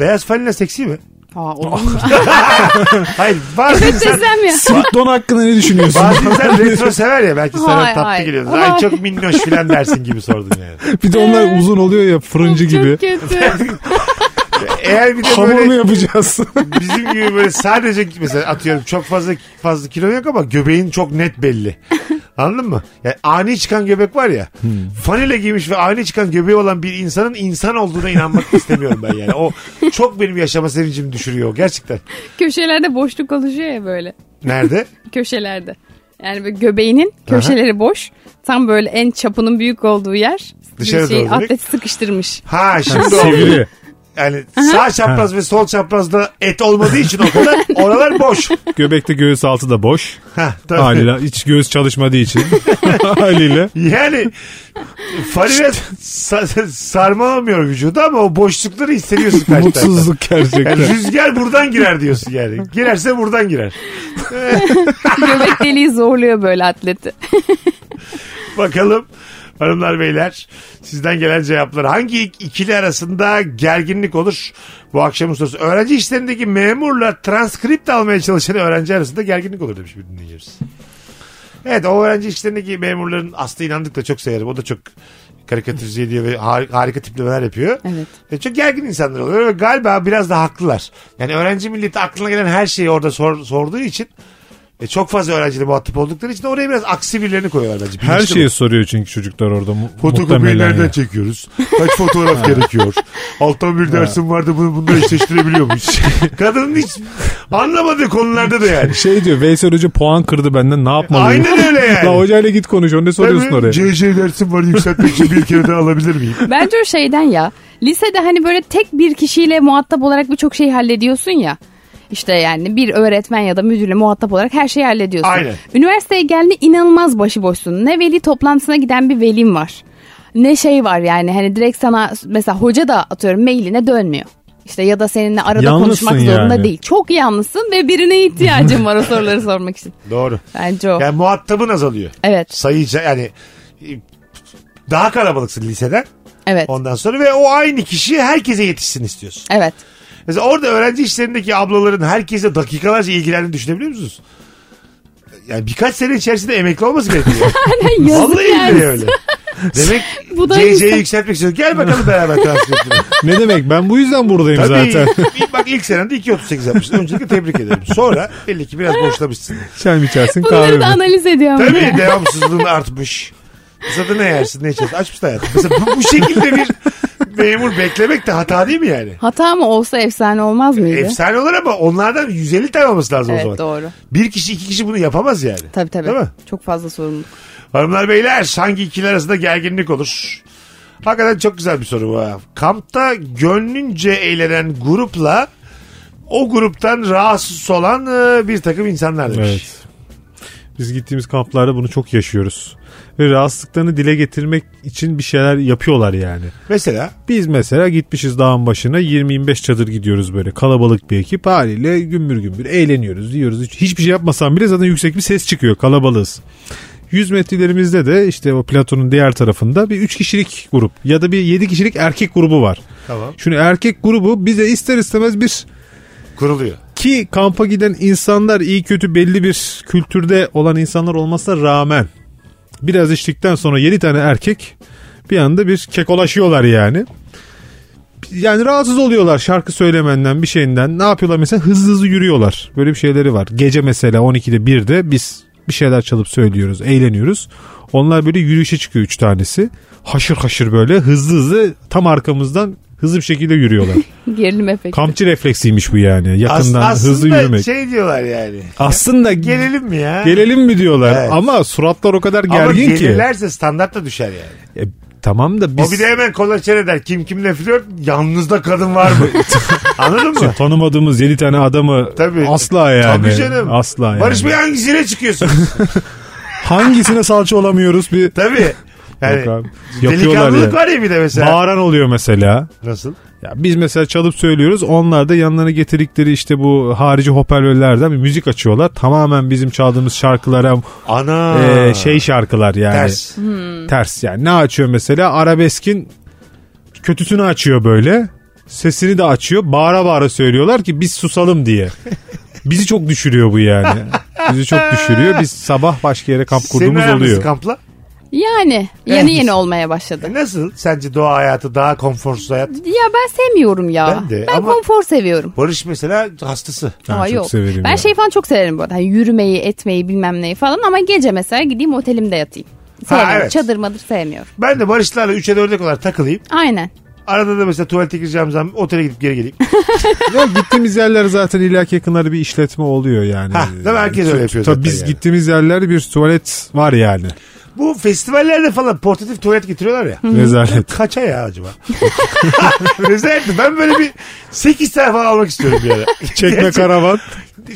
[SPEAKER 3] Beyaz fanila seksi mi?
[SPEAKER 4] Aa, olur mu?
[SPEAKER 3] Hayır bazen sen,
[SPEAKER 4] Desem ya.
[SPEAKER 5] Slip don hakkında ne düşünüyorsun?
[SPEAKER 3] bazen sen retro sever ya belki sana
[SPEAKER 4] Hayır,
[SPEAKER 3] tatlı
[SPEAKER 4] hayır.
[SPEAKER 3] geliyordur. Ay çok minnoş filan dersin gibi sordun yani.
[SPEAKER 5] bir de onlar uzun oluyor ya fırıncı gibi.
[SPEAKER 4] Çok kötü.
[SPEAKER 3] Eğer bir de
[SPEAKER 5] Hamurunu
[SPEAKER 3] böyle
[SPEAKER 5] yapacağız.
[SPEAKER 3] bizim gibi böyle sadece mesela atıyorum çok fazla fazla kilo yok ama göbeğin çok net belli. Anladın mı? Yani ani çıkan göbek var ya. Fanile giymiş ve ani çıkan göbeği olan bir insanın insan olduğuna inanmak istemiyorum ben yani. O çok benim yaşama sevincimi düşürüyor gerçekten.
[SPEAKER 4] Köşelerde boşluk oluşuyor ya böyle.
[SPEAKER 3] Nerede?
[SPEAKER 4] Köşelerde. Yani böyle göbeğinin köşeleri boş. Tam böyle en çapının büyük olduğu yer.
[SPEAKER 3] Dışarı doğru
[SPEAKER 4] Bir şey,
[SPEAKER 3] direkt.
[SPEAKER 4] atleti sıkıştırmış.
[SPEAKER 3] Ha şimdi oldu.
[SPEAKER 5] Sivri.
[SPEAKER 3] Yani sağ çapraz ve sol çaprazda et olmadığı için o kadar oralar boş.
[SPEAKER 5] Göbekte göğüs altı da boş.
[SPEAKER 3] Ha, tabii.
[SPEAKER 5] Haliyle hiç göğüs çalışmadığı için. Haliyle.
[SPEAKER 3] Yani Farine sa- sarmalamıyor vücudu ama o boşlukları hissediyorsun karşı tarafta.
[SPEAKER 5] Mutsuzluk gerçekten.
[SPEAKER 3] Yani rüzgar buradan girer diyorsun yani. Girerse buradan girer.
[SPEAKER 4] Göbek deliği zorluyor böyle atleti.
[SPEAKER 3] Bakalım hanımlar beyler sizden gelen cevaplar. Hangi ik- ikili arasında gerginlik olur bu akşamın sorusu? Öğrenci işlerindeki memurla transkript almaya çalışan öğrenci arasında gerginlik olur demiş bir dinleyicimiz. Evet o öğrenci işlerindeki memurların Aslı inandık da çok severim. O da çok karikatürize ediyor ve har- harika tiplemeler yapıyor.
[SPEAKER 4] Evet.
[SPEAKER 3] E, çok gergin insanlar oluyor ve galiba biraz da haklılar. Yani öğrenci milleti aklına gelen her şeyi orada sor- sorduğu için e, çok fazla öğrenciyle muhatap oldukları için oraya biraz aksi birilerini koyuyorlar bence.
[SPEAKER 5] Her
[SPEAKER 3] Bilinçli
[SPEAKER 5] şeyi
[SPEAKER 3] bu.
[SPEAKER 5] soruyor çünkü çocuklar orada mu-
[SPEAKER 3] Fotokopiyi
[SPEAKER 5] muhtemelen
[SPEAKER 3] nereden
[SPEAKER 5] ya.
[SPEAKER 3] çekiyoruz? Kaç fotoğraf gerekiyor? Alttan bir dersim vardı bunu bununla eşleştirebiliyor muyuz? Kadının hiç anlamadığı konularda da yani.
[SPEAKER 5] Şey diyor Veysel Hoca puan kırdı benden ne yapmalıyım?
[SPEAKER 3] Aynen öyle yani.
[SPEAKER 5] La hocayla git konuş onu ne soruyorsun
[SPEAKER 3] Tabii,
[SPEAKER 5] oraya?
[SPEAKER 3] CC dersim var yükseltmek için bir kere daha alabilir miyim?
[SPEAKER 4] Bence o şeyden ya. Lisede hani böyle tek bir kişiyle muhatap olarak birçok şeyi hallediyorsun ya. İşte yani bir öğretmen ya da müdürle muhatap olarak her şeyi hallediyorsun.
[SPEAKER 3] Aynen.
[SPEAKER 4] Üniversiteye geldiğinde inanılmaz başıboşsun. Ne veli toplantısına giden bir velim var. Ne şey var yani hani direkt sana mesela hoca da atıyorum mailine dönmüyor. İşte ya da seninle arada
[SPEAKER 5] Yalnızsın
[SPEAKER 4] konuşmak zorunda
[SPEAKER 5] yani.
[SPEAKER 4] değil. Çok yalnızsın ve birine ihtiyacın var o soruları sormak için.
[SPEAKER 3] Doğru.
[SPEAKER 4] Bence o.
[SPEAKER 3] Yani muhatabın azalıyor.
[SPEAKER 4] Evet.
[SPEAKER 3] Sayıca yani e, daha kalabalıksın liseden
[SPEAKER 4] Evet.
[SPEAKER 3] ondan sonra ve o aynı kişi herkese yetişsin istiyorsun.
[SPEAKER 4] Evet.
[SPEAKER 3] Mesela orada öğrenci işlerindeki ablaların herkese dakikalarca ilgilendiğini düşünebiliyor musunuz? Yani birkaç sene içerisinde emekli olması gerekiyor.
[SPEAKER 4] Yazık
[SPEAKER 3] Vallahi
[SPEAKER 4] yani.
[SPEAKER 3] billahi öyle. Demek
[SPEAKER 4] Bu da
[SPEAKER 3] CC'yi
[SPEAKER 4] insan.
[SPEAKER 3] yükseltmek istiyor. Gel bakalım beraber transkriptine.
[SPEAKER 5] ne demek ben bu yüzden buradayım
[SPEAKER 3] Tabii.
[SPEAKER 5] zaten.
[SPEAKER 3] ilk- Bak ilk senende 2.38 yapmışsın. Öncelikle tebrik ederim. Sonra belli ki biraz boşlamışsın.
[SPEAKER 5] Çay mı içersin kahve
[SPEAKER 4] Bunları da
[SPEAKER 5] mi?
[SPEAKER 4] analiz ediyor. ama.
[SPEAKER 3] Tabii devamsızlığın artmış. Mesela ne yersin ne içersin. Açmışsın hayatım. Mesela bu, bu şekilde bir memur beklemek de hata değil mi yani?
[SPEAKER 4] Hata mı olsa efsane olmaz mıydı?
[SPEAKER 3] Efsane olur ama onlardan 150 tane olması lazım o zaman.
[SPEAKER 4] Evet doğru.
[SPEAKER 3] Bir kişi iki kişi bunu yapamaz yani.
[SPEAKER 4] Tabii tabii.
[SPEAKER 3] Değil mi?
[SPEAKER 4] Çok fazla sorumluluk.
[SPEAKER 3] Hanımlar beyler hangi ikili arasında gerginlik olur? Hakikaten çok güzel bir soru bu. ha. Kampta gönlünce eğlenen grupla o gruptan rahatsız olan e, bir takım insanlar demiş.
[SPEAKER 5] Evet. Biz gittiğimiz kamplarda bunu çok yaşıyoruz. Ve rahatsızlıklarını dile getirmek için bir şeyler yapıyorlar yani.
[SPEAKER 3] Mesela
[SPEAKER 5] Biz mesela gitmişiz dağın başına 20-25 çadır gidiyoruz böyle kalabalık bir ekip haliyle gümbür gümbür eğleniyoruz diyoruz. Hiç- Hiçbir şey yapmasan bile zaten yüksek bir ses çıkıyor kalabalığız. 100 metrelerimizde de işte o platonun diğer tarafında bir 3 kişilik grup ya da bir 7 kişilik erkek grubu var.
[SPEAKER 3] Tamam.
[SPEAKER 5] Şimdi erkek grubu bize ister istemez bir
[SPEAKER 3] kuruluyor.
[SPEAKER 5] ki kampa giden insanlar iyi kötü belli bir kültürde olan insanlar olmasına rağmen biraz içtikten sonra 7 tane erkek bir anda bir kekolaşıyorlar yani. Yani rahatsız oluyorlar şarkı söylemenden bir şeyinden. Ne yapıyorlar mesela hızlı hızlı yürüyorlar. Böyle bir şeyleri var. Gece mesela 12'de 1'de biz bir şeyler çalıp söylüyoruz, eğleniyoruz. Onlar böyle yürüyüşe çıkıyor 3 tanesi. Haşır haşır böyle hızlı hızlı tam arkamızdan hızlı bir şekilde yürüyorlar.
[SPEAKER 4] Gerilim efekti.
[SPEAKER 5] Kampçı refleksiymiş bu yani.
[SPEAKER 3] As-
[SPEAKER 5] Yakından hızlı
[SPEAKER 3] aslında
[SPEAKER 5] yürümek.
[SPEAKER 3] şey diyorlar yani.
[SPEAKER 5] Aslında gelelim,
[SPEAKER 3] Gelelim mi ya?
[SPEAKER 5] gelelim mi diyorlar
[SPEAKER 3] Evet.
[SPEAKER 5] ama suratlar o kadar
[SPEAKER 3] Ama
[SPEAKER 5] gergin ki.
[SPEAKER 3] gelirlerse standart da düşer yani.
[SPEAKER 5] E, tamam da biz
[SPEAKER 3] O bir de hemen kolaçer eder. Kim kimle flört? Yalnızda kadın var mı? Anladın mı?
[SPEAKER 5] tanımadığımız 7 tane adamı
[SPEAKER 3] Tabii.
[SPEAKER 5] asla yani.
[SPEAKER 3] Tabii canım.
[SPEAKER 5] Asla yani.
[SPEAKER 3] Barış Bey hangisine çıkıyorsunuz?
[SPEAKER 5] Hangisine salça olamıyoruz bir
[SPEAKER 3] Tabii. Yani
[SPEAKER 5] Yok abi. Yapıyorlar
[SPEAKER 3] delikanlılık
[SPEAKER 5] ya.
[SPEAKER 3] var ya bir de mesela.
[SPEAKER 5] Bağıran oluyor mesela.
[SPEAKER 3] Nasıl?
[SPEAKER 5] Ya biz mesela çalıp söylüyoruz. Onlar da yanlarına getirdikleri işte bu harici hoparlörlerden bir müzik açıyorlar. Tamamen bizim çaldığımız şarkılara
[SPEAKER 3] Ana.
[SPEAKER 5] e, şey şarkılar yani.
[SPEAKER 3] Ters.
[SPEAKER 5] Ters yani. Ne açıyor mesela? Arabeskin kötüsünü açıyor böyle. Sesini de açıyor. Bağıra bağıra söylüyorlar ki biz susalım diye. Bizi çok düşürüyor bu yani. Bizi çok düşürüyor. Biz sabah başka yere kamp
[SPEAKER 3] Senin
[SPEAKER 5] kurduğumuz
[SPEAKER 3] aran nasıl
[SPEAKER 5] oluyor.
[SPEAKER 3] kampla?
[SPEAKER 4] Yani
[SPEAKER 3] Evet.
[SPEAKER 4] yeni yeni olmaya başladı.
[SPEAKER 3] E Nasıl? Sence doğa hayatı daha konforsuz hayat?
[SPEAKER 4] Ya ben sevmiyorum ya.
[SPEAKER 3] Ben de ama-
[SPEAKER 4] konfor seviyorum.
[SPEAKER 3] Barış mesela hastası.
[SPEAKER 5] Ben
[SPEAKER 4] Aa,
[SPEAKER 5] çok
[SPEAKER 4] yok.
[SPEAKER 5] severim
[SPEAKER 4] ben
[SPEAKER 5] ya.
[SPEAKER 4] şey falan çok severim bu arada. Hani yürümeyi, etmeyi, bilmem neyi falan ama gece mesela gideyim otelimde yatayım. Sevmiyorum.
[SPEAKER 3] evet.
[SPEAKER 4] Çadır madır sevmiyorum.
[SPEAKER 3] Ben de Barışlarla 3'e 4'e kadar takılayım.
[SPEAKER 4] Aynen.
[SPEAKER 3] Arada da mesela tuvalete gireceğim zaman otele gidip geri geleyim.
[SPEAKER 5] Ee, Ya gittiğimiz yerler zaten illaki yakınlarda bir işletme oluyor yani.
[SPEAKER 3] Hah, değil mi? Herkes öyle yapıyor zaten
[SPEAKER 5] Tabii biz
[SPEAKER 3] yani.
[SPEAKER 5] gittiğimiz yerlerde bir tuvalet var yani.
[SPEAKER 3] Bu festivallerde falan portatif tuvalet getiriyorlar ya.
[SPEAKER 5] Rezalet.
[SPEAKER 3] Kaça ya acaba? Rezaletti. Ben böyle bir 8 tane falan almak istiyorum bir ara.
[SPEAKER 5] Çekme karavan.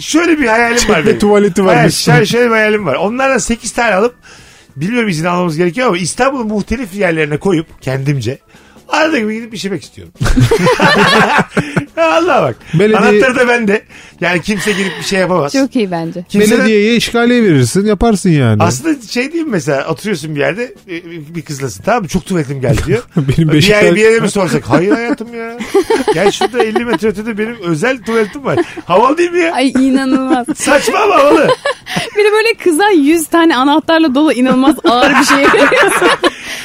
[SPEAKER 3] Şöyle bir hayalim var
[SPEAKER 5] Çekme
[SPEAKER 3] benim.
[SPEAKER 5] tuvaleti var.
[SPEAKER 3] Hayır, şöyle, şöyle bir hayalim var. Onlardan 8 tane alıp bilmiyorum izin almamız gerekiyor ama İstanbul'un muhtelif yerlerine koyup kendimce arada gibi gidip işemek istiyorum. Allah bak.
[SPEAKER 5] Belediye-
[SPEAKER 3] Anahtarı da bende. Yani kimse girip bir şey yapamaz.
[SPEAKER 4] Çok iyi bence.
[SPEAKER 3] Kimse de-
[SPEAKER 5] Belediyeye işgaliye verirsin yaparsın yani.
[SPEAKER 3] Aslında şey diyeyim mesela oturuyorsun bir yerde e, bir kızlasın tamam mı? Çok tuvaletim geldi diyor.
[SPEAKER 5] Benim
[SPEAKER 3] bir,
[SPEAKER 5] Beşiktaş-
[SPEAKER 3] yer, bir yere mi sorsak? Hayır hayatım ya. Gel şurada 50 metre ötede benim özel tuvaletim var. Havalı değil mi ya?
[SPEAKER 4] Ay inanılmaz.
[SPEAKER 3] Saçma ama havalı.
[SPEAKER 4] bir de böyle kıza 100 tane anahtarla dolu inanılmaz ağır bir şey veriyorsun.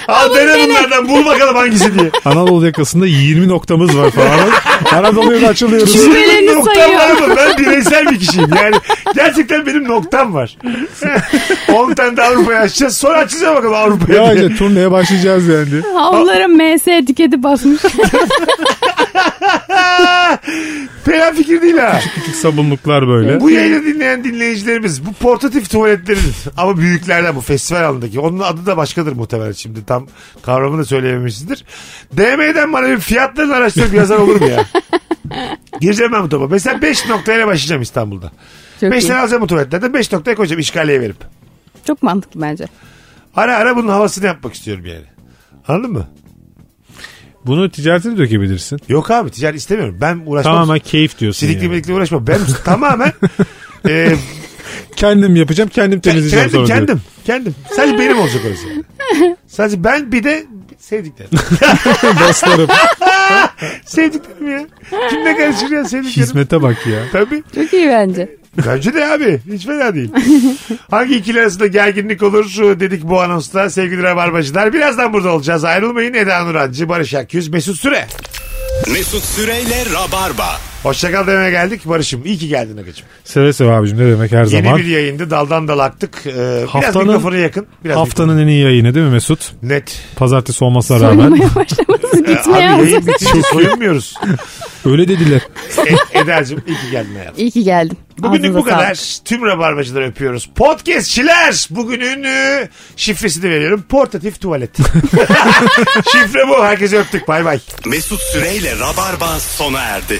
[SPEAKER 3] Al dene bunlardan bul bakalım hangisi diye.
[SPEAKER 5] Anadolu yakasında 20 noktamız var falan. Anadolu'ya da açılıyoruz.
[SPEAKER 4] Şüphelerini
[SPEAKER 3] Benim noktam
[SPEAKER 4] sayıyor.
[SPEAKER 3] var mı? Ben bireysel bir kişiyim. Yani gerçekten benim noktam var. 10 tane de Avrupa'ya açacağız. Sonra açacağız bakalım
[SPEAKER 5] ya
[SPEAKER 3] Avrupa'ya. diye.
[SPEAKER 5] işte turneye başlayacağız yani.
[SPEAKER 4] Havlulara MS etiketi basmış.
[SPEAKER 3] Fena fikir değil ha.
[SPEAKER 5] Küçük sabunluklar böyle.
[SPEAKER 3] Bu yayını dinleyen dinleyicilerimiz bu portatif tuvaletleridir. Ama büyüklerden bu festival alanındaki. Onun adı da başkadır muhtemelen şimdi. Tam kavramını da söyleyememişizdir. DM'den bana bir fiyatlarını araştırıp yazar olur mu ya? Gireceğim ben bu topa. Mesela 5 noktayla başlayacağım İstanbul'da.
[SPEAKER 4] Çok
[SPEAKER 3] 5
[SPEAKER 4] iyi.
[SPEAKER 3] tane alacağım bu tuvaletlerden. 5 noktaya koyacağım işgaliye verip.
[SPEAKER 4] Çok mantıklı bence.
[SPEAKER 3] Ara ara bunun havasını yapmak istiyorum yani. Anladın mı?
[SPEAKER 5] Bunu ticaretine dökebilirsin.
[SPEAKER 3] Yok abi ticaret istemiyorum. Ben uğraşmam.
[SPEAKER 5] Tamamen keyif diyorsun
[SPEAKER 3] Silikli
[SPEAKER 5] yani.
[SPEAKER 3] milikli uğraşmam. Ben tamamen e,
[SPEAKER 5] Kendim yapacağım kendim temizleyeceğim
[SPEAKER 3] kendim
[SPEAKER 5] sonra
[SPEAKER 3] kendim
[SPEAKER 5] diyor.
[SPEAKER 3] kendim. Sadece benim olacak orası. yani. Sadece ben bir de sevdiklerim.
[SPEAKER 5] Dostlarım
[SPEAKER 3] sevdiklerim ya. Kimle karışır ya sevdiklerim.
[SPEAKER 5] hizmete bak ya.
[SPEAKER 3] Tabii.
[SPEAKER 4] Çok iyi bence.
[SPEAKER 3] Bence de abi. Hiç fena değil. Hangi ikili arasında gerginlik olur şu dedik bu anonsta sevgili Rabarbacılar. Birazdan burada olacağız. Ayrılmayın. Eda Nurancı, Barış Akyüz, Mesut Süre.
[SPEAKER 2] Mesut Süreyle Rabarba.
[SPEAKER 3] Hoşçakal demeye geldik. Barış'ım iyi ki geldin Akıcım.
[SPEAKER 5] Seve seve abicim ne demek her
[SPEAKER 3] Yeni
[SPEAKER 5] zaman.
[SPEAKER 3] bir yayında daldan dala aktık. Ee, biraz
[SPEAKER 5] Haftanın-
[SPEAKER 3] mikrofona yakın. Biraz
[SPEAKER 5] Haftanın en iyi yayını değil mi Mesut?
[SPEAKER 3] mikrofona- net.
[SPEAKER 5] Pazartesi olmasına rağmen.
[SPEAKER 4] Soyunmaya başlaması
[SPEAKER 3] Abi
[SPEAKER 4] gitmeye hazır.
[SPEAKER 3] yayın bitince soyunmuyoruz.
[SPEAKER 5] Öyle dediler.
[SPEAKER 3] E, Eda'cığım iyi ki geldin hayatım.
[SPEAKER 4] İyi ki geldim.
[SPEAKER 3] Bugünlük bu
[SPEAKER 4] Ağzınıza
[SPEAKER 3] kadar.
[SPEAKER 4] sağlık.
[SPEAKER 3] Tüm rabarbacıları öpüyoruz. Podcastçiler bugünün e, şifresini de veriyorum. Portatif tuvalet. Şifre bu. Herkese öptük. Bay bay.
[SPEAKER 2] Mesut Süreyle Rabarba sona erdi.